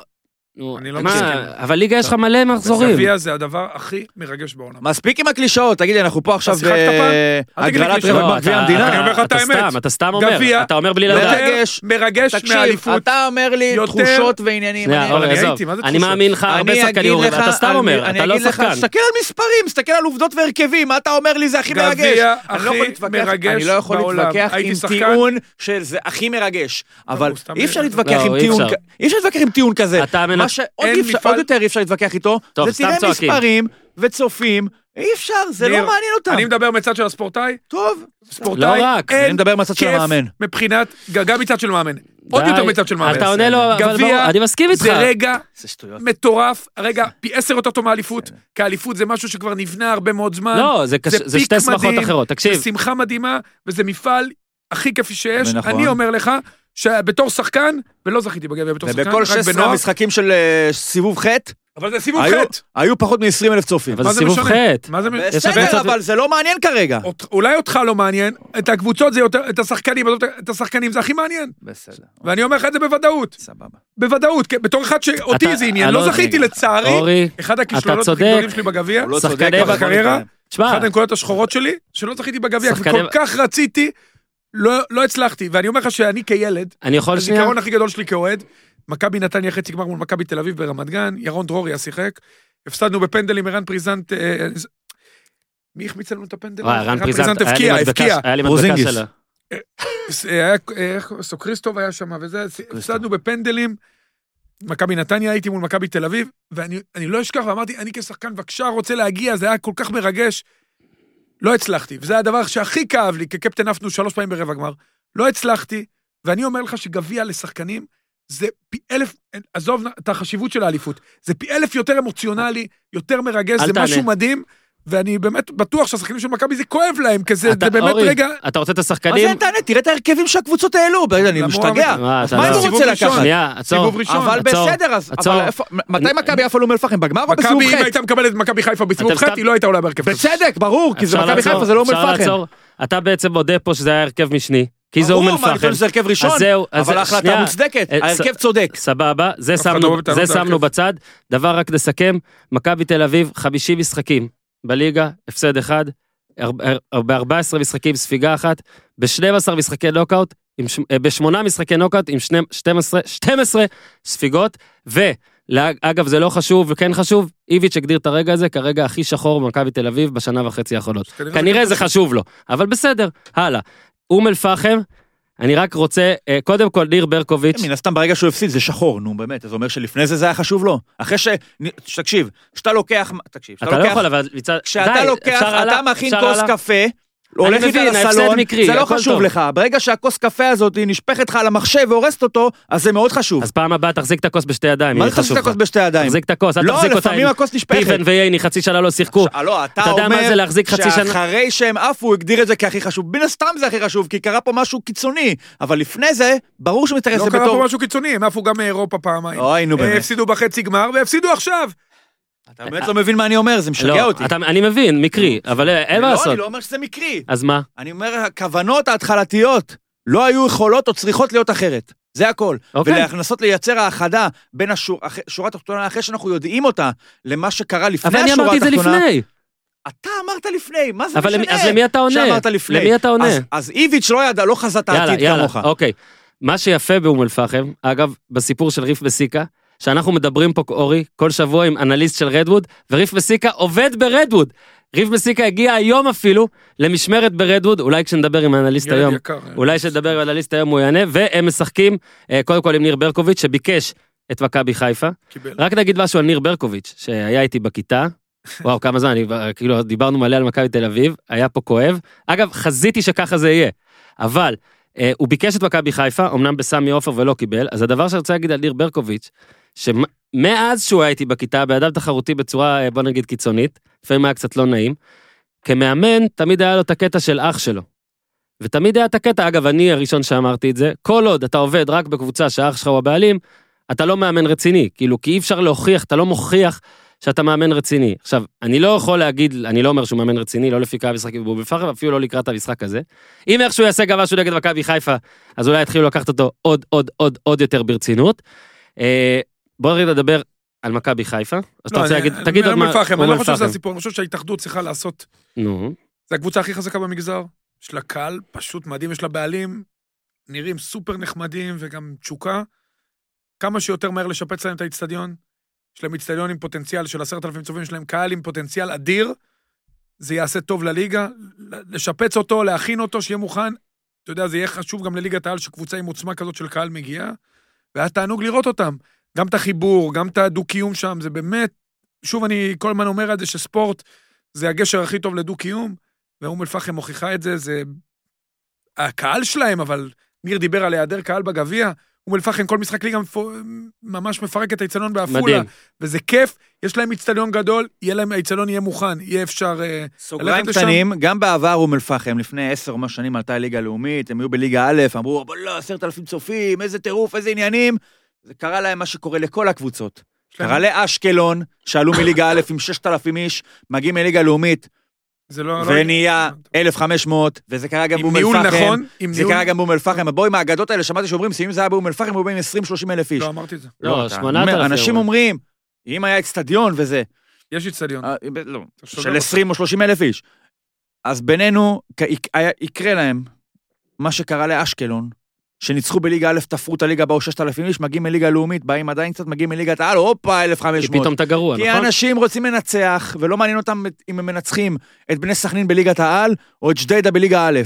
Speaker 1: נו,
Speaker 3: אני לא
Speaker 1: מה,
Speaker 3: מסכים.
Speaker 1: אבל ליגה יש לך מלא מחזורים.
Speaker 3: גביע זה הדבר הכי מרגש בעולם.
Speaker 5: מספיק עם הקלישאות, תגיד לי, אנחנו פה עכשיו אה,
Speaker 3: שיחקת פעם? אל תגיד לי
Speaker 5: בהגרלת
Speaker 3: קלישאות.
Speaker 5: רבע
Speaker 1: לא,
Speaker 5: בגביע
Speaker 1: אתה-
Speaker 3: אני
Speaker 5: המדינה.
Speaker 3: אומר לך את
Speaker 1: אתה
Speaker 3: האמת.
Speaker 1: סתם, אתה סתם אומר,
Speaker 3: גביע,
Speaker 1: אתה אומר בלי
Speaker 5: לא
Speaker 1: לדעת.
Speaker 5: יודע.
Speaker 3: יותר
Speaker 5: מרגש.
Speaker 3: מרגש
Speaker 5: תקשיב,
Speaker 3: מאליפות.
Speaker 5: אתה אומר לי
Speaker 3: יותר-
Speaker 5: תחושות ועניינים.
Speaker 1: שנייה,
Speaker 5: אני-
Speaker 1: אורי,
Speaker 3: אני
Speaker 1: לא, עזוב.
Speaker 3: הייתי, מה זה
Speaker 1: אני
Speaker 3: תחושות?
Speaker 1: מאמין לך,
Speaker 5: אני
Speaker 1: הרבה
Speaker 5: אגיד
Speaker 1: שחקנים אומרים,
Speaker 5: לך
Speaker 1: אתה סתם
Speaker 5: על-
Speaker 1: אומר,
Speaker 5: אני
Speaker 1: אתה לא
Speaker 5: אגיד לך,
Speaker 1: שחקן.
Speaker 5: תסתכל על מספרים, תסתכל על עובדות והרכבים, מה אתה אומר לי זה הכי
Speaker 3: גביע
Speaker 5: מרגש. אני לא
Speaker 3: הכי
Speaker 5: יכול להתווכח-
Speaker 3: מרגש
Speaker 5: אני לא יכול
Speaker 3: בעולם.
Speaker 5: להתווכח
Speaker 3: הייתי
Speaker 5: עם
Speaker 3: שחקן.
Speaker 5: טיעון של זה הכי מרגש, אבל
Speaker 3: הוא סתם
Speaker 5: אי אפשר
Speaker 3: מרגש.
Speaker 5: להתווכח
Speaker 1: לא,
Speaker 5: עם
Speaker 1: אי
Speaker 5: טיעון,
Speaker 1: אפשר.
Speaker 5: כ- אי אפשר להתווכח עם טיעון כזה.
Speaker 1: אתה מנ-
Speaker 5: מה שעוד
Speaker 3: אין
Speaker 5: אי אפשר-
Speaker 3: מפעל-
Speaker 5: עוד יותר אי אפשר להתווכח איתו,
Speaker 1: טוב,
Speaker 5: זה
Speaker 1: סתם
Speaker 5: תראה
Speaker 1: צועקים.
Speaker 5: מספרים וצופים, אי אפשר, זה לא
Speaker 3: ניר,
Speaker 5: מעניין אותם.
Speaker 3: אני מדבר מצד של הספורטאי,
Speaker 5: טוב.
Speaker 3: ספורטאי,
Speaker 1: לא רק,
Speaker 3: אין
Speaker 5: אני מדבר מהצד של
Speaker 3: כיף
Speaker 5: המאמן.
Speaker 3: מבחינת, גם מצד של מאמן, עוד
Speaker 1: די.
Speaker 3: יותר מצד של מאמן.
Speaker 1: אתה עונה לו, אבל
Speaker 3: גביע
Speaker 1: ברור, אני מסכים איתך.
Speaker 3: זה רגע
Speaker 5: זה שטויות.
Speaker 3: מטורף,
Speaker 5: [laughs]
Speaker 3: רגע פי עשר יותר טוב
Speaker 5: כן.
Speaker 3: מאליפות, כי האליפות זה משהו שכבר נבנה הרבה מאוד זמן.
Speaker 1: לא, זה קש- זה
Speaker 3: פיק
Speaker 1: שתי שמחות
Speaker 3: מדהים,
Speaker 1: אחרות. תקשיב,
Speaker 3: זה שמחה מדהימה, וזה מפעל הכי כיפי שיש.
Speaker 5: ונכון.
Speaker 3: אני אומר לך, שבתור שחקן, ולא זכיתי בגביע בתור שחקן,
Speaker 5: ובכל
Speaker 3: רק
Speaker 5: 16
Speaker 3: בנוער,
Speaker 5: המשחקים של אה, סיבוב ח'
Speaker 3: אבל זה סיבוב
Speaker 5: היו-
Speaker 3: חטא.
Speaker 5: היו פחות מ-20 אלף צופים.
Speaker 1: אבל
Speaker 3: מה
Speaker 1: זה
Speaker 3: זה
Speaker 1: סיבוב
Speaker 3: משנה?
Speaker 1: חטא.
Speaker 3: מה זה מ-
Speaker 1: יש הרבה
Speaker 5: בסדר,
Speaker 1: צופים.
Speaker 5: אבל זה לא מעניין כרגע.
Speaker 3: אות- אולי אותך לא מעניין, את הקבוצות זה יותר, את השחקנים, עזוב את השחקנים זה הכי מעניין.
Speaker 5: בסדר,
Speaker 3: ואני אומר לך את זה בוודאות,
Speaker 5: סבבה.
Speaker 3: בוודאות, כי בתור אחד
Speaker 1: אתה-
Speaker 3: שאותי זה עניין,
Speaker 1: אני
Speaker 3: לא
Speaker 1: לא-
Speaker 3: זכיתי לצערי,
Speaker 1: אורי,
Speaker 3: אחד הכישלונות הכי
Speaker 1: צודק.
Speaker 3: גדולים שלי בגביע,
Speaker 5: הוא לא צודק,
Speaker 1: שחקני
Speaker 5: אבל
Speaker 3: בקריירה?
Speaker 1: תשמע,
Speaker 3: אחת הנקודות השחורות שלי, שלא זכיתי בגביע,
Speaker 1: שחקני-
Speaker 3: וכל כך רציתי, לא לא הצלחתי, ואני אומר לך שאני כילד,
Speaker 1: אני יכול שנייה?
Speaker 3: הזיכרון הכי גדול שלי כאוהד, מכבי נתניה חצי גמר מול מכבי תל אביב ברמת גן, ירון דרוריה שיחק, הפסדנו בפנדל עם ערן פריזנט, אה, אה, מי החמיץ לנו את הפנדל?
Speaker 1: וואי, רן פריזנט, היה לי
Speaker 3: הבקיע, הבקיע.
Speaker 1: מדבקה היה לי מדבקה
Speaker 5: ברוזינגיס.
Speaker 1: שלו.
Speaker 3: היה, אה, איך- סוקריסטוב היה שם וזה, הפסדנו בפנדלים. מכבי נתניה הייתי מול מכבי תל אביב, ואני אני לא אשכח, ואמרתי, אני כשחקן בבקשה רוצה להגיע, זה היה כל כך מרגש. לא הצלחתי, וזה הדבר שהכי כאב לי, כקפטן עפנו שלוש פעמים ברבע גמר. לא הצלחתי, ואני אומר לך שגביע לשחקנים זה פי אלף, אה, עזוב את החשיבות של האליפות, זה פי אלף יותר אמוציונלי, יותר מרגש,
Speaker 1: אל
Speaker 3: זה
Speaker 1: תענה.
Speaker 3: משהו מדהים, ואני באמת בטוח שהשחקנים של מכבי זה כואב להם, כי זה
Speaker 1: אתה-
Speaker 3: זה באמת
Speaker 1: אורי,
Speaker 3: רגע...
Speaker 1: אתה רוצה את
Speaker 5: מה
Speaker 1: השחקנים?
Speaker 5: זה תענה? תראה את ההרכבים שהקבוצות העלו, אני
Speaker 3: למרות-
Speaker 5: משתגע.
Speaker 1: מה,
Speaker 5: אז
Speaker 1: אתה
Speaker 5: מה
Speaker 1: לא-
Speaker 5: אם הוא
Speaker 3: סיבוב
Speaker 5: רוצה
Speaker 3: ראשון.
Speaker 5: לקחת?
Speaker 1: שנייה, עצור.
Speaker 3: סיבוב ראשון.
Speaker 5: אבל
Speaker 1: עצור,
Speaker 5: בסדר, אז
Speaker 1: עצור.
Speaker 5: אבל איפה- מתי
Speaker 1: אני-
Speaker 5: מכבי עפה לאום אל-פחם? בגמר או בסיבוב
Speaker 3: מכבי, אם
Speaker 5: ח'?
Speaker 3: הייתה מקבלת את מכבי חיפה בסיבוב
Speaker 1: אתם סתם-
Speaker 3: ח', היא לא הייתה עולה בהרכב. הזה.
Speaker 5: בצדק, ברור, כי זה
Speaker 1: אפשר
Speaker 5: מכבי
Speaker 1: לעצור,
Speaker 5: חיפה, זה לא אום
Speaker 1: אפשר
Speaker 5: אל-פחם.
Speaker 1: לעצור. אתה בעצם מודה פה שזה היה הרכב משני, כי זה אום
Speaker 5: ברור, מה, אני
Speaker 1: אל-פחם.
Speaker 5: חושב שזה הרכב ראשון,
Speaker 1: אז זהו, אז
Speaker 5: אבל ההחלטה
Speaker 1: שנייה.
Speaker 5: מוצדקת,
Speaker 1: אה,
Speaker 5: ההרכב
Speaker 1: ס-
Speaker 5: צודק.
Speaker 1: סבבה, זה
Speaker 3: אף אחד
Speaker 1: שמנו,
Speaker 3: לא בטענות
Speaker 1: זה
Speaker 3: להרכב.
Speaker 1: שמנו בצד. דבר רק לסכם, מכבי תל אביב, 50 משחקים בליגה, הפסד אחד, ב-14 משחקים ספיגה אחת, ב-12 משחקי נוקאוט, ב-8 משחקי נוקאוט עם שני- 12, 12 ספיגות, ואגב זה לא חשוב וכן חשוב, איביץ' הגדיר את הרגע הזה כרגע הכי שחור במכבי תל אביב בשנה וחצי האחרונות. כנראה זה חשוב לו, אבל בסדר, הלאה. אום אל-פחם, אני רק רוצה, אה, קודם כל ניר ברקוביץ',
Speaker 5: מן הסתם ברגע שהוא הפסיד זה שחור, נו באמת, אז זה אומר שלפני זה זה היה חשוב לו. אחרי ש... תקשיב, כשאתה לוקח... תקשיב, כשאתה
Speaker 1: אתה לא
Speaker 5: לוקח...
Speaker 1: יכול, אבל מצד...
Speaker 5: כשאתה
Speaker 1: די,
Speaker 5: לוקח,
Speaker 1: אפשר
Speaker 5: אתה
Speaker 1: הלאה,
Speaker 5: מכין
Speaker 1: אפשר
Speaker 5: כוס
Speaker 1: הלאה.
Speaker 5: קפה, הולך איתה
Speaker 1: מבין, ההפסד
Speaker 5: לסלון,
Speaker 1: מקרי,
Speaker 5: זה לא
Speaker 1: הכל
Speaker 5: חשוב
Speaker 1: טוב.
Speaker 5: לך. ברגע שהכוס קפה הזאת נשפכת לך על המחשב והורסת אותו, אז זה מאוד חשוב.
Speaker 1: אז פעם הבאה תחזיק את הכוס בשתי ידיים,
Speaker 5: מה
Speaker 1: יהיה
Speaker 5: זה תחזיק
Speaker 1: חשוב
Speaker 5: את הכוס
Speaker 1: לך.
Speaker 5: בשתי ידיים?
Speaker 1: תחזיק את הכוס, אל
Speaker 5: לא,
Speaker 1: תחזיק אותה
Speaker 5: לפעמים
Speaker 1: עם
Speaker 5: הכוס נשפכת.
Speaker 1: פיבן וייני, חצי שנה לא שיחקו.
Speaker 5: אה, לא, אתה
Speaker 1: אתה יודע מה זה
Speaker 5: אומר
Speaker 1: להחזיק חצי שנה-
Speaker 5: שאחרי שהם עפו, הוא הגדיר את זה כהכי חשוב. מן הסתם זה הכי חשוב, כי קרה פה משהו קיצוני. אבל לפני זה, ברור שמתייחס
Speaker 3: לא
Speaker 5: לזה
Speaker 3: קרה פה
Speaker 5: בתור...
Speaker 3: משהו קיצוני, הם עפו גם מאירופה פעמיים.
Speaker 5: אוי, נו
Speaker 3: אה,
Speaker 5: באמת.
Speaker 3: הפסידו בחצי גמר והפסידו עכשיו.
Speaker 5: אתה באמת לא מבין מה אני אומר, זה משגע
Speaker 1: לא,
Speaker 5: אותי.
Speaker 1: אתה- אני מבין, מקרי, אבל אה, אין מה
Speaker 5: לא,
Speaker 1: לעשות.
Speaker 5: אני לא אומר שזה מקרי.
Speaker 1: אז מה?
Speaker 5: אני אומר, הכוונות ההתחלתיות לא היו יכולות או צריכות להיות אחרת. זה הכל.
Speaker 1: אוקיי.
Speaker 5: ולנסות לייצר האחדה בין השור- אח- השורה התחתונה, אחרי שאנחנו יודעים אותה, למה שקרה לפני
Speaker 1: אבל
Speaker 5: השורה
Speaker 1: אני
Speaker 5: התחתונה.
Speaker 1: אמרתי את זה לפני.
Speaker 5: אתה אמרת לפני, מה זה
Speaker 1: אבל
Speaker 5: משנה?
Speaker 1: למי- אז למי אתה עונה?
Speaker 5: שאמרת לפני.
Speaker 1: למי אתה עונה?
Speaker 5: אז- אז איביץ' לא ידע, לא חזה את
Speaker 1: יאללה,
Speaker 5: העתיד
Speaker 1: יאללה,
Speaker 5: כמוך.
Speaker 1: אוקיי. מה שיפה באום אל-פחם, אגב, בסיפור של ריף וסיקה, שאנחנו מדברים פה, אורי, כל שבוע עם אנליסט של רדווד, וריף וסיקה עובד ברדווד. ריף וסיקה הגיע היום אפילו למשמרת ברדווד, אולי כשנדבר עם האנליסט
Speaker 3: ילד
Speaker 1: היום.
Speaker 3: יקר. אה,
Speaker 1: אולי כשנדבר על הליסט היום הוא יענה, והם משחקים אה, קודם כל עם ניר ברקוביץ' שביקש את מכבי חיפה.
Speaker 3: קיבל.
Speaker 1: רק נגיד משהו על ניר ברקוביץ' שהיה איתי בכיתה. וואו כמה זמן, אני, כבר- כאילו דיברנו מלא על מכבי תל אביב, היה פה כואב. אגב, חזיתי שככה זה יהיה, אבל אה, הוא ביקש את מכבי חיפה, אמנם בסמי עופר ולא קיבל, אז הדבר שאני רוצה להגיד על ניר ברקוביץ', שמאז שהוא היה איתי בכיתה, בן אדם תחרותי בצורה, אה, בוא נגיד, קיצונית, לפעמים היה קצת לא נעים, כמאמן תמיד היה לו את הקטע של אח שלו. ותמיד היה את הקטע, אגב, אני הראשון שאמרתי את זה, כל עוד אתה עובד רק בקבוצה שהאח שלך הוא הבעלים, אתה לא מאמן רציני, כאילו, כי אי אפשר להוכיח, אתה לא מוכיח שאתה מאמן רציני. עכשיו, אני לא יכול להגיד, אני לא אומר שהוא מאמן רציני, לא לפי קו המשחק בבוב פחם, אפילו לא לקראת המשחק הזה. אם איכשהו יעשה גם משהו נגד מכבי חיפה, אז אולי יתחילו לקחת אותו עוד, עוד, עוד, עוד יותר ברצינות. אה, בוא נגיד לדבר על מכבי חיפה, אז אתה
Speaker 3: לא,
Speaker 1: רוצה
Speaker 3: אני-
Speaker 1: להגיד,
Speaker 3: אני
Speaker 1: תגיד
Speaker 3: אומר
Speaker 1: עוד מה,
Speaker 3: אום אל-פחם, אני
Speaker 1: אום
Speaker 3: לא חושב שזה
Speaker 1: אל-פחם.
Speaker 3: הסיפור, אני חושב שההתאחדות צריכה לעשות...
Speaker 1: נו,
Speaker 3: זו הקבוצה הכי חזקה במגזר. יש לה קהל פשוט מדהים, יש לה בעלים, נראים סופר נחמדים וגם תשוקה. כמה שיותר מהר לשפץ להם את האיצטדיון. יש להם איצטדיון עם פוטנציאל של עשרת אלפים צופים, יש להם קהל עם פוטנציאל אדיר. זה יעשה טוב לליגה. לשפץ אותו, להכין אותו, שיהיה מוכן. אתה יודע, זה יהיה חשוב גם לליגת העל, שקבוצה עם עוצמה כזאת של קהל מגיעה. והיה תענוג לראות אותם. גם את החיבור, גם את הדו-קיום שם, זה באמת... שוב, אני כל הזמן אומר את זה, שספורט זה הגשר הכי טוב לדו-קיום. ואום אל-פחם מוכיחה את זה, זה... הקהל שלהם, אבל ניר דיבר על היעדר קהל בגביע, אום אל-פחם, כל משחק ליגה מפו- ממש מפרק את האיצטדיון בעפולה.
Speaker 1: מדהים.
Speaker 3: וזה כיף, יש להם איצטדיון גדול, יהיה להם, האיצטדיון יהיה מוכן, יהיה אפשר... אה,
Speaker 5: סוגריים
Speaker 3: ללכת לשם.
Speaker 5: קטנים, גם בעבר אום אל-פחם, לפני עשר או מה שנים עלתה ליגה לאומית, הם היו בליגה א', אמרו, אבל לא, עשרת אלפים צופים, איזה טירוף, איזה עניינים. זה קרה להם מה שקורה לכל הקבוצות.
Speaker 3: להם-
Speaker 5: קרה לאשקלון, שעלו מליגה א' עם ששת אלפים איש, מגיעים מליגה לאומית,
Speaker 3: זה לא... לא-
Speaker 5: ונהיה אלף חמש מאות, וזה קרה גם
Speaker 3: עם
Speaker 5: באום
Speaker 3: ניהול
Speaker 5: אל-פחם.
Speaker 3: נכון, עם
Speaker 5: זה
Speaker 3: ניהול...
Speaker 5: קרה גם באום אל-פחם. בואו עם האגדות האלה, שמעתי שאומרים, שאם זה היה באום אל-פחם, היו באים 20-30 אלף איש.
Speaker 3: לא, אמרתי את זה.
Speaker 1: לא,
Speaker 5: אתה
Speaker 1: 8,000
Speaker 5: אומר, אנשים
Speaker 1: אירו.
Speaker 5: אומרים, אם היה אצטדיון וזה,
Speaker 3: יש איצטדיון.
Speaker 5: אה, ב- לא,
Speaker 3: שומע
Speaker 5: של
Speaker 3: אותי.
Speaker 5: 20 או 30 אלף איש. אז בינינו, כ- יק- היה- יקרה להם מה שקרה לאשקלון, שניצחו בליגה א', תפרו את הליגה, באו 6,000 איש, מגיעים מליגה לאומית, באים עדיין קצת, מגיעים מליגת העל, הופה,
Speaker 1: כי
Speaker 5: 1,500.
Speaker 1: פתאום אתה גרוע,
Speaker 5: כי
Speaker 1: נכון?
Speaker 5: האנשים רוצים לנצח, ולא מעניין אותם את- אם הם מנצחים את בני סכנין בליגת העל, או את ג'דיידה בליגה א'.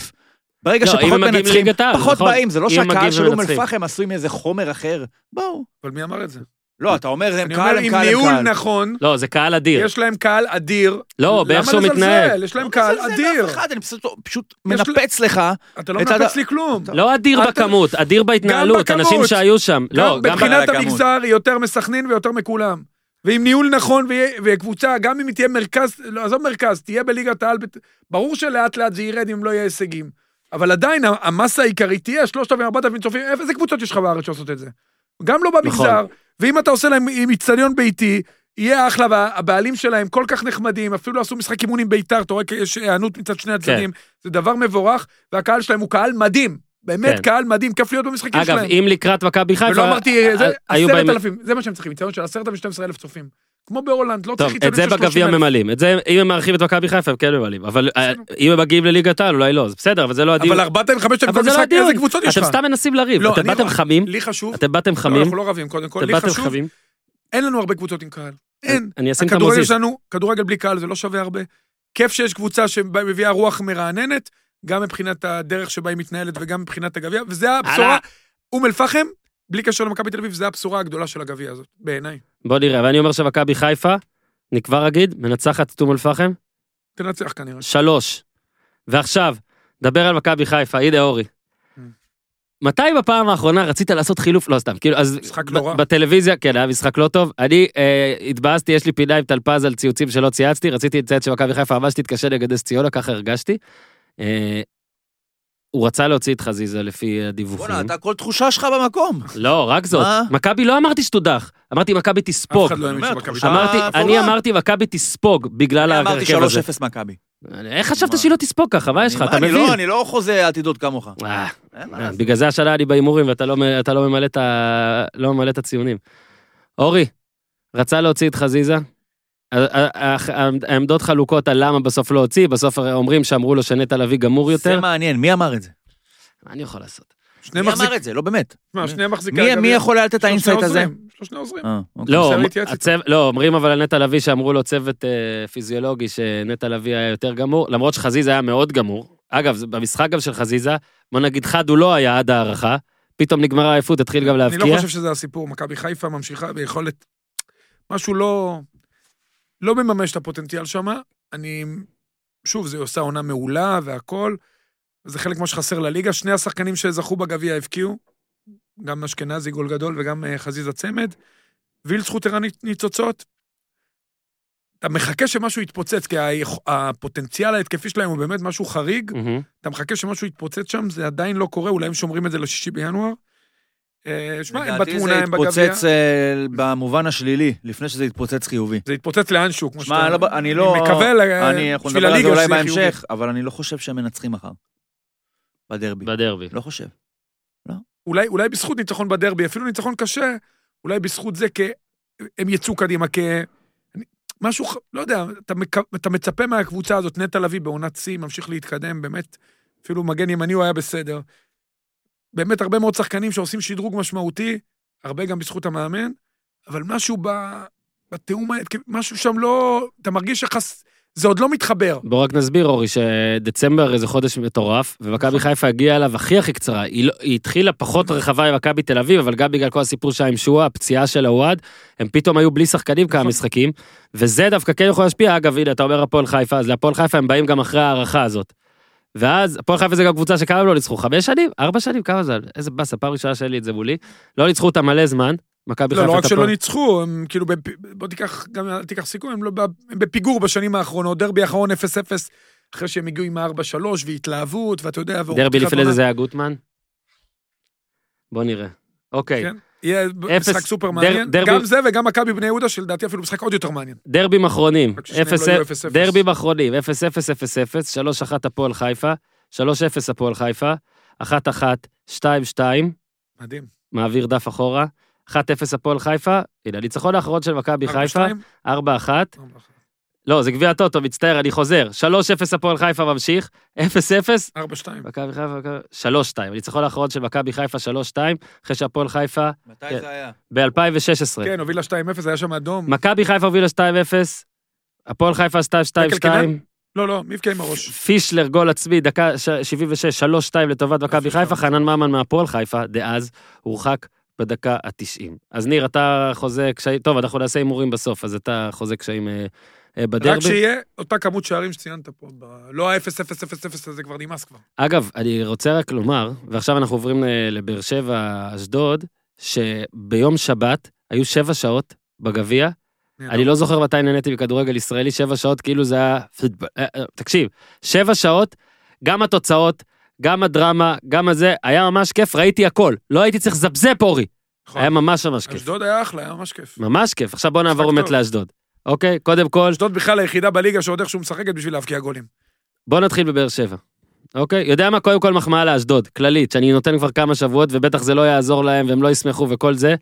Speaker 5: ברגע
Speaker 1: לא, אם
Speaker 5: שפחות
Speaker 1: הם מגיעים
Speaker 5: מנצחים,
Speaker 1: לליגת העל,
Speaker 5: פחות
Speaker 1: נכון.
Speaker 5: באים, זה לא
Speaker 1: אם הם
Speaker 5: שהקהל
Speaker 1: מגיעים
Speaker 5: של אום
Speaker 1: ומנצחים.
Speaker 5: אל-פחם עשוי מאיזה חומר אחר, בואו.
Speaker 3: אבל מי אמר את זה?
Speaker 5: לא, אתה אומר, הם
Speaker 3: אני
Speaker 5: קהל,
Speaker 3: אומר,
Speaker 5: הם
Speaker 3: עם
Speaker 5: קהל, הם
Speaker 3: ניהול
Speaker 5: קהל.
Speaker 3: נכון,
Speaker 1: לא, זה קהל אדיר.
Speaker 3: יש להם קהל אדיר.
Speaker 1: לא, באיך שהוא
Speaker 3: למה
Speaker 1: מתנהג.
Speaker 3: לזלזל? יש להם קהל
Speaker 5: לא מזלזל
Speaker 3: אדיר.
Speaker 5: באף אחד, אני פשוט- פשוט
Speaker 3: יש
Speaker 5: מנפץ לך.
Speaker 3: אתה לא
Speaker 5: את הד-
Speaker 3: מנפץ לי כלום.
Speaker 1: לא אדיר
Speaker 3: אתה-
Speaker 1: בכמות, אדיר בהתנהלות,
Speaker 3: בכמות.
Speaker 1: אנשים שהיו שם. לא, גם
Speaker 5: בגלל
Speaker 3: מבחינת
Speaker 5: הכמות.
Speaker 3: המגזר היא יותר מסכנין ויותר מכולם. ועם ניהול נכון ויה- וקבוצה, גם אם היא תהיה מרכז, לא, עזוב מרכז, תהיה בליגת העל, בת- ברור שלאט לאט זה ירד אם לא יהיה הישגים. אבל עדיין ה- המסה העיקרית תהיה 3,000, 4,000 צופים, איפה- איזה קבוצות יש לך בארץ שעושות את זה? גם לא
Speaker 1: נכון.
Speaker 3: במגזר, ואם אתה עושה להם עם איצטדיון ביתי, יהיה אחלה, והבעלים שלהם כל כך נחמדים, אפילו עשו משחק אימון עם ביתר, אתה רואה כי יש היענות מצד שני הצדדים, זה דבר מבורך, והקהל שלהם הוא קהל מדהים, באמת
Speaker 1: כן.
Speaker 3: קהל מדהים, כיף להיות במשחקים
Speaker 1: אגב,
Speaker 3: שלהם.
Speaker 1: אם לקראת מכבי חיפה...
Speaker 3: ולא אמרתי, זה
Speaker 1: ה- היו באים-
Speaker 3: עשרת אלפים, זה מה שהם צריכים, ניסיון של עשרת אלפים, 12 אלף צופים. כמו בהולנד, לא צריך
Speaker 1: טוב, את זה
Speaker 3: ניסיון של
Speaker 1: בגביע
Speaker 3: 30 אלף.
Speaker 1: ממלאים. את זה, אם הם מארחים את מכבי חיפה, הם כן ממלאים. אבל אה, אם הם מגיעים לליגת העל, אולי לא, זה בסדר, אבל זה לא הדיון.
Speaker 3: אבל 4,000, 5,000 כל
Speaker 1: אבל זה לא
Speaker 3: משחק,
Speaker 1: הדיון.
Speaker 3: איזה קבוצות יש
Speaker 1: אתם
Speaker 3: לך?
Speaker 1: סתם מנסים לריב.
Speaker 3: לא,
Speaker 1: אתם
Speaker 3: אני-
Speaker 1: באתם חמים,
Speaker 3: לי חשוב,
Speaker 1: אתם באתם
Speaker 3: לא,
Speaker 1: חמים,
Speaker 3: אנחנו לא רבים קודם כל,
Speaker 1: אתם
Speaker 3: לי
Speaker 1: באתם
Speaker 3: חשוב,
Speaker 1: חמים.
Speaker 3: אין לנו הרבה קבוצות עם קהל. אין.
Speaker 1: אני אשים את
Speaker 3: הכדורגל
Speaker 1: המוזיז.
Speaker 3: שלנו, כדורגל בלי קהל זה לא שווה הרבה. כיף שיש קבוצה שמביאה רוח מרעננת, גם מבחינת הדרך שבה היא מתנהלת וגם מבחינת הגביע, וזה הבשורה,
Speaker 1: הלאה.
Speaker 3: אום אל-פחם, בלי קשר למכבי תל אביב, זה הבשורה הגדולה של הגביע הזאת, בעיניי.
Speaker 1: בוא נראה, ואני אומר שמכבי חיפה, אני כבר אגיד, מנצחת את אום אל-פחם,
Speaker 3: תנצח כנראה.
Speaker 1: שלוש. ועכשיו, דבר על מכבי חיפה, הנה אורי.
Speaker 3: Mm.
Speaker 1: מתי בפעם האחרונה רצית לעשות חילוף? לא סתם, כאילו, אז...
Speaker 3: משחק
Speaker 1: ב-
Speaker 3: לא רע.
Speaker 1: בטלוויזיה, כן, היה משחק לא טוב. אני אה, התבאסתי, יש לי פינה עם טלפז על ציוצים שלא צייצתי, רציתי לציית שמכבי חיפה ממש תתקשה נגד נס ציונה, ככה הרגשתי. אה, הוא רצה להוציא את חזיזה לפי הדיווחים.
Speaker 5: בואנה, אתה כל תחושה שלך במקום.
Speaker 1: לא, רק זאת.
Speaker 5: מה?
Speaker 1: מכבי לא אמרתי שתודח, אמרתי מכבי
Speaker 3: אף
Speaker 1: תספוג.
Speaker 3: אחד לא האמין
Speaker 5: אומר,
Speaker 3: שמכבי...
Speaker 5: תחושה-
Speaker 1: אמרתי,
Speaker 5: אפורה.
Speaker 1: אני אמרתי מכבי תספוג בגלל
Speaker 5: אני אמרתי
Speaker 1: ההרכב הזה.
Speaker 5: 3-0 מכבי.
Speaker 1: איך חשבת
Speaker 5: מה?
Speaker 1: שהיא לא תספוג ככה? מה יש לך?
Speaker 5: אני-
Speaker 1: אתה
Speaker 5: אני
Speaker 1: מבין?
Speaker 5: לא- אני לא חוזה עתידות כמוך.
Speaker 1: אה,
Speaker 5: אין מה
Speaker 1: אה,
Speaker 5: לעשות.
Speaker 1: בגלל זה השנה אני בהימורים ואתה לא, מ- אתה לא, ממלא, את ה, לא ממלא את הציונים. אורי, רצה להוציא את חזיזה? ה- ה- ה- העמדות חלוקות על למה בסוף לא הוציא, בסוף הרי אומרים שאמרו לו שנטע לביא גמור
Speaker 5: זה
Speaker 1: יותר.
Speaker 5: מעניין, מי אמר את זה?
Speaker 1: מה אני יכול לעשות?
Speaker 3: שני
Speaker 5: מי
Speaker 3: מחזיק-
Speaker 5: אמר את זה? לא באמת.
Speaker 3: מה, שני מחזיקי
Speaker 5: מי- מי
Speaker 3: הגביע.
Speaker 5: יכול היה לתת את האינסייט הזה?
Speaker 3: שלושני עוזרים.
Speaker 5: אה, אוקיי.
Speaker 1: לא,
Speaker 3: בסדר, להתייעץ
Speaker 1: הצו... לא, אומרים אבל על נטע לביא שאמרו לו צוות אה, פיזיולוגי שנטע לביא היה יותר גמור, למרות שחזיזה היה מאוד גמור. אגב, זה- במשחק גם של חזיזה, בוא נגיד חד הוא לא היה עד ההערכה, פתאום נגמרה העייפות, התחיל גם
Speaker 3: אני
Speaker 1: להבקיע.
Speaker 3: לא חושב שזה הסיפור, מכבי חיפה ממשיכה ביכולת... משהו לא... לא מממש את הפוטנציאל שם. אני... שוב, זה עושה עונה מעולה והכול. זה חלק מה שחסר לליגה. שני השחקנים שזכו בגביע הבקיעו, גם אשכנזי גול גדול וגם אה, חזיזה צמד. וילץ חוטרה ניצוצות. אתה מחכה שמשהו יתפוצץ, כי היכ- הפוטנציאל ההתקפי שלהם הוא באמת משהו חריג.
Speaker 1: מהמם.
Speaker 3: אתה מחכה שמשהו יתפוצץ שם, זה עדיין לא קורה, אולי הם שומרים את זה לשישי בינואר. אה, שמע, הם
Speaker 5: לדעתי
Speaker 3: בתמונה,
Speaker 5: זה
Speaker 3: הם בגביע.
Speaker 5: התפוצץ אה, במובן השלילי, לפני שזה התפוצץ חיובי.
Speaker 3: זה יתפוצץ לאנשהו, כמו
Speaker 5: שמע, אני לא- אני לא...
Speaker 3: אני מקווה ל-
Speaker 5: אני- אנחנו
Speaker 3: כן, בשביל
Speaker 5: נדבר על זה
Speaker 3: הליגה
Speaker 5: אולי
Speaker 3: שזה יהיה חיובי.
Speaker 5: בהמשך, אבל אני לא חושב שהם מנצחים מחר. בדרבי.
Speaker 1: בדרבי.
Speaker 5: לא חושב.
Speaker 3: אולי, אולי בזכות ניצחון בדרבי, אפילו ניצחון קשה, אולי בזכות זה כ... הם יצאו קדימה כ... אני- משהו, ח- לא יודע, אתה, מק... אתה מצפה מהקבוצה הזאת, נטע לביא בעונת שיא, ממשיך להתקדם, באמת, אפילו מגן ימני הוא היה בסדר. באמת הרבה מאוד שחקנים שעושים שדרוג משמעותי, הרבה גם בזכות המאמן, אבל משהו ב... בתיאום, ההתקפי- משהו שם לא... אתה מרגיש שחס... זה עוד לא מתחבר.
Speaker 1: בוא רק נסביר, אורי, שדצמבר זה חודש מטורף,
Speaker 3: נכון.
Speaker 1: ומכבי חיפה הגיעה אליו הכי הכי קצרה. היא, לא, היא התחילה פחות רחבה עם מכבי תל אביב, אבל גם בגלל כל הסיפור שהיה עם שואה, הפציעה של הוואד, הם פתאום היו בלי שחקנים כמה
Speaker 3: נכון.
Speaker 1: משחקים, וזה דווקא כן יכול להשפיע. אגב, הנה, אתה אומר הפועל חיפה, אז להפועל חיפה הם באים גם אחרי ההערכה הזאת. ואז הפועל חיפה זה גם קבוצה שכמה הם לא ניצחו? חמש שנים? ארבע שנים? כמה זה? איזה באסה, פעם ראשונה שאין לי את זה מולי. לא ניצחו אותה מלא זמן. מכבי
Speaker 3: לא,
Speaker 1: חיפה
Speaker 3: לא
Speaker 1: את
Speaker 3: רק
Speaker 1: הפועל.
Speaker 3: שלא ניצחו, הם כאילו, בפ... בוא תיקח, גם אל תיקח סיכום, הם, לא, ב- הם בפיגור בשנים האחרונות, דרבי האחרון 0-0, אחרי שהם הגיעו עם ה-4-3 והתלהבות, ואתה יודע, ואורות
Speaker 1: דרבי לפני
Speaker 3: כוונה.
Speaker 1: זה זה היה גוטמן? בוא נראה. אוקיי,
Speaker 3: כן. יהיה
Speaker 1: אפס-
Speaker 3: משחק סופר
Speaker 1: דר-
Speaker 3: מעניין,
Speaker 1: דרבי-
Speaker 3: גם זה וגם מכבי בני יהודה, שלדעתי אפילו משחק עוד יותר מעניין.
Speaker 1: דרבים אחרונים.
Speaker 3: רק ששניהם
Speaker 1: אפס-
Speaker 3: לא יהיו אפס אפס.
Speaker 1: דרבים אחרונים, 0-0-0-0, 3-1 הפועל חיפה, 3-0 הפועל חיפה, 1-1, 2-2,
Speaker 3: מדהים.
Speaker 1: מעביר דף אחורה, 1-0 הפועל חיפה, הנה הניצחון האחרון של מכבי
Speaker 3: ארבע,
Speaker 1: חיפה,
Speaker 3: שתיים?
Speaker 1: 4-1, לא, זה גביע הטוטו, מצטער, אני חוזר, 3-0 הפועל חיפה ממשיך, 0-0,
Speaker 3: 4-2.
Speaker 1: מכבי חיפה, מכבי- 3-2, הניצחון האחרון של מכבי חיפה, 3-2, אחרי שהפועל חיפה,
Speaker 5: מתי זה היה?
Speaker 1: ב-2016.
Speaker 3: כן, הובילה 2-0, היה שם אדום.
Speaker 1: מכבי חיפה הובילה 2-0, הפועל חיפה עשתה 2-2,
Speaker 3: קינן? לא, לא, מי הבקיע עם הראש?
Speaker 1: פישלר גול עצמי, דקה ש- 76, 3-2 לטובת מכבי חיפה, חנן ממן מהפועל חיפה, דאז, הורחק בדקה ה-90. אז ניר, אתה חוזה קשיים, טוב, אנחנו נעשה הימורים בסוף, אז אתה חוזה קשיים אה, אה,
Speaker 3: רק
Speaker 1: בדרבי.
Speaker 3: שיהיה אותה כמות שערים שציינת פה, ב- לא ה-0-0-0-0 הזה כבר נמאס כבר.
Speaker 1: אגב, אני רוצה רק לומר, ועכשיו אנחנו עוברים ל- לבאר שבע, אשדוד, שביום שבת היו שבע שעות בגביע, אני לא זוכר מתי נהניתי מכדורגל ישראלי, שבע שעות, כאילו זה היה... פידבק. אה, אה, תקשיב, שבע שעות, גם התוצאות, גם הדרמה, גם הזה, היה ממש כיף, ראיתי הכל. לא הייתי צריך לזבזב אורי.
Speaker 3: נכון.
Speaker 1: היה ממש ממש כיף.
Speaker 3: אשדוד היה אחלה, היה ממש כיף.
Speaker 1: ממש כיף. עכשיו בוא נעבור
Speaker 3: משחק
Speaker 1: באמת
Speaker 3: טוב.
Speaker 1: לאשדוד. אוקיי, קודם כל,
Speaker 3: אשדוד בכלל היחידה בליגה שעוד איכשהו משחקת בשביל להבקיע גולים.
Speaker 1: בוא נתחיל בבאר שבע. אוקיי, יודע מה? קודם כל מחמאה לאשדוד, כללית, שאני נותן כבר כמה שבועות, ובטח זה לא יעזור להם, והם לא ישמחו וכל זה.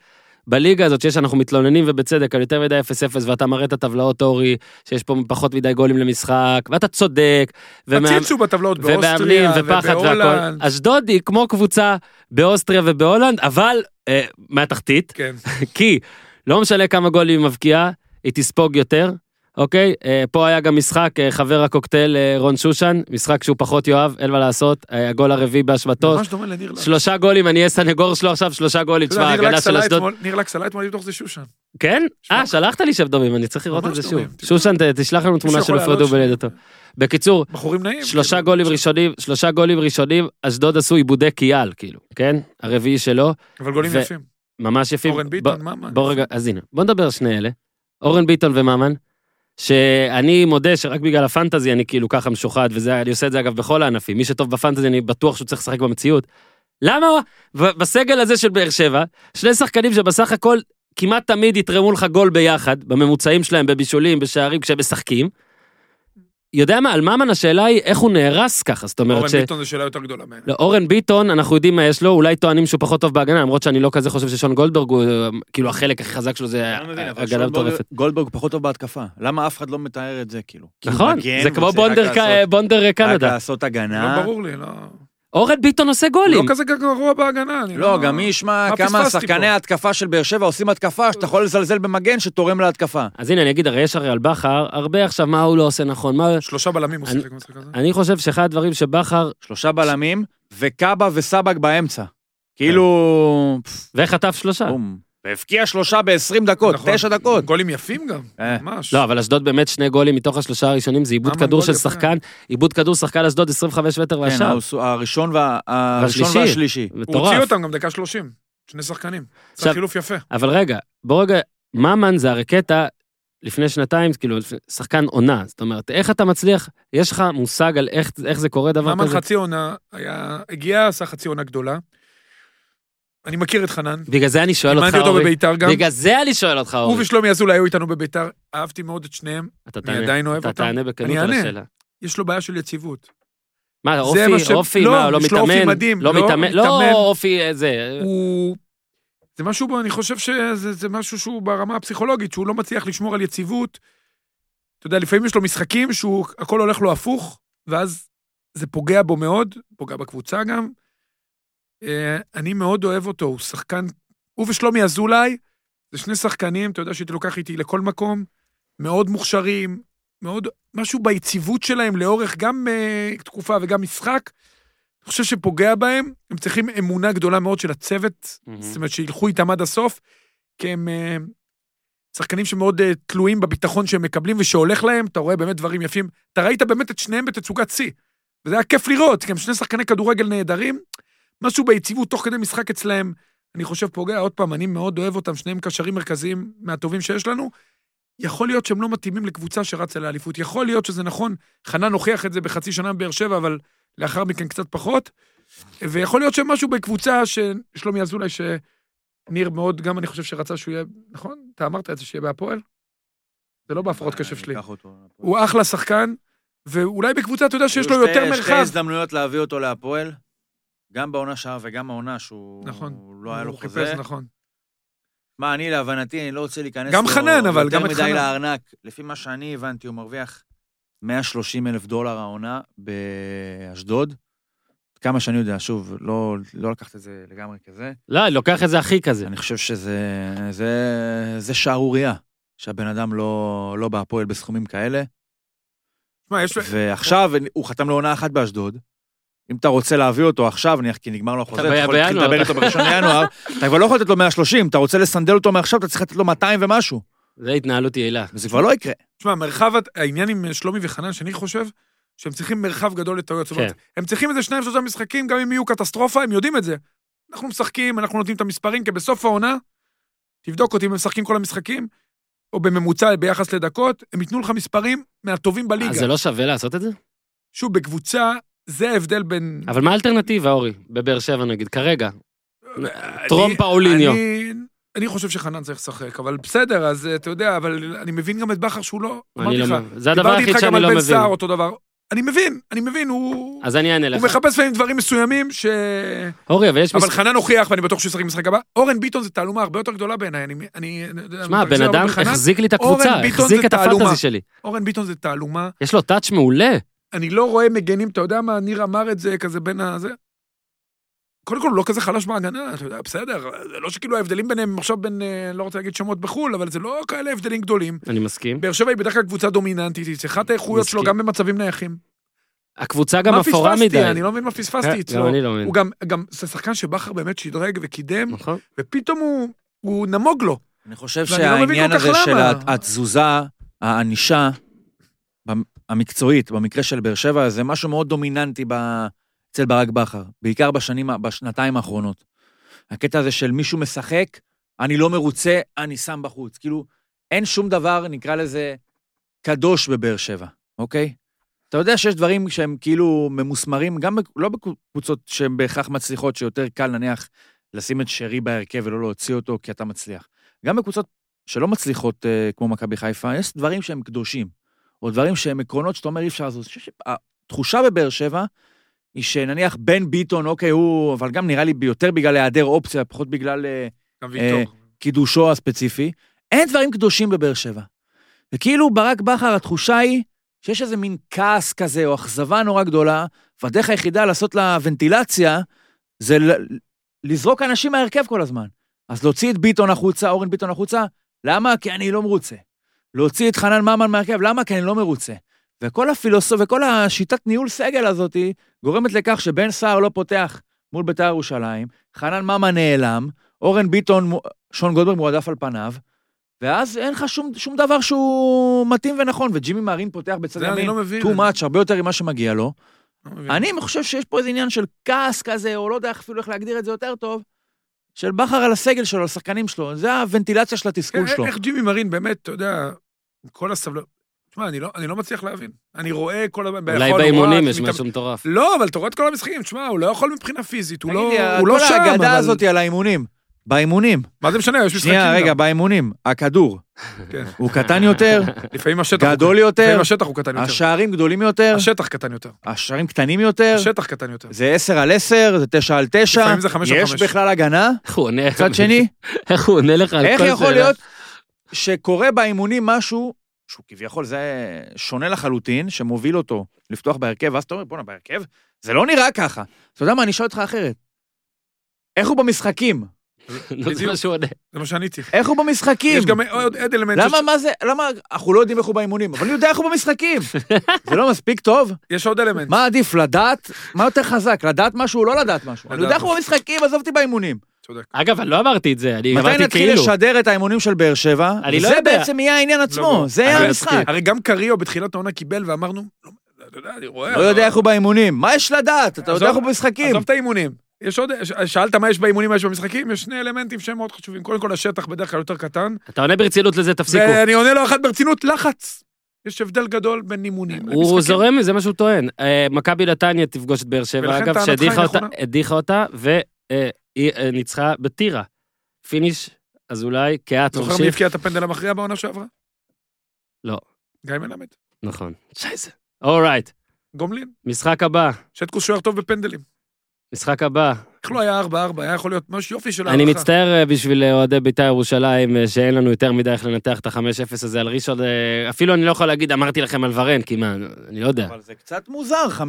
Speaker 1: בליגה הזאת שיש, אנחנו מתלוננים, ובצדק, על יותר מדי 0-0, ואתה מראה את הטבלאות, אורי, שיש פה פחות מדי גולים למשחק, ואתה צודק. ומה-
Speaker 3: הציצו בטבלות
Speaker 1: ומאמנים
Speaker 3: באוסטריה
Speaker 1: ופחד
Speaker 3: ובהולנד.
Speaker 1: והכל. אשדוד היא כמו קבוצה באוסטריה ובהולנד, אבל אה, מהתחתית,
Speaker 3: כן,
Speaker 1: כי לא משנה כמה גולים היא מבקיעה, היא תספוג יותר, אוקיי? אה, פה היה גם משחק, אה, חבר הקוקטייל אה, רון שושן, משחק שהוא פחות יאהב, אין מה לעשות, אה, הגול הרביעי באשמתו.
Speaker 3: ממש דומה לניר לקס.
Speaker 1: שלושה גולים, אני אהיה סנגור שלו עכשיו, שלושה גולים,
Speaker 3: אתה יודע,
Speaker 1: תשמע,
Speaker 3: ניר
Speaker 1: הגנה
Speaker 3: לקס
Speaker 1: של
Speaker 3: עלה
Speaker 1: אשדוד.
Speaker 3: אתמול- ניר לקס עלה אתמול לבדוק זה שושן.
Speaker 1: כן?
Speaker 3: שמע.
Speaker 1: אה, שלחת לי שם דומים, אני צריך לראות את
Speaker 3: ממש
Speaker 1: זה שוב.
Speaker 3: דומים, תבדוק.
Speaker 1: שושן, ת- תשלח לנו תמונה
Speaker 3: יכול
Speaker 1: של
Speaker 3: לעלות
Speaker 1: פרדו
Speaker 3: שנייה.
Speaker 1: בלידתו. בקיצור,
Speaker 3: בחורים נעים.
Speaker 1: שלושה
Speaker 3: כאילו.
Speaker 1: גולים ראשונים, שלושה גולים ראשונים, אשדוד עשו עיבודי קיאל, כאילו, כן? הרביעי שלו,
Speaker 3: כאילו, אבל גולים
Speaker 1: ו-
Speaker 3: יפים.
Speaker 1: ממש יפים.
Speaker 3: אורן
Speaker 1: ב-
Speaker 3: ביטון, מה מה?
Speaker 1: בוא רגע, אז הנה, בוא נדבר על שני אלה. אורן ביטון וממן, שאני מודה שרק בגלל הפנטזי אני כאילו ככה משוחד, וזה, אני עושה את זה אגב בכל הענפים. מי שטוב בפנטזי, אני בטוח שהוא צריך לשחק במציאות. למה הוא- ו- בסגל הזה של באר שבע, שני שחקנים שבסך הכל כמעט תמיד יתרמו לך גול ביחד, בממוצעים שלהם, בבישולים, בשערים, כשהם משחקים. יודע מה, על ממן השאלה היא איך הוא נהרס ככה, זאת אומרת
Speaker 3: אורן
Speaker 1: ש...
Speaker 3: ביטון זו שאלה יותר גדולה
Speaker 1: לא, אורן ביטון, אנחנו יודעים מה יש לו, אולי טוענים שהוא פחות טוב בהגנה, למרות שאני לא כזה חושב ששון גולדברג הוא, אה, כאילו החלק הכי חזק שלו זה
Speaker 5: לא
Speaker 1: הגנה מטורפת.
Speaker 5: גולדברג פחות טוב בהתקפה. למה אף אחד לא מתאר את זה, כאילו? כי הוא
Speaker 1: נכון,
Speaker 5: מגן,
Speaker 1: זה
Speaker 5: הוא
Speaker 1: כמו
Speaker 5: רוצה
Speaker 1: בונדר
Speaker 5: רק
Speaker 1: ק-
Speaker 5: לעשות-
Speaker 1: בונדר
Speaker 5: רק
Speaker 1: קנדה.
Speaker 5: לעשות
Speaker 3: לא
Speaker 5: הגנה.
Speaker 3: ברור לי, לא... הוא
Speaker 1: אורן ביטון עושה
Speaker 3: לא
Speaker 1: גולים.
Speaker 3: כזה גרוע בהגנה. אני
Speaker 5: לא, גם מי ישמע
Speaker 3: מה
Speaker 5: כמה
Speaker 3: פספסתי
Speaker 5: שחקני
Speaker 3: פה?
Speaker 5: ההתקפה של באר שבע עושים התקפה, שאתה יכול לזלזל במגן שתורם להתקפה.
Speaker 1: אז הנה, אני אגיד, הרי יש הרי על בכר, הרבה עכשיו מה הוא לא עושה נכון, מה...
Speaker 3: שלושה בלמים הוא
Speaker 1: אני-
Speaker 3: שיחק במשחק הזה.
Speaker 1: אני חושב שאחד הדברים שבכר,
Speaker 5: שלושה בלמים, וקאבה וסבק באמצע. כאילו... פפ,
Speaker 1: וחטף שלושה.
Speaker 5: בום. והבקיע שלושה ב-20 דקות,
Speaker 3: נכון.
Speaker 5: תשע דקות.
Speaker 3: גולים יפים גם,
Speaker 5: אה.
Speaker 3: ממש.
Speaker 1: לא, אבל אשדוד באמת שני גולים מתוך השלושה הראשונים, זה עיבוד
Speaker 3: ממן
Speaker 1: כדור
Speaker 3: גול
Speaker 1: של
Speaker 3: יפה.
Speaker 1: שחקן, עיבוד כדור שחקן אשדוד 25 מטר
Speaker 5: כן,
Speaker 1: והשאר.
Speaker 5: הראשון- הראשון וה- הראשון
Speaker 1: והשלישי.
Speaker 5: והשלישי.
Speaker 3: הוא הוציא
Speaker 1: מטורף.
Speaker 3: אותם גם דקה שלושים. שני שחקנים. זה
Speaker 1: עכשיו-
Speaker 3: חילוף יפה.
Speaker 1: אבל רגע, בוא רגע, ממן זה הרי קטע לפני שנתיים, כאילו, לפני- שחקן עונה. זאת אומרת, איך אתה מצליח, יש לך מושג על איך, איך זה קורה דבר
Speaker 3: ממן
Speaker 1: כזה?
Speaker 3: חצי עונה, היה- הגיע, עשה חצי עונה גדולה. אני מכיר את חנן.
Speaker 1: בגלל זה אני שואל אותך,
Speaker 3: לימדתי אותו
Speaker 1: אורי.
Speaker 3: בביתר גם.
Speaker 1: בגלל זה אני שואל אותך,
Speaker 3: הוא
Speaker 1: אורי.
Speaker 3: ושלומי אזולאי היו איתנו בביתר, אהבתי מאוד את שניהם,
Speaker 1: אתה
Speaker 3: אני
Speaker 1: תענה,
Speaker 3: עדיין אוהב
Speaker 1: אתה
Speaker 3: אותם.
Speaker 1: תענה בכנות
Speaker 3: אני
Speaker 1: על
Speaker 3: אענה.
Speaker 1: השאלה.
Speaker 3: יש לו בעיה של יציבות.
Speaker 1: מה,
Speaker 3: מה
Speaker 1: אופי,
Speaker 3: ש-
Speaker 1: אופי,
Speaker 3: לא,
Speaker 1: מה, לא
Speaker 3: יש לו אופי
Speaker 1: מתאמן?
Speaker 3: מדהים,
Speaker 1: לא
Speaker 3: לא
Speaker 1: מתאמן, לא
Speaker 3: מתאמן.
Speaker 1: אופי, אה, זה...
Speaker 3: הוא... זה משהו בו, אני חושב שזה זה משהו שהוא ברמה הפסיכולוגית, שהוא לא מצליח לשמור על יציבות. אתה יודע, לפעמים יש לו משחקים שהוא, הכל הולך לו הפוך, ואז זה פוגע בו מאוד, פוגע בקבוצה גם. אה, אני מאוד אוהב אותו, הוא שחקן... הוא ושלומי אזולאי, זה שני שחקנים, אתה יודע שהייתי לוקח איתי לכל מקום, מאוד מוכשרים, מאוד... משהו ביציבות שלהם לאורך גם אה, תקופה וגם משחק, אני חושב שפוגע בהם, הם צריכים אמונה גדולה מאוד של הצוות,
Speaker 1: מהמם.
Speaker 3: זאת אומרת שילכו איתם עד הסוף, כי הם אה, שחקנים שמאוד אה, תלויים בביטחון שהם מקבלים ושהולך להם, אתה רואה באמת דברים יפים. אתה ראית באמת את שניהם בתצוגת שיא. וזה היה כיף לראות, גם שני שחקני כדורגל נהדרים. משהו ביציבות תוך כדי משחק אצלהם, אני חושב פוגע, עוד פעם, אני מאוד אוהב אותם, שניהם קשרים מרכזיים מהטובים שיש לנו. יכול להיות שהם לא מתאימים לקבוצה שרצה לאליפות, יכול להיות שזה נכון, חנן הוכיח את זה בחצי שנה בבאר שבע, אבל לאחר מכן קצת פחות. ויכול להיות שמשהו בקבוצה ששלומי אזולאי, שניר מאוד, גם אני חושב שרצה שהוא יהיה, נכון? אתה אמרת את זה שיהיה בהפועל? זה לא בהפרעות קשב שלי.
Speaker 5: אה, אני אקח אותו.
Speaker 3: הוא אחלה שחקן, ואולי בקבוצה אתה יודע שיש לו
Speaker 5: היו שתי-
Speaker 3: יותר
Speaker 5: שתי
Speaker 3: מרחב.
Speaker 5: הזדמנויות להביא אותו להפועל, גם בעונה שעה וגם העונה שהוא
Speaker 3: נכון.
Speaker 5: הוא לא היה לו
Speaker 3: הוא
Speaker 5: חוזה.
Speaker 3: חיפש, נכון.
Speaker 5: מה, אני להבנתי, אני לא רוצה להיכנס
Speaker 3: גם
Speaker 5: לו
Speaker 3: חנן, אבל גם את
Speaker 5: יותר
Speaker 3: חנן.
Speaker 5: מדי לארנק. לפי מה שאני הבנתי, הוא מרוויח 130 אלף דולר העונה באשדוד. כמה שאני יודע, שוב, לא, לא לקחת את זה לגמרי כזה.
Speaker 1: לא, אני לוקח את זה הכי כזה.
Speaker 5: אני חושב שזה זה, זה שערורייה, שהבן אדם לא, לא בהפועל בסכומים כאלה.
Speaker 3: שמע, יש...
Speaker 5: ועכשיו הוא חתם לעונה אחת באשדוד. אם אתה רוצה להביא אותו עכשיו, נניח, כי נגמר לו החוזה,
Speaker 1: ב-
Speaker 5: אתה יכול להתחיל
Speaker 1: בינואר.
Speaker 5: לדבר איתו בראשון לינואר, אתה כבר לא יכול לתת לו 130, אתה רוצה לסנדל אותו מעכשיו, אתה צריך לתת לו 200 ומשהו.
Speaker 1: זה התנהלות יעילה.
Speaker 5: וזה כבר לא יקרה.
Speaker 3: שמע, מרחב, העניין עם שלומי וחנן, שאני חושב שהם צריכים מרחב גדול לטעויות. זאת אומרת,
Speaker 1: כן.
Speaker 3: הם צריכים איזה שניים שלושה משחקים, גם אם יהיו קטסטרופה, הם יודעים את זה. אנחנו משחקים, אנחנו נותנים את המספרים, כי בסוף העונה, תבדוק אותי אם הם משחקים כל המשחקים, או בממוצע ביחס לדקות, הם ייתנו לך מספרים מהטובים
Speaker 1: אז
Speaker 3: בליגה.
Speaker 1: זה לא שווה לעשות את זה?
Speaker 3: שוב, בקבוצה, זה ההבדל בין...
Speaker 1: אבל מה האלטרנטיבה, אורי? בבאר שבע נגיד, כרגע.
Speaker 3: אני-
Speaker 1: טרום פאוליניו.
Speaker 3: אני- אני חושב שחנן צריך לשחק, אבל בסדר, אז אה, אתה יודע, אבל אני מבין גם את בכר שהוא לא... אמרתי
Speaker 1: אני לא
Speaker 3: לך,
Speaker 1: מבין. זה הדבר היחיד
Speaker 3: דיברתי איתך גם
Speaker 1: שאני לא
Speaker 3: על בן
Speaker 1: מבין.
Speaker 3: סער אותו דבר. אני מבין, אני מבין, הוא...
Speaker 1: אז אני אענה לך.
Speaker 3: הוא מחפש לפעמים דברים מסוימים ש...
Speaker 1: אורי, אבל יש
Speaker 3: אבל
Speaker 1: משחק...
Speaker 3: חנן הוכיח, ואני בטוח שהוא ישחק במשחק הבא. אורן ביטון זה תעלומה הרבה יותר גדולה בעיניי. אני... אני...
Speaker 1: שמע,
Speaker 3: אני
Speaker 1: הבן
Speaker 3: מזלזל
Speaker 1: אדם
Speaker 3: לא בחנן.
Speaker 1: החזיק לי את
Speaker 3: אורן
Speaker 1: הקבוצה,
Speaker 3: ביטון
Speaker 1: החזיק
Speaker 3: זה
Speaker 1: את
Speaker 3: תעלומה.
Speaker 1: הפנטזי שלי.
Speaker 3: אורן ביטון זה תעלומה.
Speaker 1: יש לו טאץ' מעולה.
Speaker 3: אני לא רואה מגנים, אתה יודע מה, ניר אמר את זה כזה בין הזה. קודם כל, הוא לא כזה חלש בהגנה, אתה יודע, בסדר. זה לא שכאילו ההבדלים ביניהם הם עכשיו בין, אה, לא רוצה להגיד שמות בחו"ל, אבל זה לא כאלה הבדלים גדולים.
Speaker 1: אני מסכים.
Speaker 3: באר שבע היא בדרך כלל קבוצה דומיננטית, היא צריכה את האיכויות שלו
Speaker 1: מסכים.
Speaker 3: גם במצבים נייחים.
Speaker 1: הקבוצה גם
Speaker 3: מה
Speaker 1: אפורה
Speaker 3: פספסתי?
Speaker 1: מדי.
Speaker 3: אני לא מבין מה פספסתי אצלו.
Speaker 1: גם אני לא מבין.
Speaker 3: הוא גם, גם, זה שחקן שבכר באמת שדרג וקידם,
Speaker 1: נכון.
Speaker 3: ופתאום הוא, הוא נמוג לו.
Speaker 5: אני חושב
Speaker 3: ואני לא מבין
Speaker 5: שהעניין
Speaker 3: כל כך
Speaker 5: הזה של
Speaker 3: למה.
Speaker 5: הת- התזוזה, הענישה, במ- המקצועית, במקרה של באר שבע, זה משהו מאוד דומיננטי ב- אצל ברק בכר, בעיקר בשנים, ה- בשנתיים האחרונות. הקטע הזה של מישהו משחק, אני לא מרוצה, אני שם בחוץ. כאילו, אין שום דבר, נקרא לזה, קדוש בבאר שבע, אוקיי? אתה יודע שיש דברים שהם כאילו ממוסמרים, גם בק- לא בקבוצות שהן בהכרח מצליחות, שיותר קל נניח לשים את שרי בהרכב ולא להוציא אותו כי אתה מצליח. גם בקבוצות שלא מצליחות, אה, כמו מכבי חיפה, יש דברים שהם קדושים, או דברים שהם עקרונות שאתה אומר אי אפשר לעשות. אני חושב שהתחושה בבאר שבע היא שנניח בן ביטון, אוקיי, הוא, אבל גם נראה לי יותר בגלל היעדר אופציה, פחות בגלל... אה,
Speaker 3: גם
Speaker 5: ויטור. קידושו הספציפי, אין דברים קדושים בבאר שבע. וכאילו ברק בכר, התחושה היא שיש איזה מין כעס כזה, או אכזבה נורא גדולה, והדרך היחידה לעשות לה ונטילציה, זה ל- לזרוק אנשים מההרכב כל הזמן. אז להוציא את ביטון החוצה, אורן ביטון החוצה, למה? כי אני לא מרוצה. להוציא את חנן ממן מהרכב, למה? כי אני לא מרוצה. וכל הפילוסופ... וכל השיטת ניהול סגל הזאת גורמת לכך שבן סער לא פותח מול בית"ר ירושלים, חנן ממן נעלם, אורן ביטון, מו- שון גולדברג מועדף על פניו, ואז אין לך שום, שום דבר שהוא מתאים ונכון, וג'ימי מארין פותח בצד
Speaker 3: זה אני
Speaker 5: ימין,
Speaker 3: לא מבין.
Speaker 5: too much, הרבה יותר ממה שמגיע לו.
Speaker 3: לא מבין.
Speaker 5: אני חושב שיש פה איזה עניין של כעס כזה, או לא יודע אפילו איך להגדיר את זה יותר טוב, של בכר על הסגל שלו, על השחקנים שלו. זה הוונטילציה של
Speaker 3: כן,
Speaker 5: התסכול
Speaker 3: איך-
Speaker 5: שלו.
Speaker 3: איך ג'ימי מרין, באמת, אתה יודע, עם כל הסבלנות... תשמע, אני לא- אני לא מצליח להבין. אני רואה כל הזמן...
Speaker 1: אולי
Speaker 3: ביכול,
Speaker 1: באימונים
Speaker 3: הוא רץ,
Speaker 1: יש
Speaker 3: מתאמן-
Speaker 1: משהו מטורף.
Speaker 3: לא, אבל אתה רואה את כל המשחקים, תשמע, הוא לא יכול מבחינה פיזית, הוא לא
Speaker 5: תגיד לי,
Speaker 3: הוא לא שם,
Speaker 5: כל ההגדה
Speaker 3: אבל-
Speaker 5: הזאת על האימונים. באימונים.
Speaker 3: מה זה משנה, יש משחקים
Speaker 5: שנייה, רגע,
Speaker 3: גם.
Speaker 5: באימונים. הכדור.
Speaker 3: כן.
Speaker 5: הוא קטן
Speaker 3: [laughs]
Speaker 5: יותר,
Speaker 3: לפעמים השטח הוא-
Speaker 5: גדול יותר,
Speaker 3: לפעמים השטח הוא קטן יותר.
Speaker 5: השערים גדולים יותר,
Speaker 3: השטח קטן יותר.
Speaker 5: השערים קטנים יותר,
Speaker 3: השטח קטן יותר.
Speaker 5: זה 10 על 10, זה 9 על 9.
Speaker 3: לפעמים זה חמש על
Speaker 5: יש
Speaker 3: חמש. כן.
Speaker 5: בכלל הגנה?
Speaker 1: איך הוא עונה?
Speaker 5: מצד שני,
Speaker 1: [laughs] איך הוא עונה לך על כל
Speaker 5: איך
Speaker 1: שאלה?
Speaker 5: יכול להיות שקורה באימונים משהו שהוא כביכול זה שונה לחלוטין, שמוביל אותו לפתוח בהרכב, ואז אתה אומר, בואנה, בהרכב? זה לא נראה ככה. אתה יודע מה, אני אשאל אותך אחרת. איך הוא במשחקים?
Speaker 1: נו, [laughs] זה
Speaker 3: בדיוק.
Speaker 1: מה שהוא עונה.
Speaker 3: זה מה שעניתי.
Speaker 5: איך הוא במשחקים?
Speaker 3: יש גם עוד עוד אלמנט.
Speaker 5: למה,
Speaker 3: שיש-
Speaker 5: מה זה, למה, אנחנו לא יודעים איך הוא באימונים, אבל אני יודע איך הוא
Speaker 1: [laughs]
Speaker 5: במשחקים. זה לא מספיק טוב?
Speaker 3: יש עוד אלמנט.
Speaker 5: מה עדיף, לדעת? מה יותר חזק, לדעת משהו או לא לדעת משהו? אני
Speaker 3: לדעת
Speaker 5: יודע איך הוא במשחקים, עזוב אותי באימונים.
Speaker 3: צודק.
Speaker 1: אגב, אני לא אמרתי את זה, אני
Speaker 5: מתי
Speaker 1: אמרתי
Speaker 5: נתחיל
Speaker 1: כאילו.
Speaker 5: לשדר את האימונים של באר שבע?
Speaker 1: אני לא
Speaker 5: זה
Speaker 1: יודע.
Speaker 5: בעצם יהיה העניין עצמו,
Speaker 3: ברור.
Speaker 5: זה יהיה
Speaker 1: אני
Speaker 5: המשחק.
Speaker 1: מסכים.
Speaker 3: הרי גם קריו בתחילת העונה קיבל ואמרנו, "לא, אתה יודע, אני רואה.
Speaker 5: לא יודע איך הוא באימונים. מה יש לדעת? אתה יודע
Speaker 3: עזוב-
Speaker 5: איך הוא במשחקים.
Speaker 3: עזוב את האימונים. יש עוד, ש- שאלת מה יש באימונים, מה יש במשחקים? יש שני אלמנטים שהם מאוד חשובים. קודם כל, השטח בדרך כלל יותר קטן.
Speaker 1: אתה עונה ברצינות לזה, תפסיקו.
Speaker 3: ואני עונה לו אחת ברצינות, לחץ. יש הבדל גדול בין אימונים
Speaker 1: הוא
Speaker 3: למשחקים.
Speaker 1: זורם, זה מה שהוא טוען. אה, מכבי נתניה תפגוש את באר שבע,
Speaker 3: ולכן
Speaker 1: אגב,
Speaker 3: טענתך היא
Speaker 1: שהדיחה אותה,
Speaker 3: נכונה.
Speaker 1: הדיחה אותה, אה, וניצחה בטירה. פיניש, אזולאי, קהת,
Speaker 3: זוכר מי
Speaker 1: מורשיף.
Speaker 3: הבקיע את הפנדל המכריע בעונה שעברה?
Speaker 1: לא.
Speaker 3: גיא מלמד.
Speaker 1: נכון. שייזה. אורייט,
Speaker 3: גומלין.
Speaker 1: משחק הבא,
Speaker 3: שטקוס שוער טוב בפנדלים.
Speaker 1: משחק הבא.
Speaker 3: איך לא היה 4-4? היה יכול להיות ממש יופי
Speaker 5: לא,
Speaker 3: של הערכה.
Speaker 1: אני מצטער אה, בשביל אה, אוהדי בית"ר ירושלים, אה, שאין לנו יותר מדי איך לנתח את ה-5-0 הזה על ראשון. אה, אפילו אני לא יכול להגיד, אמרתי לכם על ורן, כי מה, אני לא יודע.
Speaker 5: אבל זה קצת מוזר 5-0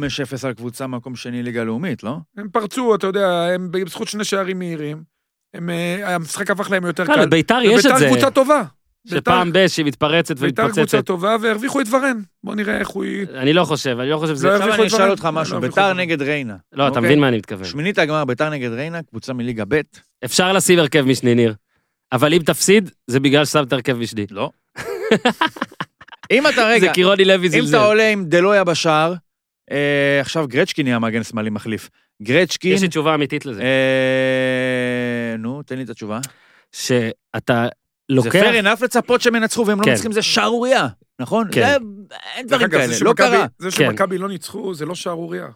Speaker 5: על קבוצה מקום שני ליגה לאומית, לא?
Speaker 3: הם פרצו, אתה יודע, הם בזכות שני שערים מהירים. הם, אה, המשחק הפך להם יותר
Speaker 1: אה,
Speaker 3: קל.
Speaker 1: לבית"ר יש את
Speaker 3: וביתר
Speaker 1: זה,
Speaker 3: קבוצה טובה.
Speaker 1: שפעם ב' שהיא מתפרצת
Speaker 3: ביתר קבוצה
Speaker 1: ומתפוצצת.
Speaker 3: טובה, והרוויחו את ורן. בוא נראה איך הוא... י-
Speaker 1: אני לא חושב, אני לא חושב שזה...
Speaker 3: לא
Speaker 5: עכשיו
Speaker 3: הרוויחו
Speaker 5: אני
Speaker 3: את דברים.
Speaker 5: אשאל אותך
Speaker 3: לא
Speaker 5: משהו,
Speaker 3: הרוויחו
Speaker 5: ביתר
Speaker 3: דברים.
Speaker 5: נגד ריינה.
Speaker 1: לא, אתה
Speaker 5: אוקיי?
Speaker 1: מבין מה אני מתכוון.
Speaker 5: שמינית הגמר, ביתר נגד ריינה, קבוצה מליגה ב',
Speaker 1: אפשר לשים הרכב משני, ניר. אבל אם תפסיד, זה בגלל ששמת הרכב משני.
Speaker 3: [laughs]
Speaker 5: לא. אם אתה
Speaker 1: זה
Speaker 5: רגע,
Speaker 1: כאילו כי רוני לוי
Speaker 5: אם
Speaker 1: זלזל.
Speaker 5: אתה עולה עם דלויה בשער, אה, עכשיו גרצ'קין יהיה המגן שמאלי מחליף. גרצ'קין,
Speaker 1: יש לי תשובה אמיתית לזה.
Speaker 5: אה, נו, תן לי את התשובה.
Speaker 1: שאתה
Speaker 5: זה
Speaker 1: לוקח...
Speaker 5: fair enough לצפות שהם ינצחו והם לא
Speaker 1: כן.
Speaker 5: מנצחים, זה שערורייה, נכון?
Speaker 1: כן.
Speaker 5: זה- אין
Speaker 3: דרך
Speaker 5: דברים
Speaker 3: אגב,
Speaker 5: כאלה,
Speaker 3: זה
Speaker 5: לא
Speaker 3: שמכבי-
Speaker 5: קרה.
Speaker 3: זה
Speaker 1: כן.
Speaker 3: שמכבי לא ניצחו, זה לא שערורייה.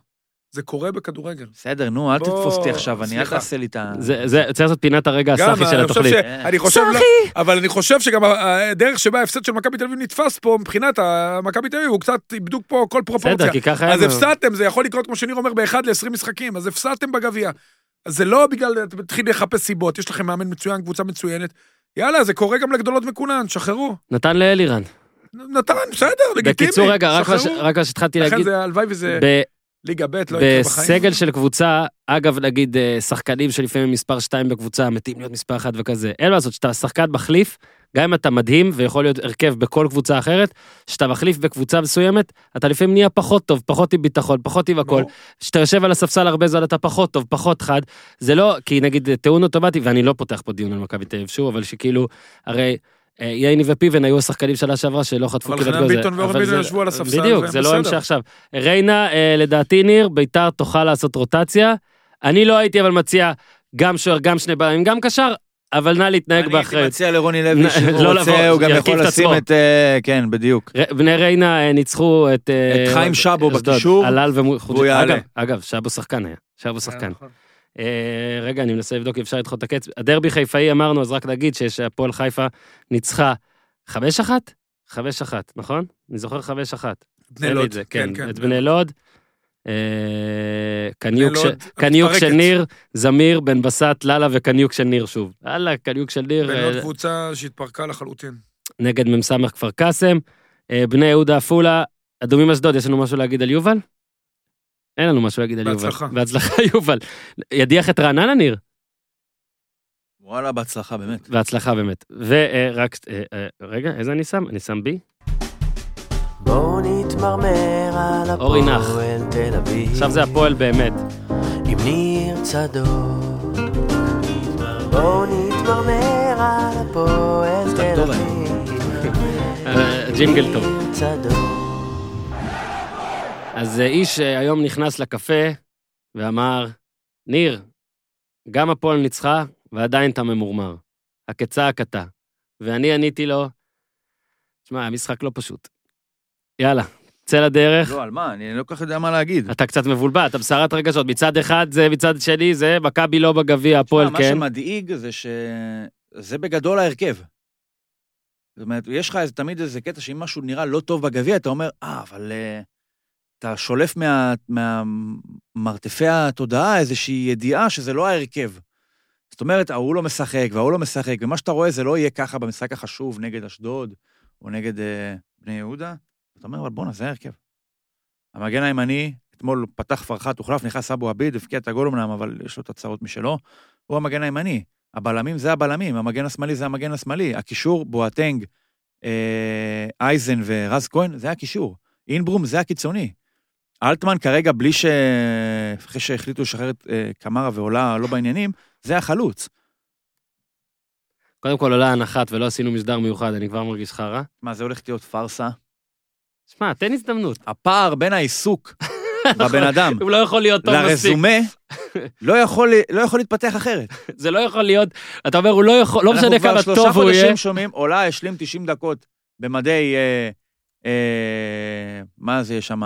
Speaker 3: זה קורה בכדורגל.
Speaker 5: בסדר, נו, אל
Speaker 3: בוא,
Speaker 5: תתפוס אותי עכשיו, אני אל
Speaker 3: סליחה.
Speaker 5: תעשה לי את ה...
Speaker 1: זה, זה, צריך לעשות פינת הרגע
Speaker 3: גם,
Speaker 1: הסאחי של
Speaker 3: אני חושב
Speaker 1: התוכנית.
Speaker 3: ש...
Speaker 5: אה.
Speaker 3: אני חושב... לא- אבל אני חושב שגם ה- הדרך שבה ההפסד של מכבי תל אביב נתפס פה, מבחינת ה- מכבי תל אביב, הוא קצת איבדו פה כל פרופורציה.
Speaker 1: בסדר, כי ככה היה...
Speaker 3: אז
Speaker 1: לנו.
Speaker 3: הפסדתם, זה יכול לקרות, כמו שניר אומר, באחד ל-20 משחקים, אז הפסדתם בגביע. אז זה לא בגלל, אתם מתחילים לחפש סיבות, יש לכם מאמן מצוין, קבוצה מצוינת. יאללה, זה קורה גם לגדולות מכולן, שחררו.
Speaker 1: נתן לאלירן.
Speaker 3: נ- נתן, בסדר, לגיטימי,
Speaker 1: בקיצור, רגע, רק מה ש-
Speaker 3: שחררו.
Speaker 1: רק מה שהתחלתי
Speaker 3: לכן
Speaker 1: להגיד,
Speaker 3: זה, הלוואי וזה
Speaker 1: ב-
Speaker 3: ליגה ב', לא יקרה בחיים.
Speaker 1: בסגל
Speaker 5: אה,
Speaker 1: של קבוצה, אגב, נגיד אה, שחקנים שלפעמים הם מספר 2 בקבוצה, מתאים להיות מספר 1 וכזה, אין מה לעשות, שאתה שחקן מחליף, גם אם אתה מדהים ויכול להיות הרכב בכל קבוצה אחרת, שאתה מחליף בקבוצה מסוימת, אתה לפעמים נהיה פחות טוב, פחות עם ביטחון, פחות עם הכל.
Speaker 3: ברור.
Speaker 1: כשאתה יושב על הספסל הרבה זמן אתה פחות טוב, פחות חד. זה לא, כי נגיד אה, טיעון אוטומטי, ואני לא פותח פה דיון על מכבי תל אביב שוב, אבל שכאילו, הרי... אה, ייני ופיבן היו השחקנים שנה שעברה שלא חטפו
Speaker 3: אבל
Speaker 1: כמעט
Speaker 3: חנן
Speaker 1: גול, זה-
Speaker 3: ביטון ואורן
Speaker 1: אבל
Speaker 3: ביטון
Speaker 1: זה-
Speaker 3: ישבו על הספסל,
Speaker 1: בדיוק,
Speaker 3: והם
Speaker 1: זה לא
Speaker 3: בסדר.
Speaker 1: הם שעכשיו. ריינה, אה, לדעתי ניר, ביתר תוכל לעשות רוטציה. אני לא הייתי אבל מציע גם שוער, גם שני בלמים, גם קשר, אבל נא להתנהג
Speaker 5: אני הייתי
Speaker 1: באחריות.
Speaker 5: מציע לרוני
Speaker 1: נ-
Speaker 5: לוי שהוא
Speaker 1: [laughs] לא לבוא,
Speaker 5: רוצה, הוא גם
Speaker 1: ירכיב
Speaker 5: יכול
Speaker 1: את
Speaker 5: לשים
Speaker 1: עצמו.
Speaker 5: את... אה, כן, בדיוק.
Speaker 1: ר- בני ריינה אה, ניצחו את... אה,
Speaker 5: את חיים שבו
Speaker 1: אשדוד.
Speaker 5: בקישור,
Speaker 1: הלל ומוחוג'י.
Speaker 5: יעלה.
Speaker 1: אגב, אגב, שבו שחקן היה. שבו שחקן.
Speaker 3: נכון.
Speaker 1: אה, רגע, אני מנסה לבדוק אם אפשר לדחות את הקץ. הדרבי חיפאי אמרנו, אז רק נגיד שהפועל חיפה ניצחה 5-1? 5-1, נכון? אני זוכר 5-1. אין
Speaker 3: בני
Speaker 1: לי
Speaker 3: לוד,
Speaker 1: את זה, כן,
Speaker 3: כן,
Speaker 1: את
Speaker 3: כן.
Speaker 1: בני לוד. אה, קניוק
Speaker 3: בני
Speaker 1: ש-
Speaker 3: לוד,
Speaker 1: קניוק של
Speaker 3: מתפרקת.
Speaker 1: ניר, זמיר, בן בסט, לאללה וקניוק של ניר שוב. יאללה, קניוק של ניר
Speaker 3: ולהיות
Speaker 1: אה,
Speaker 3: קבוצה שהתפרקה לחלוטין.
Speaker 1: נגד מ"ס כפר קאסם. אה, בני יהודה עפולה, אדומים אשדוד, יש לנו משהו להגיד על יובל? אין לנו משהו להגיד על יובל.
Speaker 3: בהצלחה.
Speaker 1: בהצלחה, יובל. ידיח את רעננה, ניר?
Speaker 5: וואלה, בהצלחה, באמת.
Speaker 1: בהצלחה באמת. ורק, אה, רגע, איזה אני שם? אני שם בי?
Speaker 6: בואו נתמרמר על
Speaker 1: אורי
Speaker 6: הפועל
Speaker 1: נח.
Speaker 6: תל אביב.
Speaker 1: עכשיו זה הפועל באמת.
Speaker 6: עם ניר צדוק. בואו נתמרמר על הפועל תל
Speaker 5: טוב
Speaker 6: אביב.
Speaker 1: אה, [laughs] ג'ינגל טוב.
Speaker 6: ניר צדוק.
Speaker 1: אז אה, איש אה, היום נכנס לקפה ואמר, ניר, גם הפועל ניצחה ועדיין אתה ממורמר. הכצעקתה. ואני עניתי לו, שמע, המשחק לא פשוט. יאללה, צא לדרך.
Speaker 5: לא, על מה? אני לא כל כך יודע מה להגיד.
Speaker 1: אתה קצת מבולבל, אתה בסערת רגשות. מצד אחד זה, מצד שני זה, מכבי לא בגביע, הפועל
Speaker 5: מה
Speaker 1: כן.
Speaker 5: שמדאיג זה שזה בגדול ההרכב. זאת אומרת, יש לך איזה- תמיד איזה קטע שאם משהו נראה לא טוב בגביע, אתה אומר, אה, אבל אה, אתה שולף מה- מהמרתפי התודעה איזושהי ידיעה שזה לא ההרכב. זאת אומרת, ההוא לא משחק וההוא לא משחק, ומה שאתה רואה זה לא יהיה ככה במשחק החשוב נגד אשדוד או נגד אה, בני יהודה. אתה אומר, אבל בואנה, זה ההרכב. המגן הימני, אתמול פתח פרחת, הוחלף, נכנס אבו עביד, הבקיע את הגול אמנם, אבל יש לו את הצרות משלו. הוא המגן הימני. הבלמים זה הבלמים, המגן השמאלי זה המגן השמאלי. הקישור, בואטנג, אה, אייזן ורז כהן, זה הקישור. אינברום זה הקיצוני. אלטמן כרגע, בלי ש... אחרי שהחליטו לשחרר את אה, קמרה ועולה לא בעניינים, זה החלוץ.
Speaker 1: קודם כל עולה הנחת ולא עשינו מסדר מיוחד, אני כבר מרגיש חרא.
Speaker 5: מה, זה הולך להיות פארסה?
Speaker 1: שמע, תן הזדמנות.
Speaker 5: הפער בין
Speaker 1: [laughs]
Speaker 5: העיסוק בבן אדם
Speaker 1: הוא לא יכול להיות טוב מספיק.
Speaker 5: אמ, לרזומה לא יכול לא יכול להתפתח אחרת.
Speaker 1: זה לא יכול להיות, אתה אומר, הוא לא יכול, לא משנה כמה
Speaker 5: אנחנו כבר
Speaker 1: טוב
Speaker 5: שלושה
Speaker 1: הוא יהיה.
Speaker 5: חודשים שומעים, עולה השלים 90 דקות במדי, אה, אה, מה זה שם,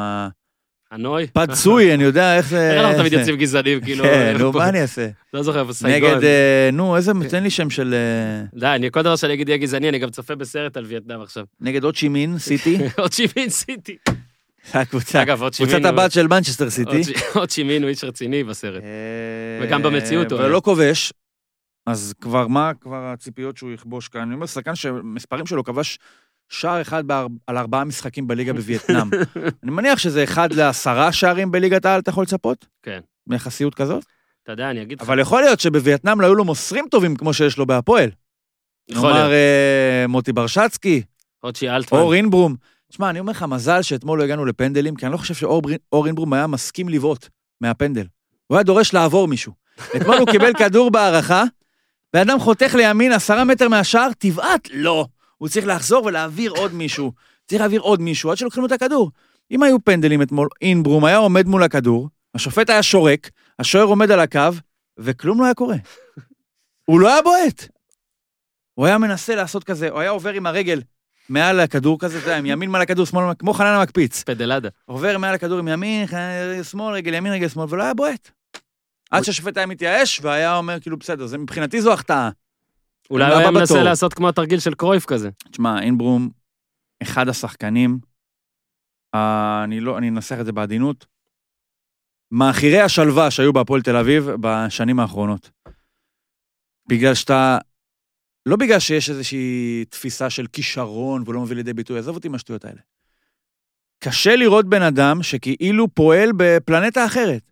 Speaker 1: הנוי?
Speaker 5: פצוי, אני יודע איך זה...
Speaker 1: איך אנחנו
Speaker 5: [laughs]
Speaker 1: תמיד
Speaker 5: זה.
Speaker 1: יוצאים גזענים, כאילו... [laughs]
Speaker 5: כן, נו,
Speaker 1: פה-
Speaker 5: מה אני אעשה?
Speaker 1: לא זוכר, אבל סייגון.
Speaker 5: נגד, אה, נו, איזה, תן לי שם של... אה,
Speaker 1: די, אני כל דבר שאני אגיד יהיה גזעני, אני גם צופה בסרט על וייטנאם עכשיו. [laughs]
Speaker 5: נגד עוד שימין, סיטי,
Speaker 1: עוד שימין סיטי.
Speaker 5: הקבוצה.
Speaker 1: אגב, עוד שימין
Speaker 5: כן, קבוצת
Speaker 1: הוא-
Speaker 5: הבת של מנצ'סטר סיטי.
Speaker 1: עוד ש- עוד שימין הוא איש רציני בסרט.
Speaker 5: אה,
Speaker 1: וגם במציאות הוא היה.
Speaker 5: ולא כובש, אז כבר מה כבר הציפיות שהוא יכבוש כאן? אני אומר, שחקן שהמספרים שלו כבש שער אחד באר... על ארבעה משחקים
Speaker 1: [laughs]
Speaker 5: בליגה בווייטנאם. אני מניח שזה אחד לעשרה שערים בליגת העל, אתה יכול לצפות?
Speaker 1: כן.
Speaker 5: מיחסיות כזאת?
Speaker 1: אתה יודע, אני אגיד לך.
Speaker 5: אבל יכול להיות שבווייטנאם לא היו לו מוסרים טובים כמו שיש לו בהפועל.
Speaker 1: יכול
Speaker 5: נאמר
Speaker 1: להיות.
Speaker 5: אה, מוטי ברשצקי,
Speaker 1: עוד שהיא אלטמן.
Speaker 5: אור אינברום. תשמע, אני אומר לך, מזל שאתמול לא הגענו לפנדלים, כי אני לא חושב שאור ברין- אור אינברום היה מסכים לבעוט מהפנדל. הוא היה דורש לעבור מישהו. אתמול הוא קיבל כדור בהערכה, בן אדם חותך לימין עשרה מטר מהשער, תבעט, לא. הוא צריך לחזור ולהעביר עוד מישהו. צריך להעביר עוד מישהו עד שלוקחים לו את הכדור. אם היו פנדלים אתמול, אינברום היה עומד מול הכדור, השופט היה שורק, השוער עומד על הקו, וכלום לא היה קורה. הוא לא היה בועט. הוא היה מנסה לעשות כזה, הוא היה עובר עם הרגל מעל הכדור כזה, אתה יודע, עם ימין מעל הכדור, שמאל, כמו חנן המקפיץ.
Speaker 1: פדלדה.
Speaker 5: עובר מעל הכדור עם ימין, חנן, רגל שמאל, רגל ימין, רגל שמאל, ולא היה בועט. עד שהשופט היה מתייאש, והיה אומר, כאילו, בסדר, זה מבחינתי זו החטאה.
Speaker 1: אולי
Speaker 5: הבא
Speaker 1: הוא היה
Speaker 5: בתור.
Speaker 1: מנסה לעשות כמו התרגיל של קרויף כזה. [laughs]
Speaker 5: תשמע, אינברום, אחד השחקנים, אה, אני לא, אני אנסח את זה בעדינות, מאחירי השלווה שהיו בהפועל תל אביב בשנים האחרונות. בגלל שאתה, לא בגלל שיש איזושהי תפיסה של כישרון והוא לא מביא לידי ביטוי, עזוב אותי עם השטויות האלה. קשה לראות בן אדם שכאילו פועל בפלנטה אחרת,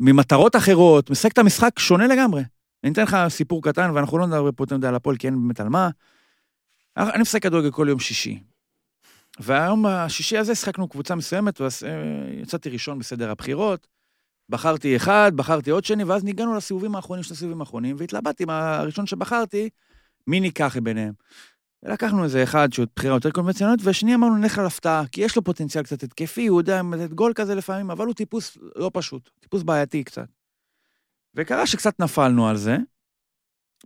Speaker 5: ממטרות אחרות, משחק את המשחק שונה לגמרי. אני אתן לך סיפור קטן, ואנחנו לא נדבר פה יותר מדי על הפועל, כי אין באמת על מה. אה, אני משחק כדורגל כל יום שישי. והיום השישי הזה שחקנו קבוצה מסוימת, ואז אה, יצאתי ראשון בסדר הבחירות, בחרתי אחד, בחרתי עוד שני, ואז ניגענו לסיבובים האחרונים, שני סיבובים האחרונים, והתלבטתי עם הראשון שבחרתי, מי ניקח ביניהם. לקחנו איזה אחד שהוא בחירה יותר קונבנציונלית, והשני אמרנו נלך על הפתעה, כי יש לו פוטנציאל קצת התקפי, הוא יודע לתת גול כזה לפעמים, אבל הוא טיפוס לא פשוט, טיפוס בעייתי קצת. וקרה שקצת נפלנו על זה,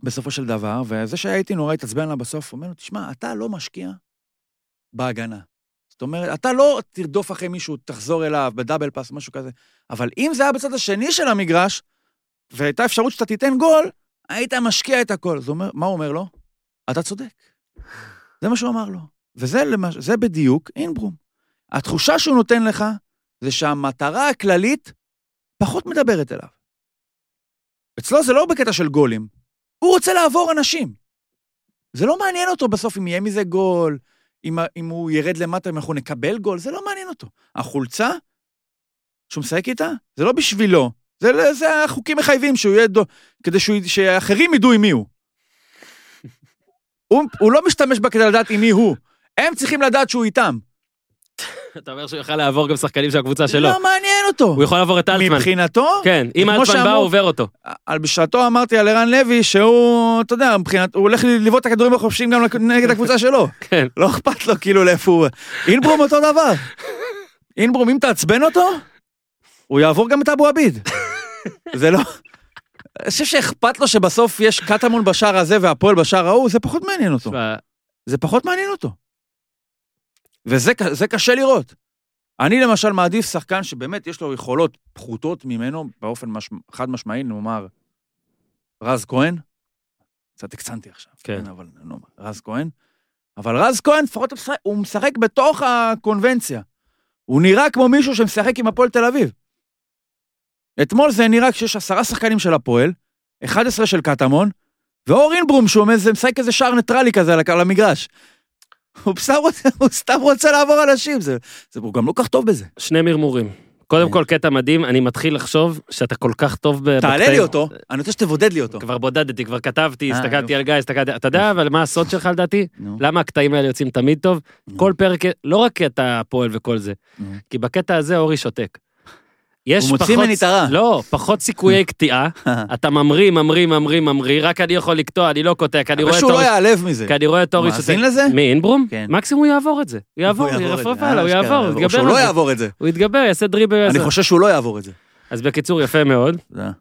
Speaker 5: בסופו של דבר, וזה שהייתי נורא התעצבן לה בסוף, אומר לו, תשמע, אתה לא משקיע בהגנה. זאת אומרת, אתה לא תרדוף אחרי מישהו, תחזור אליו בדאבל פאס, משהו כזה, אבל אם זה היה בצד השני של המגרש, והייתה אפשרות שאתה תיתן גול, היית משקיע את הכל. זה אומר, מה הוא אומר לו? אתה צודק. זה מה שהוא אמר לו. וזה למש... זה בדיוק אינברום. התחושה שהוא נותן לך, זה שהמטרה הכללית פחות מדברת אליו. אצלו זה לא בקטע של גולים, הוא רוצה לעבור אנשים. זה לא מעניין אותו בסוף אם יהיה מזה גול, אם, ה- אם הוא ירד למטה, אם אנחנו נקבל גול, זה לא מעניין אותו. החולצה שהוא משחק איתה, זה לא בשבילו. זה, לא- זה החוקים מחייבים שהוא יהיה דו... כדי שהוא, שאחרים ידעו עם מי הוא. הוא. הוא לא משתמש בה כדי לדעת עם מי הוא. הם צריכים לדעת שהוא איתם.
Speaker 1: אתה אומר שהוא יכל לעבור גם שחקנים של הקבוצה שלו.
Speaker 5: לא מעניין אותו.
Speaker 1: הוא יכול לעבור את אלטמן.
Speaker 5: מבחינתו,
Speaker 1: כן, אם
Speaker 5: כמו
Speaker 1: אלטמן בא,
Speaker 5: שאמרו-
Speaker 1: הוא עובר אותו.
Speaker 5: על בשעתו אמרתי על ערן לוי שהוא, אתה יודע, מבחינת, הוא הולך לבעוט את הכדורים החופשיים גם לק- נגד הקבוצה שלו.
Speaker 1: כן.
Speaker 5: לא אכפת לו כאילו לאיפה הוא... אינברום אותו דבר. אינברום, אם תעצבן אותו, הוא יעבור גם את אבו עביד. זה לא... אני חושב שאכפת לו שבסוף יש קטמון בשער הזה והפועל בשער ההוא, זה פחות מעניין אותו.
Speaker 1: תשמע,
Speaker 5: זה פחות מעניין אותו. וזה ק- זה קשה לראות. אני למשל מעדיף שחקן שבאמת יש לו יכולות פחותות ממנו באופן מש... חד משמעי, נאמר רז כהן, קצת הקצנתי עכשיו,
Speaker 1: כן.
Speaker 5: אבל נאמר, רז כהן, אבל רז כהן לפחות הוא משחק- הוא משחק בתוך הקונבנציה. הוא נראה כמו מישהו שמשחק עם הפועל תל אביב. אתמול זה נראה כשיש עשרה שחקנים של הפועל, 11 של קטמון, ואור אינברום שהוא איזה- משחק איזה שער ניטרלי כזה על הק- על המגרש. הוא סתם רוצה, הוא סתם רוצה לעבור אנשים, זה, זה, הוא גם לא כל כך טוב בזה.
Speaker 1: שני מרמורים. קודם
Speaker 5: כן.
Speaker 1: כל, קטע מדהים, אני מתחיל לחשוב שאתה כל כך טוב ב...
Speaker 5: תעלה לי
Speaker 1: בקטעים.
Speaker 5: אותו, אני רוצה שתבודד לי אותו.
Speaker 1: כבר בודדתי, כבר כתבתי,
Speaker 5: אה,
Speaker 1: הסתכלתי
Speaker 5: יופי.
Speaker 1: על גיא, הסתכלתי... אתה יודע אבל מה הסוד שלך לדעתי?
Speaker 5: נו, [laughs]
Speaker 1: למה הקטעים האלה יוצאים תמיד טוב?
Speaker 5: נו.
Speaker 1: כל פרק, לא רק קטע הפועל וכל זה,
Speaker 5: נו.
Speaker 1: כי בקטע הזה אורי שותק. יש
Speaker 5: Mm. הוא מוציא
Speaker 1: פחות-
Speaker 5: ממני את הרע.
Speaker 1: לא, פחות סיכויי קטיעה. אתה ממריא, ממריא, ממריא, ממריא, רק אני יכול לקטוע, אני לא קוטע, כי אני
Speaker 5: אבל
Speaker 1: רואה את
Speaker 5: שהוא לא
Speaker 1: אורי...
Speaker 5: ייעלב מזה.
Speaker 1: כי אני רואה את אורי
Speaker 5: מאזין לזה?
Speaker 1: מאינברום?
Speaker 5: כן.
Speaker 1: מקסימום הוא יעבור את זה. הוא יעבור,
Speaker 5: הוא יעבור את
Speaker 1: ירפרף
Speaker 5: זה.
Speaker 1: הלאה, הוא
Speaker 5: אה,
Speaker 1: יעבור,
Speaker 5: אשכרה,
Speaker 1: הוא
Speaker 5: או שהוא
Speaker 1: יתגבר
Speaker 5: לא
Speaker 1: על זה.
Speaker 5: יעבור את זה.
Speaker 1: הוא יתגבר, יעשה דריבל.
Speaker 5: אני
Speaker 1: יעשה-
Speaker 5: חושש שהוא לא יעבור את זה.
Speaker 1: אז בקיצור, יפה מאוד.
Speaker 5: תודה.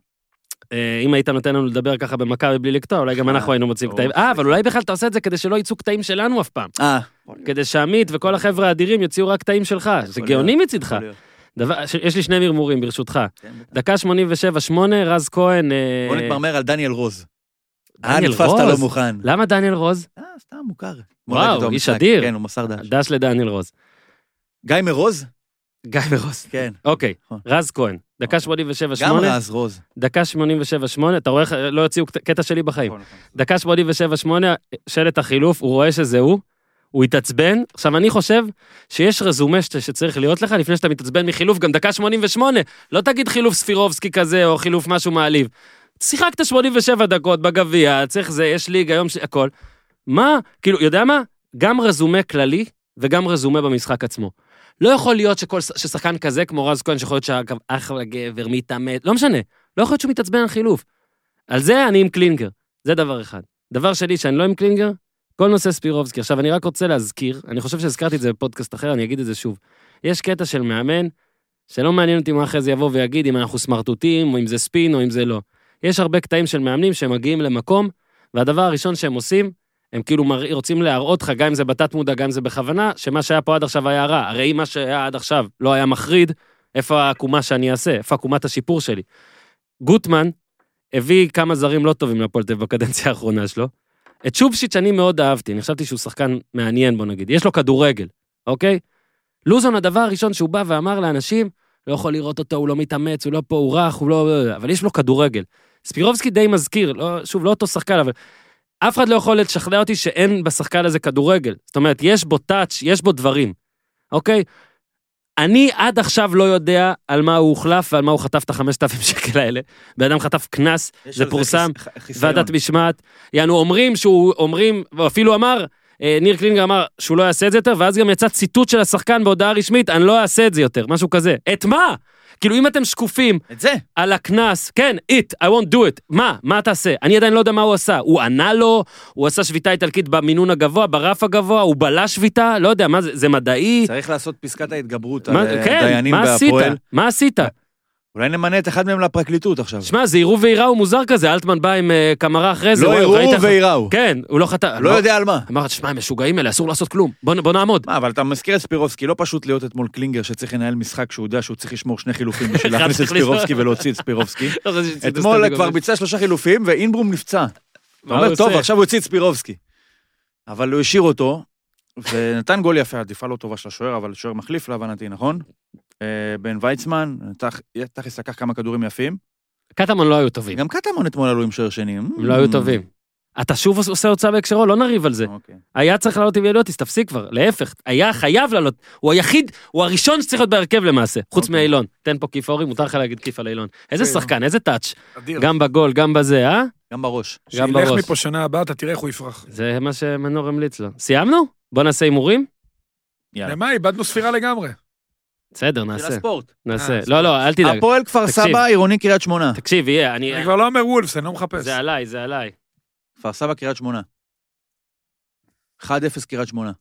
Speaker 1: אה, אם היית נותן לנו לדבר ככה במכבי בלי לקטוע, אולי גם אנחנו היינו מוצאים קטעים. אה, אבל אולי בכלל אתה עושה את זה כדי שלא יצאו קטעים שלנו אף פעם.
Speaker 5: אה,
Speaker 1: כדי שעמית וכל החבר'ה האדירים יוציאו רק קטעים שלך. זה
Speaker 5: להיות,
Speaker 1: גאוני מצידך.
Speaker 5: יכול להיות.
Speaker 1: דבר- ש- יש לי שני מרמורים, ברשותך.
Speaker 5: כן, בטח.
Speaker 1: דקה 87-8, רז כהן... אה,
Speaker 5: בוא נתמרמר על דניאל רוז. אה,
Speaker 1: דניאל
Speaker 5: נתפסת
Speaker 1: רוז?
Speaker 5: לא מוכן.
Speaker 1: למה דניאל רוז?
Speaker 5: אה, סתם מוכר.
Speaker 1: וואו,
Speaker 5: ראיתי אותו
Speaker 1: איש
Speaker 5: במשחק.
Speaker 1: אדיר.
Speaker 5: כן, הוא מסר דש.
Speaker 1: דש לדניאל רוז.
Speaker 5: גיא מרוז?
Speaker 1: גיא ורוז.
Speaker 5: כן.
Speaker 1: אוקיי,
Speaker 5: נכון.
Speaker 1: רז כהן, דקה
Speaker 5: גם
Speaker 1: 87-8,
Speaker 5: רז רוז.
Speaker 1: דקה 87-8, אתה רואה איך לא יוציאו קט- קטע שלי בחיים.
Speaker 5: נכון,
Speaker 1: דקה 87-8, שלט החילוף, הוא רואה שזה הוא, הוא התעצבן. עכשיו, אני חושב שיש רזומה שת- שצריך להיות לך לפני שאתה מתעצבן מחילוף, גם דקה 88, לא תגיד חילוף ספירובסקי כזה, או חילוף משהו מעליב. שיחקת 87 דקות בגביע, צריך זה, יש ליג היום, ש- הכל. מה, כאילו, יודע מה? גם רזומה כללי וגם רזומה במשחק עצמו. לא יכול להיות שכל, ש- ששחקן כזה, כמו רז כהן, שיכול להיות שאחלה גבר, מתעמת, לא משנה. לא יכול להיות שהוא מתעצבן על חילוף. על זה אני עם קלינגר. זה דבר אחד. דבר שני, שאני לא עם קלינגר, כל נושא ספירובסקי. עכשיו, אני רק רוצה להזכיר, אני חושב שהזכרתי את זה בפודקאסט אחר, אני אגיד את זה שוב. יש קטע של מאמן, שלא מעניין אותי מה אחרי זה יבוא ויגיד, אם אנחנו סמרטוטים, או אם זה ספין, או אם זה לא. יש הרבה קטעים של מאמנים שמגיעים למקום, והדבר הראשון שהם עושים, הם כאילו מרא... רוצים להראות לך, גם אם זה בתת מודע, גם אם זה בכוונה, שמה שהיה פה עד עכשיו היה רע. הרי אם מה שהיה עד עכשיו לא היה מחריד, איפה העקומה שאני אעשה? איפה עקומת השיפור שלי? גוטמן הביא כמה זרים לא טובים להפועל תל אביב בקדנציה האחרונה שלו. את שובשיץ' אני מאוד אהבתי, אני חשבתי שהוא שחקן מעניין, בוא נגיד. יש לו כדורגל, אוקיי? לוזון, הדבר הראשון שהוא בא ואמר לאנשים, לא יכול לראות אותו, הוא לא מתאמץ, הוא לא פה, הוא רך, הוא לא... אבל יש לו כדורגל. ספירובסקי די מזכיר, לא, שוב, לא אותו שחקן, אבל... אף אחד לא יכול לשכנע אותי שאין בשחקן הזה כדורגל. זאת אומרת, יש בו טאץ', יש בו דברים, אוקיי? אני עד עכשיו לא יודע על מה הוא הוחלף ועל מה הוא חטף את החמשת אלפים שקל האלה. בן אדם חטף קנס,
Speaker 5: יש
Speaker 1: זה
Speaker 5: על
Speaker 1: פורסם,
Speaker 5: חיס- ח- חיסיון.
Speaker 1: ועדת משמעת. יענו, אומרים שהוא, אומרים, הוא אפילו אמר, אה, ניר קלינגר אמר שהוא לא יעשה את זה יותר, ואז גם יצא ציטוט של השחקן בהודעה רשמית, אני לא אעשה את זה יותר, משהו כזה. את מה? כאילו, אם אתם שקופים
Speaker 5: את זה.
Speaker 1: על הקנס, כן, it, I won't do it, מה, מה תעשה? אני עדיין לא יודע מה הוא עשה. הוא ענה לו, הוא עשה שביתה איטלקית במינון הגבוה, ברף הגבוה, הוא בלע שביתה, לא יודע, מה זה, זה מדעי?
Speaker 5: צריך לעשות פסקת ההתגברות על
Speaker 1: מה,
Speaker 5: אה,
Speaker 1: כן,
Speaker 5: דיינים
Speaker 1: מה עשית?
Speaker 5: בהפועל.
Speaker 1: מה עשית?
Speaker 5: אולי נמנה את אחד מהם לפרקליטות עכשיו.
Speaker 1: שמע, זה עירוב ועירה הוא מוזר כזה, אלטמן בא עם אה, קמרה אחרי זה.
Speaker 5: לא
Speaker 1: וואי,
Speaker 5: ערעור
Speaker 1: ראית איך-
Speaker 5: ועיראו.
Speaker 1: כן, הוא לא חטא.
Speaker 5: לא יודע על מה.
Speaker 1: אמר, תשמע, הם משוגעים האלה, אסור לעשות כלום, בוא, נ- בוא נעמוד.
Speaker 5: מה, אבל אתה מזכיר את ספירובסקי, לא פשוט להיות אתמול קלינגר שצריך לנהל משחק שהוא יודע שהוא צריך לשמור שני
Speaker 1: [laughs]
Speaker 5: חילופים בשביל
Speaker 1: אחד
Speaker 5: להכניס את
Speaker 1: צריך לזרוק.
Speaker 5: ספירובסקי ולהוציא את
Speaker 1: [laughs]
Speaker 5: ספירובסקי.
Speaker 1: לא, זה- זה- זה סתם
Speaker 5: אתמול כבר
Speaker 1: בגלל-
Speaker 5: ביצע שלושה חילופים ואינברום נפצע. אתה
Speaker 1: מה הוא
Speaker 5: אומר, טוב,
Speaker 1: עושה?
Speaker 5: עכשיו הוא הוציא את ספירובסקי. אבל הוא השאיר אותו, ונתן גול יפה, עדיפה לא טובה של השוער, אבל שוער מחליף להבנתי, נכון? אה, בן ויצמן, תח- תכלס לקח כמה כדורים יפים.
Speaker 1: קטמון לא היו טובים,
Speaker 5: כן. גם קטמון אתמול עלו עם שוער שני.
Speaker 1: הם לא היו טובים. אתה שוב עושה הוצאה בהקשרו, לא נריב על זה.
Speaker 5: אוקיי.
Speaker 1: היה צריך לעלות עם אילוטיס, תפסיק כבר, להפך, היה חייב לעלות. הוא היחיד, הוא הראשון שצריך להיות בהרכב למעשה, חוץ
Speaker 5: אוקיי.
Speaker 1: מאילון. תן פה כיף אורי, מותר לך להגיד כיף על אילון. איזה
Speaker 3: אילון.
Speaker 1: שחקן, איזה טאץ',
Speaker 5: כן.
Speaker 3: אדיר.
Speaker 1: גם בגול, גם בזה, אה?
Speaker 5: גם בראש.
Speaker 1: גם
Speaker 3: שילך
Speaker 1: בראש. כן.
Speaker 3: מפה שנה הבאה, אתה תראה איך הוא יפרח.
Speaker 1: זה מה שמנור המליץ לו. סיימנו? בוא נעשה הימורים?
Speaker 5: יאללה.
Speaker 3: למה, איבדנו ספירה לגמרי.
Speaker 1: בסדר,
Speaker 5: של
Speaker 1: נעשה,
Speaker 5: הספורט.
Speaker 1: נעשה.
Speaker 3: אה,
Speaker 1: לא, לא, אל תדאג.
Speaker 5: הפועל כפר
Speaker 1: תקשיב.
Speaker 5: סבא, עירוני קריית שמונה.
Speaker 1: תקשיב, יהיה, אני...
Speaker 3: אני כבר לא אומר וולפס, אני לא מחפש.
Speaker 1: זה עליי, זה עליי.
Speaker 5: כפר סבא, קריית שמונה. 1-0 קריית שמונה.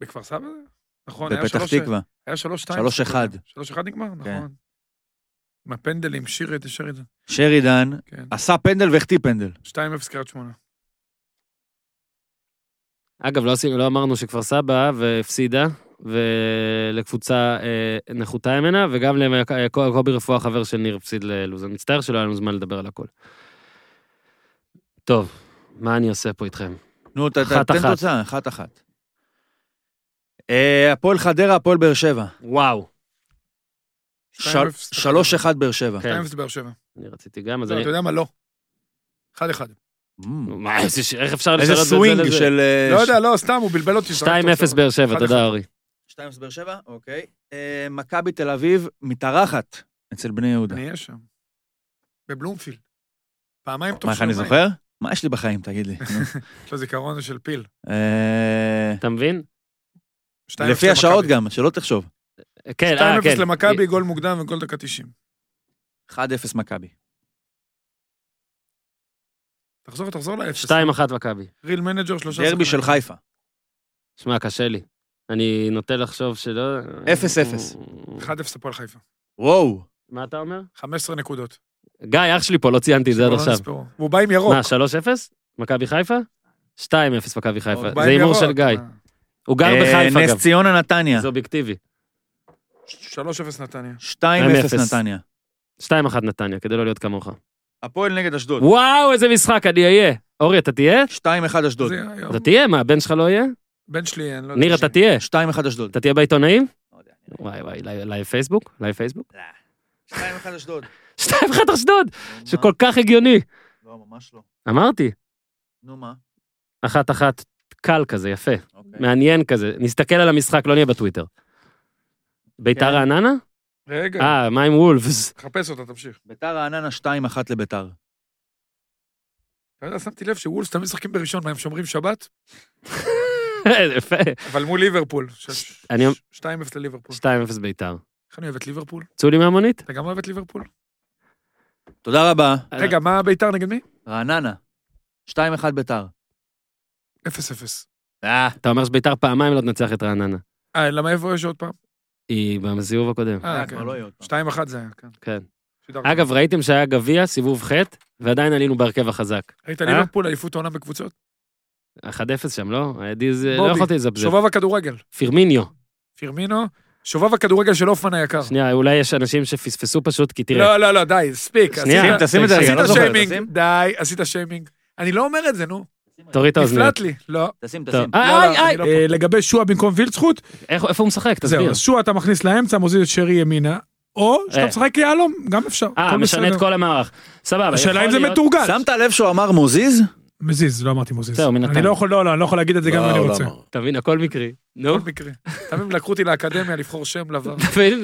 Speaker 3: בכפר סבא? זה? נכון, היה
Speaker 5: בפתח
Speaker 3: שלוש...
Speaker 5: תקווה.
Speaker 3: היה שלוש שתיים.
Speaker 5: שלוש אחד.
Speaker 3: שלוש אחד נגמר,
Speaker 1: כן.
Speaker 3: נכון. עם הפנדלים, שירי, תשאיר את זה.
Speaker 5: שרידן
Speaker 3: כן.
Speaker 5: עשה פנדל והחטיא פנדל.
Speaker 3: שתיים אפס קריית שמונה.
Speaker 1: כן. אגב, לא, עשינו- לא אמרנו שכפר סבא והפסידה, ולקבוצה אה, נחותה ממנה, וגם לקובי רפואה, חבר של ניר, הפסיד ללוז. אני מצטער שלא היה לנו זמן לדבר על הכל. טוב, מה אני עושה פה איתכם?
Speaker 5: נו, ת- ת-
Speaker 1: אחת,
Speaker 5: תן
Speaker 1: אחת.
Speaker 5: תוצאה, אחת אחת. אה, הפועל חדרה, הפועל באר שבע.
Speaker 1: וואו.
Speaker 3: שתיים אפס.
Speaker 5: 3-1 באר שבע.
Speaker 1: כן,
Speaker 3: שתיים אפס באר שבע.
Speaker 1: אני רציתי גם, אז
Speaker 3: לא,
Speaker 1: אני... אה,
Speaker 3: אתה יודע מה? לא. אחד אחד.
Speaker 5: Mm.
Speaker 1: מה, איזה ש- איך אפשר
Speaker 5: איזה
Speaker 1: לשנות את זה
Speaker 5: סווינג
Speaker 1: לזה?
Speaker 5: של... אה,
Speaker 3: לא
Speaker 5: ש-
Speaker 3: יודע, לא, סתם, הוא בלבל אותי.
Speaker 1: 2-0 באר שבע,
Speaker 3: אחד
Speaker 1: תודה אורי.
Speaker 5: 2-0 באר שבע, אוקיי. אה, מכבי תל אביב מתארחת אצל בני יהודה.
Speaker 3: אני אהיה שם. בבלומפילד. פעמיים תוך
Speaker 5: מה, איך אני
Speaker 3: שנתיים.
Speaker 5: זוכר? מה יש לי בחיים, תגיד לי? [laughs] נו.
Speaker 3: יש לו זיכרון של פיל.
Speaker 5: אה,
Speaker 1: אתה מבין?
Speaker 3: שתיים אפס
Speaker 5: לפי
Speaker 3: למכבי.
Speaker 5: השעות גם, שלא תחשוב.
Speaker 1: כן,
Speaker 3: 2-0
Speaker 1: אה, כן.
Speaker 3: למכבי, גול מוקדם וגול דקה 90.
Speaker 5: 1-0 מכבי.
Speaker 3: תחזור, תחזור לאפס.
Speaker 1: 2-1 מכבי.
Speaker 3: ריל מנג'ר, שלושה...
Speaker 5: דרבי של
Speaker 3: שחקנים.
Speaker 5: חיפה.
Speaker 1: שמע, קשה לי. אני נוטה לחשוב שלא...
Speaker 5: 0-0.
Speaker 3: 1-0 הפועל חיפה.
Speaker 5: וואו.
Speaker 1: מה אתה אומר?
Speaker 3: 15 נקודות.
Speaker 1: גיא, אח שלי פה, לא ציינתי את זה עד
Speaker 3: לא
Speaker 1: עכשיו.
Speaker 3: נספרו. והוא בא עם ירוק.
Speaker 1: מה, 3-0? מכבי חיפה? 2-0 מכבי חיפה.
Speaker 5: הוא
Speaker 3: בא
Speaker 1: זה
Speaker 3: עם
Speaker 1: הימור
Speaker 3: ירוק.
Speaker 1: של גיא. הוא גר
Speaker 5: אה,
Speaker 1: בחיפה
Speaker 5: נס
Speaker 1: גם,
Speaker 5: ציונה נתניה.
Speaker 1: זה אובייקטיבי.
Speaker 3: 3-0 נתניה.
Speaker 5: 2-0
Speaker 1: 2-0.
Speaker 5: נתניה.
Speaker 1: 2-1 נתניה, כדי לא להיות כמוך.
Speaker 5: הפועל נגד אשדוד.
Speaker 1: וואו, איזה משחק, אני אהיה. אורי, אתה תהיה?
Speaker 5: 2-1 אשדוד.
Speaker 3: זה היום.
Speaker 1: אתה תהיה, מה, הבן שלך לא יהיה?
Speaker 3: בן שלי, אני לא יודע.
Speaker 1: ניר, אתה תהיה.
Speaker 5: 2-1 אה, אשדוד.
Speaker 1: אתה תהיה בעיתונאים?
Speaker 5: לא יודע,
Speaker 1: וואי וואי, לי- לייב פייסבוק? לייב פייסבוק? [laughs]
Speaker 5: 2-1 [laughs] אשדוד.
Speaker 1: 2-1 אשדוד,
Speaker 5: נו,
Speaker 1: שכל כך הגיוני.
Speaker 5: מה? לא, ממש לא.
Speaker 1: אמרתי,
Speaker 5: נו מה?
Speaker 1: אחת אחת, קל כזה, יפה.
Speaker 5: אוקיי.
Speaker 1: מעניין כזה. נסתכל על המשחק, לא נהיה בטוויטר. ביתר
Speaker 5: כן.
Speaker 1: רעננה?
Speaker 3: רגע,
Speaker 1: אה, מה עם וולפס?
Speaker 3: חפש אותה, תמשיך.
Speaker 5: ביתר רעננה 2-1 לביתר.
Speaker 3: אתה יודע, שמתי לב שוולס תמיד משחקים בראשון, מה, הם שומרים שבת?
Speaker 1: [laughs] יפה.
Speaker 3: אבל מול ליברפול. ש-
Speaker 1: אני-
Speaker 3: ש- 2-0 לליברפול.
Speaker 1: 2-0 ביתר.
Speaker 3: איך אני אוהב את ליברפול?
Speaker 1: צאו לי מהמונית?
Speaker 3: אתה גם אוהב את ליברפול?
Speaker 5: תודה רבה.
Speaker 1: אה.
Speaker 3: רגע, מה ביתר נגד מי?
Speaker 5: רעננה. 2-1 ביתר.
Speaker 3: 0-0.
Speaker 5: אה,
Speaker 1: אתה אומר שביתר פעמיים לא תנצח את רעננה.
Speaker 3: אה, למה איפה יש עוד פעם?
Speaker 1: היא בסיבוב הקודם.
Speaker 3: אה,
Speaker 5: כבר לא יהיה עוד פעם.
Speaker 3: 2-1 זה היה, כן.
Speaker 1: כן.
Speaker 3: שידרתי.
Speaker 1: אגב, ראיתם שהיה גביע, סיבוב ח', ועדיין עלינו בהרכב החזק.
Speaker 3: ראית
Speaker 1: אה?
Speaker 3: ליברפול אליפות העונה בקבוצות?
Speaker 1: 1-0 שם, לא? הייתי איזה- לא
Speaker 3: בובי,
Speaker 1: יכולתי לזפזל.
Speaker 3: שובב הכדורגל,
Speaker 1: פירמיניו.
Speaker 3: פירמינו, שובב הכדורגל של הופמן היקר.
Speaker 1: שנייה, אולי יש אנשים שפספסו פשוט, כי תראה,
Speaker 3: לא, לא, לא, די, הספיק.
Speaker 1: שנייה.
Speaker 3: עשית-
Speaker 1: שים,
Speaker 5: תשים את זה רגע,
Speaker 3: עשית
Speaker 5: לא זוכר.
Speaker 3: שיימינג,
Speaker 5: תשים.
Speaker 3: די, עשית שיימינג. אני לא אומר את זה, נו.
Speaker 1: תוריד את האוזניות.
Speaker 3: נפלט לי. לא.
Speaker 5: תשים,
Speaker 1: טוב.
Speaker 5: תשים.
Speaker 3: לא,
Speaker 1: איי,
Speaker 3: לא, אני
Speaker 1: איי,
Speaker 3: לא פה.
Speaker 4: אה, לגבי שועה במקום וילצחוט,
Speaker 1: איך- איפה הוא משחק?
Speaker 4: זהו,
Speaker 1: תסביר.
Speaker 4: אז שועה אתה מכניס לאמצע, מוזיל את שרי ימינה, או
Speaker 1: אה.
Speaker 4: שאתה משחק יהלום, גם אפשר.
Speaker 1: אה,
Speaker 4: הכל
Speaker 1: משנה את
Speaker 4: בסדר.
Speaker 1: כל המערך. סבבה. יכול
Speaker 4: השאלה אם זה
Speaker 1: להיות-
Speaker 4: מתורגל.
Speaker 5: שמת לב שהוא אמר מוזיז?
Speaker 4: מזיז, לא אמרתי מוזיז.
Speaker 1: זהו, מנתניה.
Speaker 4: אני לא יכול, לא, לא, אני לא יכול להגיד את זה גם אם
Speaker 5: לא,
Speaker 4: אני
Speaker 5: לא
Speaker 4: רוצה.
Speaker 5: אמר.
Speaker 1: תבין, הכל מקרי. נו.
Speaker 3: כל מקרה. לא. תמיד לקחו אותי לאקדמיה לבחור שם לבר.
Speaker 1: תבין?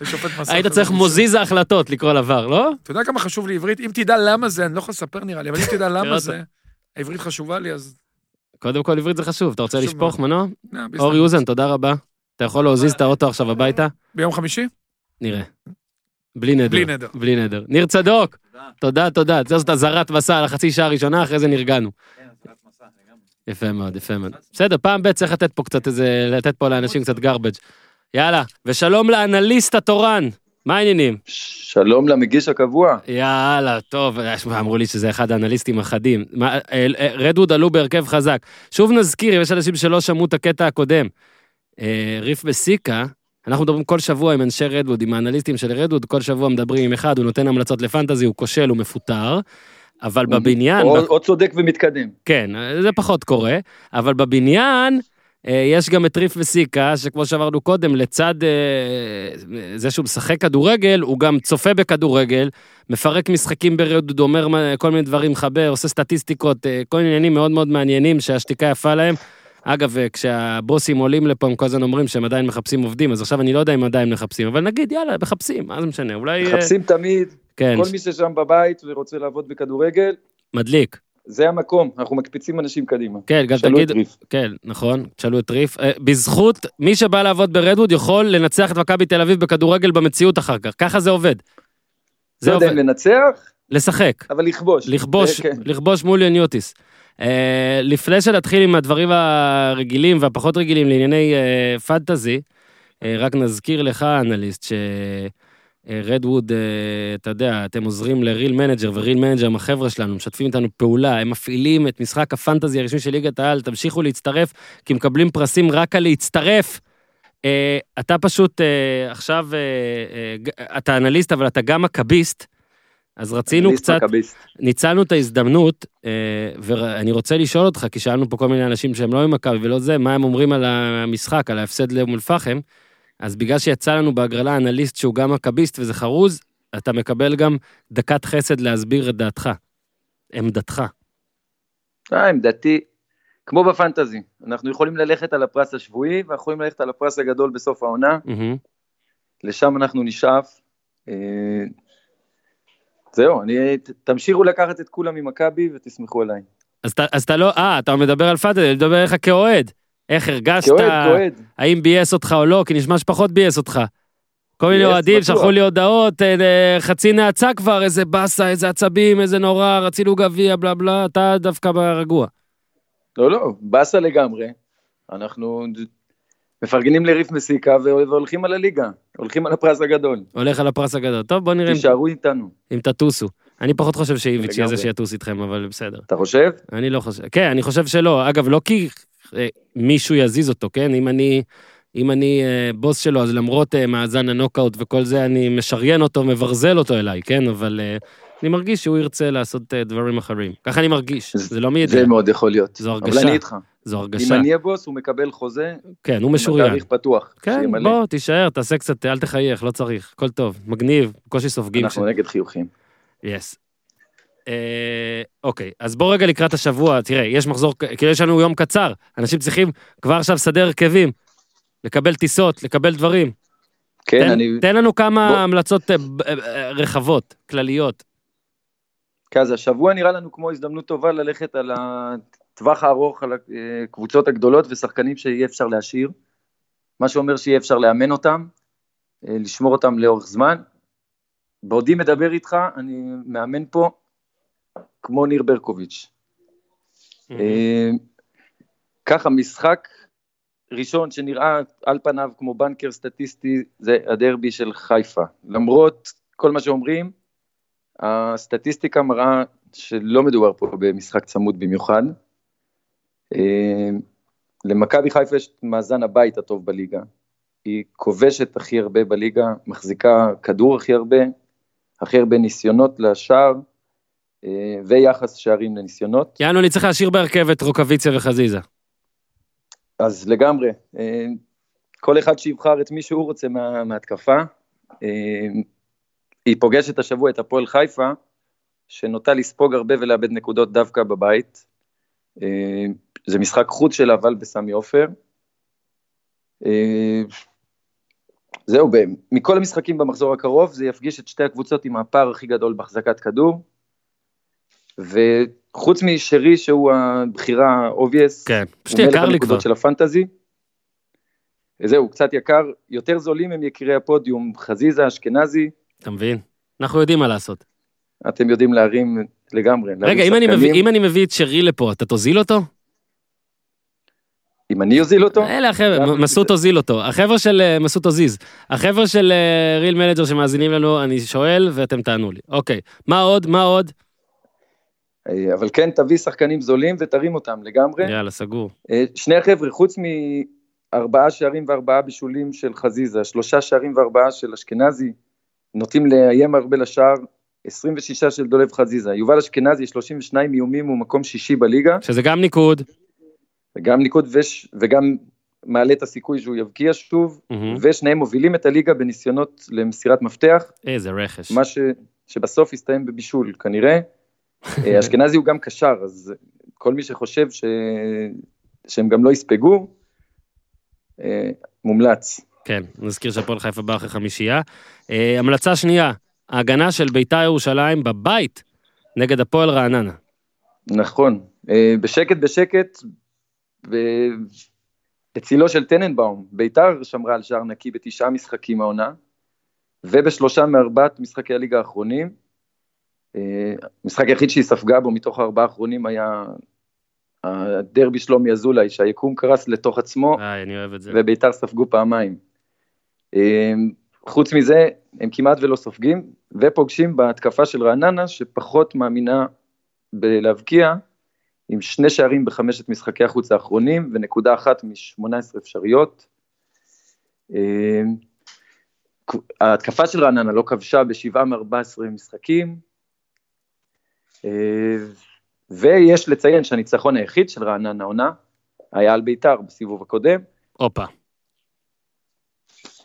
Speaker 3: לשופט מסך.
Speaker 1: היית צריך
Speaker 3: זה-
Speaker 1: מוזיז ההחלטות לקרוא לבר, לא?
Speaker 3: אתה יודע כמה חשוב לי עברית? אם תדע למה זה, אני לא יכול לספר נראה לי, אבל אם תדע למה
Speaker 1: קראת.
Speaker 3: זה, העברית חשובה לי, אז...
Speaker 1: קודם כל עברית זה חשוב. אתה רוצה
Speaker 3: חשוב
Speaker 1: לשפוך מנוע?
Speaker 3: נה, בסדר.
Speaker 1: אורי אוזן, תודה רבה. אתה יכול להזיז את האוטו עכשיו הביתה?
Speaker 3: ביום חמישי?
Speaker 1: נראה. בלי נדר.
Speaker 3: בלי נדר.
Speaker 1: בלי נדר. ניר צדוק, תודה, תודה. זאת אזהרת מסע על החצי שעה הראשונה, אחרי זה נרגענו. יפה מאוד, יפה מאוד. בסדר, פעם ב' צריך לתת פה קצת איזה, לתת פה לאנשים קצת garbage. יאללה, ושלום לאנליסט התורן, מה העניינים?
Speaker 7: שלום למגיש הקבוע.
Speaker 1: יאללה, טוב, שמע, אמרו לי שזה אחד האנליסטים החדים. מה, אה, אה, רדווד עלו בהרכב חזק. שוב נזכיר, אם יש אנשים שלא שמעו את הקטע הקודם. אה, ריף בסיקה, אנחנו מדברים כל שבוע עם אנשי רדווד, עם האנליסטים של רדווד, כל שבוע מדברים עם אחד, הוא נותן המלצות לפנטזי, הוא כושל, הוא מפוטר. אבל בבניין,
Speaker 7: או,
Speaker 1: ב-
Speaker 7: או צודק ומתקדם.
Speaker 1: כן, זה פחות קורה, אבל בבניין אה, יש גם את ריף וסיקה, שכמו שאמרנו קודם, לצד אה, זה שהוא משחק כדורגל, הוא גם צופה בכדורגל, מפרק משחקים ברדוד, אומר מה- כל מיני דברים, חבר, עושה סטטיסטיקות, אה, כל מיני עניינים מאוד מאוד מעניינים שהשתיקה יפה להם. אגב, אה, כשהבוסים עולים לפה, הם כל הזמן אומרים שהם עדיין מחפשים עובדים, אז עכשיו אני לא יודע אם עדיין מחפשים, אבל נגיד, יאללה, מחפשים, מה זה משנה, אולי... אה,
Speaker 7: מחפשים תמיד,
Speaker 1: כן,
Speaker 7: כל מי ששם בבית ורוצה לעבוד בכדורגל,
Speaker 1: מדליק. זה המקום,
Speaker 7: אנחנו
Speaker 1: מקפיצים
Speaker 7: אנשים
Speaker 1: קדימה. כן, גם
Speaker 7: שאלו
Speaker 1: תגיד,
Speaker 7: את ריף.
Speaker 1: כן, נכון, תשאלו את ריף. אה, בזכות, מי שבא לעבוד ברדווד יכול לנצח את מכבי תל אביב בכדורגל במציאות אחר כך, ככה זה עובד. זה
Speaker 7: לא יודע
Speaker 1: עובד,
Speaker 7: אם לנצח,
Speaker 1: לשחק,
Speaker 7: אבל לכבוש.
Speaker 1: לכבוש,
Speaker 7: זה, כן.
Speaker 1: לכבוש מול יוניוטיס. אה, לפני שנתחיל עם הדברים הרגילים והפחות רגילים לענייני אה, פנטזי, אה, רק נזכיר לך, אנליסט, ש... אה, רדווד, אה, אתה יודע, אתם עוזרים לריל מנג'ר, וריל מנג'ר הם החבר'ה שלנו, משתפים איתנו פעולה, הם מפעילים את משחק הפנטזי הרשמי של ליגת העל, תמשיכו להצטרף, כי מקבלים פרסים רק על להצטרף. אה, אתה פשוט אה, עכשיו, אה, אה, ג- אתה אנליסט, אבל אתה גם מכביסט, אז רצינו
Speaker 7: אנליסט
Speaker 1: קצת,
Speaker 7: מכביסט.
Speaker 1: ניצלנו את ההזדמנות, אה, ואני רוצה לשאול אותך, כי שאלנו פה כל מיני אנשים שהם לא ממכבי ולא זה, מה הם אומרים על המשחק, על ההפסד לאום אל-פחם, אז בגלל שיצא לנו בהגרלה אנליסט שהוא גם מכביסט וזה חרוז, אתה מקבל גם דקת חסד להסביר את דעתך, עמדתך.
Speaker 7: אה, עמדתי, כמו בפנטזי, אנחנו יכולים ללכת על הפרס השבועי, ואנחנו יכולים ללכת על הפרס הגדול בסוף העונה,
Speaker 1: מהמם.
Speaker 7: לשם אנחנו נשאף. אה, זהו, אני, ת- תמשיכו לקחת את כולם ממכבי ותסמכו עליי.
Speaker 1: אז אתה- אז אתה לא, אה, אתה מדבר על פאטה, אני מדבר עליך כאוהד. איך הרגשת,
Speaker 7: כאוהד, כאוהד.
Speaker 1: האם ביאס אותך או לא, כי נשמע שפחות ביאס אותך. כל מיני
Speaker 7: ביאס,
Speaker 1: אוהדים
Speaker 7: בטוח.
Speaker 1: שלחו לי הודעות, אה, אה, חצי נאצה כבר, איזה באסה, איזה עצבים, איזה נורא, רצינו גביע, בלה בלה, אתה דווקא רגוע.
Speaker 7: לא, לא, באסה לגמרי. אנחנו מפרגנים לריף מסיקה והולכים על הליגה, הולכים על הפרס הגדול.
Speaker 1: הולך על הפרס הגדול. טוב, בוא נראה אם-
Speaker 7: תישארו איתנו.
Speaker 1: אם תטוסו. אני פחות חושב שאיביץ' יהיה זה
Speaker 7: לגמרי.
Speaker 1: שיטוס איתכם, אבל בסדר.
Speaker 7: אתה חושב?
Speaker 1: אני לא חושב, כן, אני חושב שלא. אגב, לא כי אה, מישהו יזיז אותו, כן? אם אני, אם אני אה, בוס שלו, אז למרות אה, מאזן הנוקאוט וכל זה, אני משריין אותו, מברזל אותו אליי, כן? אבל אה, אני מרגיש שהוא ירצה לעשות אה, דברים אחרים. ככה אני מרגיש,
Speaker 7: זה-
Speaker 1: זה לא מידיעה,
Speaker 7: זה מאוד יכול להיות.
Speaker 1: זו
Speaker 7: אבל
Speaker 1: הרגשה,
Speaker 7: אני איתך.
Speaker 1: זו
Speaker 7: אם
Speaker 1: הרגשה.
Speaker 7: אני הבוס, הוא מקבל חוזה,
Speaker 1: כן, הוא
Speaker 7: עם
Speaker 1: משוריין.
Speaker 7: התאריך פתוח. שיהיה
Speaker 1: כן,
Speaker 7: מלא.
Speaker 1: בוא, תישאר, תעשה קצת, אל תחייך, לא צריך, הכל טוב, מגניב, בקושי סופגים.
Speaker 7: אנחנו נגד חיוכים.
Speaker 1: יס. אה, אוקיי, אז בוא רגע לקראת השבוע, תראה, יש מחזור, כאילו יש לנו יום קצר, אנשים צריכים כבר עכשיו לסדר הרכבים, לקבל טיסות, לקבל דברים.
Speaker 7: כן,
Speaker 1: תן,
Speaker 7: אני...
Speaker 1: תן לנו כמה
Speaker 7: בוא.
Speaker 1: המלצות אה, ב- אה, אה, רחבות, כלליות.
Speaker 7: כן, אז השבוע נראה לנו כמו הזדמנות טובה ללכת על הטווח הארוך, על הקבוצות הגדולות ושחקנים שיהיה אפשר להשאיר. מה שאומר שיהיה אפשר לאמן אותם, אה, לשמור אותם לאורך זמן. בעודי מדבר איתך, אני מאמן פה כמו ניר ברקוביץ'. אה, ככה, משחק ראשון שנראה על פניו כמו בנקר סטטיסטי, זה הדרבי של חיפה. למרות כל מה שאומרים, הסטטיסטיקה מראה שלא מדובר פה במשחק צמוד במיוחד. אה, למכבי חיפה יש את מאזן הבית הטוב בליגה. היא כובשת הכי הרבה בליגה, מחזיקה כדור הכי הרבה, הכי הרבה ניסיונות לשער, אה, ויחס שערים לניסיונות.
Speaker 1: יענו, אני צריך להשאיר בהרכב את רוקוויציה וחזיזה.
Speaker 7: אז לגמרי, אה, כל אחד שיבחר את מי שהוא רוצה מה, מההתקפה. אה, היא פוגשת השבוע את הפועל חיפה, שנוטה לספוג הרבה ולאבד נקודות דווקא בבית. אה, זה משחק חוץ שלה, אבל בסמי עופר. אה, זהו, ב- מכל המשחקים במחזור הקרוב, זה יפגיש את שתי הקבוצות עם הפער הכי גדול בהחזקת כדור. וחוץ משרי, שהוא הבחירה ה-obvious,
Speaker 1: כן, פשוט
Speaker 7: הוא מלך
Speaker 1: יקר לי כבר.
Speaker 7: הנקודות של הפנטזי. זהו, קצת יקר, יותר זולים הם יקירי הפודיום, חזיזה, אשכנזי,
Speaker 1: אתה מבין? אנחנו יודעים מה לעשות.
Speaker 7: אתם יודעים להרים לגמרי. להרים
Speaker 1: רגע, אם אני, מביא,
Speaker 7: שחקנים.
Speaker 1: אם אני מביא את שרי לפה, אתה תוזיל אותו?
Speaker 7: אם אני אוזיל אותו,
Speaker 1: אלה החבר'ה,
Speaker 7: אנחנו-
Speaker 1: מסות הוזיל אותו, החבר'ה של אה, מסות הוזיז, החבר'ה של אה, ריל מנג'ר שמאזינים לנו, אני שואל ואתם תענו לי, אוקיי, מה עוד, מה עוד?
Speaker 7: אה, אבל כן, תביא שחקנים זולים ותרים אותם לגמרי.
Speaker 1: יאללה, סגור.
Speaker 7: אה, שני החבר'ה, חוץ מארבעה שערים וארבעה בישולים של חזיזה, שלושה שערים וארבעה של אשכנזי, נוטים לאיים הרבה לשער, 26 של דולב חזיזה. יובל אשכנזי, 32 איומים, הוא מקום שישי בליגה.
Speaker 1: שזה גם ניקוד,
Speaker 7: גם ניקוד וש... וגם מעלה את הסיכוי שהוא יבקיע שוב,
Speaker 1: מהמם.
Speaker 7: ושניהם מובילים את הליגה בניסיונות למסירת מפתח,
Speaker 1: איזה רכש.
Speaker 7: מה ש... שבסוף יסתיים בבישול כנראה. אה, אשכנזי הוא גם קשר, אז כל מי שחושב ש... שהם גם לא יספגו, אה, מומלץ.
Speaker 1: כן, נזכיר שהפועל חיפה באה אחרי חמישייה. אה, המלצה שנייה, ההגנה של ביתר ירושלים בבית נגד הפועל רעננה.
Speaker 7: נכון, אה, בשקט בשקט, ב... בצילו של טננבאום, ביתר שמרה על שער נקי בתשעה משחקים העונה, ובשלושה מארבעת משחקי הליגה האחרונים. אה, המשחק היחיד שהיא ספגה בו מתוך הארבעה האחרונים היה הדרבי שלומי אזולאי, שהיקום קרס לתוך עצמו,
Speaker 1: איי, אני אוהב את זה.
Speaker 7: וביתר ספגו פעמיים. אה, חוץ מזה, הם כמעט ולא סופגים, ופוגשים בהתקפה של רעננה, שפחות מאמינה בלהבקיע, עם שני שערים בחמשת משחקי החוץ האחרונים, ונקודה אחת מ-18 אפשריות. אה, ההתקפה של רעננה לא כבשה בשבעה מ-14 משחקים. אה, ויש לציין שהניצחון היחיד של רעננה עונה היה על בית"ר בסיבוב הקודם,
Speaker 1: הופה.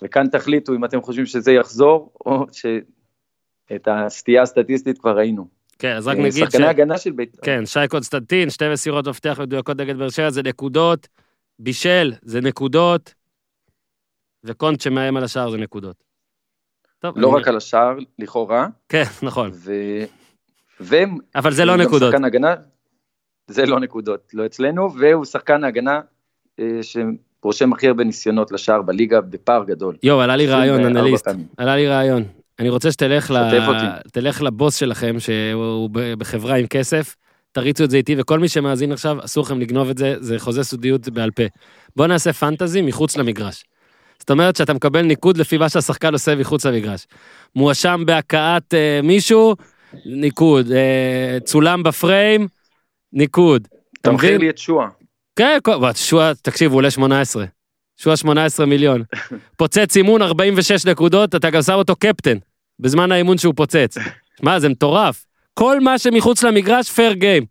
Speaker 7: וכאן תחליטו אם אתם חושבים שזה יחזור, או שאת הסטייה הסטטיסטית כבר ראינו.
Speaker 1: כן, אז רק
Speaker 7: אה,
Speaker 1: נגיד ש...
Speaker 7: שחקני הגנה של בית"ר.
Speaker 1: כן, שי קונסטנטין, שתי מסירות מפתח מדויקות נגד באר שבע, זה נקודות. בישל, זה נקודות. וקונט שמאיים על השער, זה נקודות. טוב,
Speaker 7: לא
Speaker 1: אני-
Speaker 7: רק על השער, לכאורה,
Speaker 1: כן, נכון.
Speaker 7: ו... והם...
Speaker 1: אבל זה לא
Speaker 7: הוא גם
Speaker 1: נקודות.
Speaker 7: שחקן הגנה, זה לא נקודות, לא אצלנו, והוא שחקן ההגנה אה, שרושם הכי הרבה ניסיונות לשער בליגה בפער גדול.
Speaker 1: יואו, עלה לי רעיון,
Speaker 7: 24
Speaker 1: אנליסט.
Speaker 7: פעמים.
Speaker 1: עלה לי רעיון. אני רוצה שתלך ל...
Speaker 7: שתף אותי.
Speaker 1: תלך לבוס שלכם, שהוא ב- בחברה עם כסף, תריצו את זה איתי, וכל מי שמאזין עכשיו, אסור לכם לגנוב את זה, זה חוזה סודיות בעל פה. בואו נעשה פנטזי מחוץ למגרש. זאת אומרת שאתה מקבל ניקוד לפי מה שהשחקן עושה מחוץ למגרש. מואשם בהכאת אה, מישהו, ניקוד. אה, צולם בפריים, ניקוד. אתה
Speaker 7: תמחיר
Speaker 1: מבין?
Speaker 7: לי את שועה.
Speaker 1: כן, כל- וואט, שועה, תקשיב, הוא עולה 18. שועה 18 מיליון. פוצץ אימון 46 נקודות, אתה גם שם אותו קפטן, בזמן האימון שהוא פוצץ. מה, זה מטורף. כל מה שמחוץ למגרש, פייר גיים.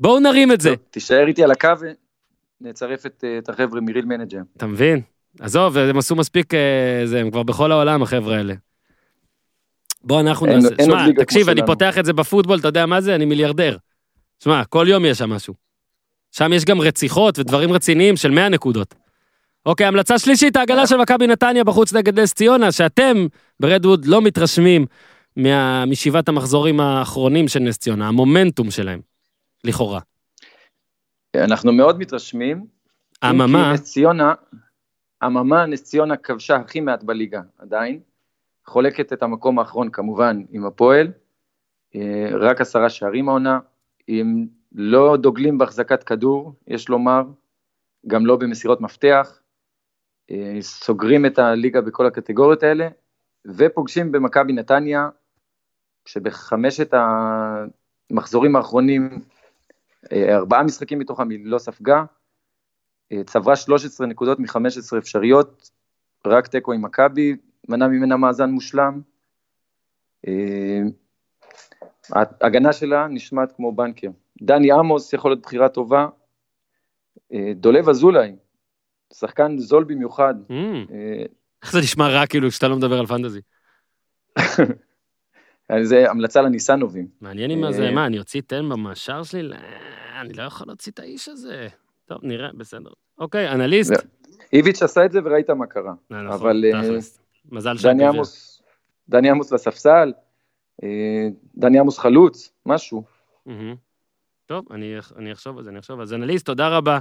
Speaker 1: בואו נרים את זה.
Speaker 7: טוב, תישאר איתי על הקו ונצרף את אה, את החבר'ה מריל מנג'ר.
Speaker 1: אתה מבין? עזוב, הם עשו מספיק, אה, זה, הם כבר בכל העולם, החבר'ה האלה. בוא, אנחנו
Speaker 7: אין-
Speaker 1: נעשה...
Speaker 7: אין עוד
Speaker 1: שמע,
Speaker 7: ליגה כמו
Speaker 1: תקשיב, אני
Speaker 7: שלנו.
Speaker 1: פותח את זה בפוטבול, אתה יודע מה זה? אני מיליארדר. שמע, כל יום יש שם משהו. שם יש גם רציחות ודברים רציניים של 100 נקודות. אוקיי, המלצה שלישית, העגלה של מכבי נתניה בחוץ נגד נס ציונה, שאתם ברדווד לא מתרשמים מה... משבעת המחזורים האחרונים של נס ציונה, המומנטום שלהם, לכאורה.
Speaker 7: אה, אנחנו מאוד מתרשמים. אם כי
Speaker 1: אממה,
Speaker 7: נס ציונה, אממה, נס ציונה כבשה הכי מעט בליגה עדיין. חולקת את המקום האחרון כמובן עם הפועל. אה, רק עשרה שערים העונה. אם לא דוגלים בהחזקת כדור, יש לומר, גם לא במסירות מפתח. אה, סוגרים את הליגה בכל הקטגוריות האלה, ופוגשים במכבי נתניה, שבחמשת המחזורים האחרונים, אה, ארבעה משחקים מתוכם היא לא ספגה, אה, צברה 13 נקודות מ-15 אפשריות, רק תיקו עם מכבי, מנע ממנה מאזן מושלם. אה, ההגנה שלה נשמעת כמו בנקר. דני עמוס יכול להיות בחירה טובה. אה, דולב אזולאי, שחקן זול במיוחד.
Speaker 1: אמ,
Speaker 7: אה,
Speaker 1: איך זה נשמע רע כאילו כשאתה לא מדבר על פנטזי?
Speaker 7: אז זה המלצה לניסנובים.
Speaker 1: מעניין אם זה,
Speaker 7: אה.
Speaker 1: מה, אני אוציא תן במאשר שלי? לא, אני לא יכול להוציא את האיש הזה. טוב, נראה, בסדר. אוקיי, אנליסט.
Speaker 7: לא, איביץ' עשה את זה וראית מה קרה.
Speaker 1: אה, נכון,
Speaker 7: אבל, אה,
Speaker 1: תכלס. מזל
Speaker 7: דני
Speaker 1: שהגביע.
Speaker 7: עמוס, דני עמוס לספסל, אה, דני עמוס חלוץ, משהו.
Speaker 1: מהמם. טוב, אני אני אחשוב על זה, אני אחשוב על זה. אנליסט, תודה רבה.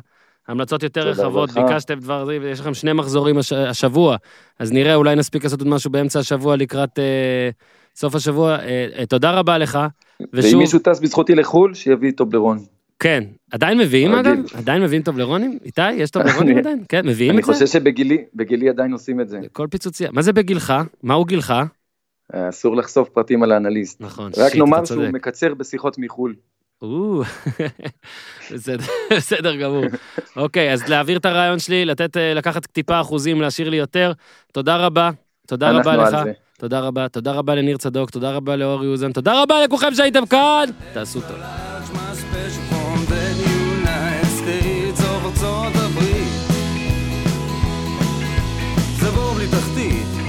Speaker 1: המלצות יותר
Speaker 7: תודה
Speaker 1: רחבות,
Speaker 7: רבה לך.
Speaker 1: ביקשתם דבר זה, ויש לכם שני מחזורים הש- השבוע, אז נראה, אולי נספיק לעשות עוד משהו באמצע השבוע לקראת אה, סוף השבוע. אה, אה, תודה רבה לך.
Speaker 7: ואם מישהו טס בזכותי לחו"ל, שיביא טובלרון.
Speaker 1: כן, עדיין מביאים אגב?
Speaker 7: רגיל.
Speaker 1: עדיין מביאים טובלרונים? איתי, יש
Speaker 7: [laughs]
Speaker 1: טובלרונים
Speaker 7: אני-
Speaker 1: עדיין? כן, מביאים
Speaker 7: אני
Speaker 1: את זה?
Speaker 7: חושב שבגילי בגילי עדיין עושים את זה.
Speaker 1: כל פיצוציה. מה זה בגילך? מהו גילך?
Speaker 7: אה, אסור לחשוף פרטים על האנליסט.
Speaker 1: נכון,
Speaker 7: רק
Speaker 1: שיט,
Speaker 7: נאמר
Speaker 1: אתה
Speaker 7: שהוא
Speaker 1: צודק.
Speaker 7: מקצר בשיחות מחו"ל.
Speaker 1: או, בסדר- בסדר גמור. אוקיי, אז להעביר את הרעיון שלי, לתת, אה, לקחת טיפה אחוזים, להשאיר לי יותר. תודה רבה. תודה
Speaker 7: אנחנו
Speaker 1: רבה
Speaker 7: על
Speaker 1: לך.
Speaker 7: זה.
Speaker 1: תודה רבה. תודה רבה לניר צדוק, תודה רבה לאור יוזן, תודה רבה לכולכם שהייתם כאן! תעשו טוב.
Speaker 2: large, my special form, the United States
Speaker 5: oh,
Speaker 2: of ארצות הברית. זה בור בלי תחתית.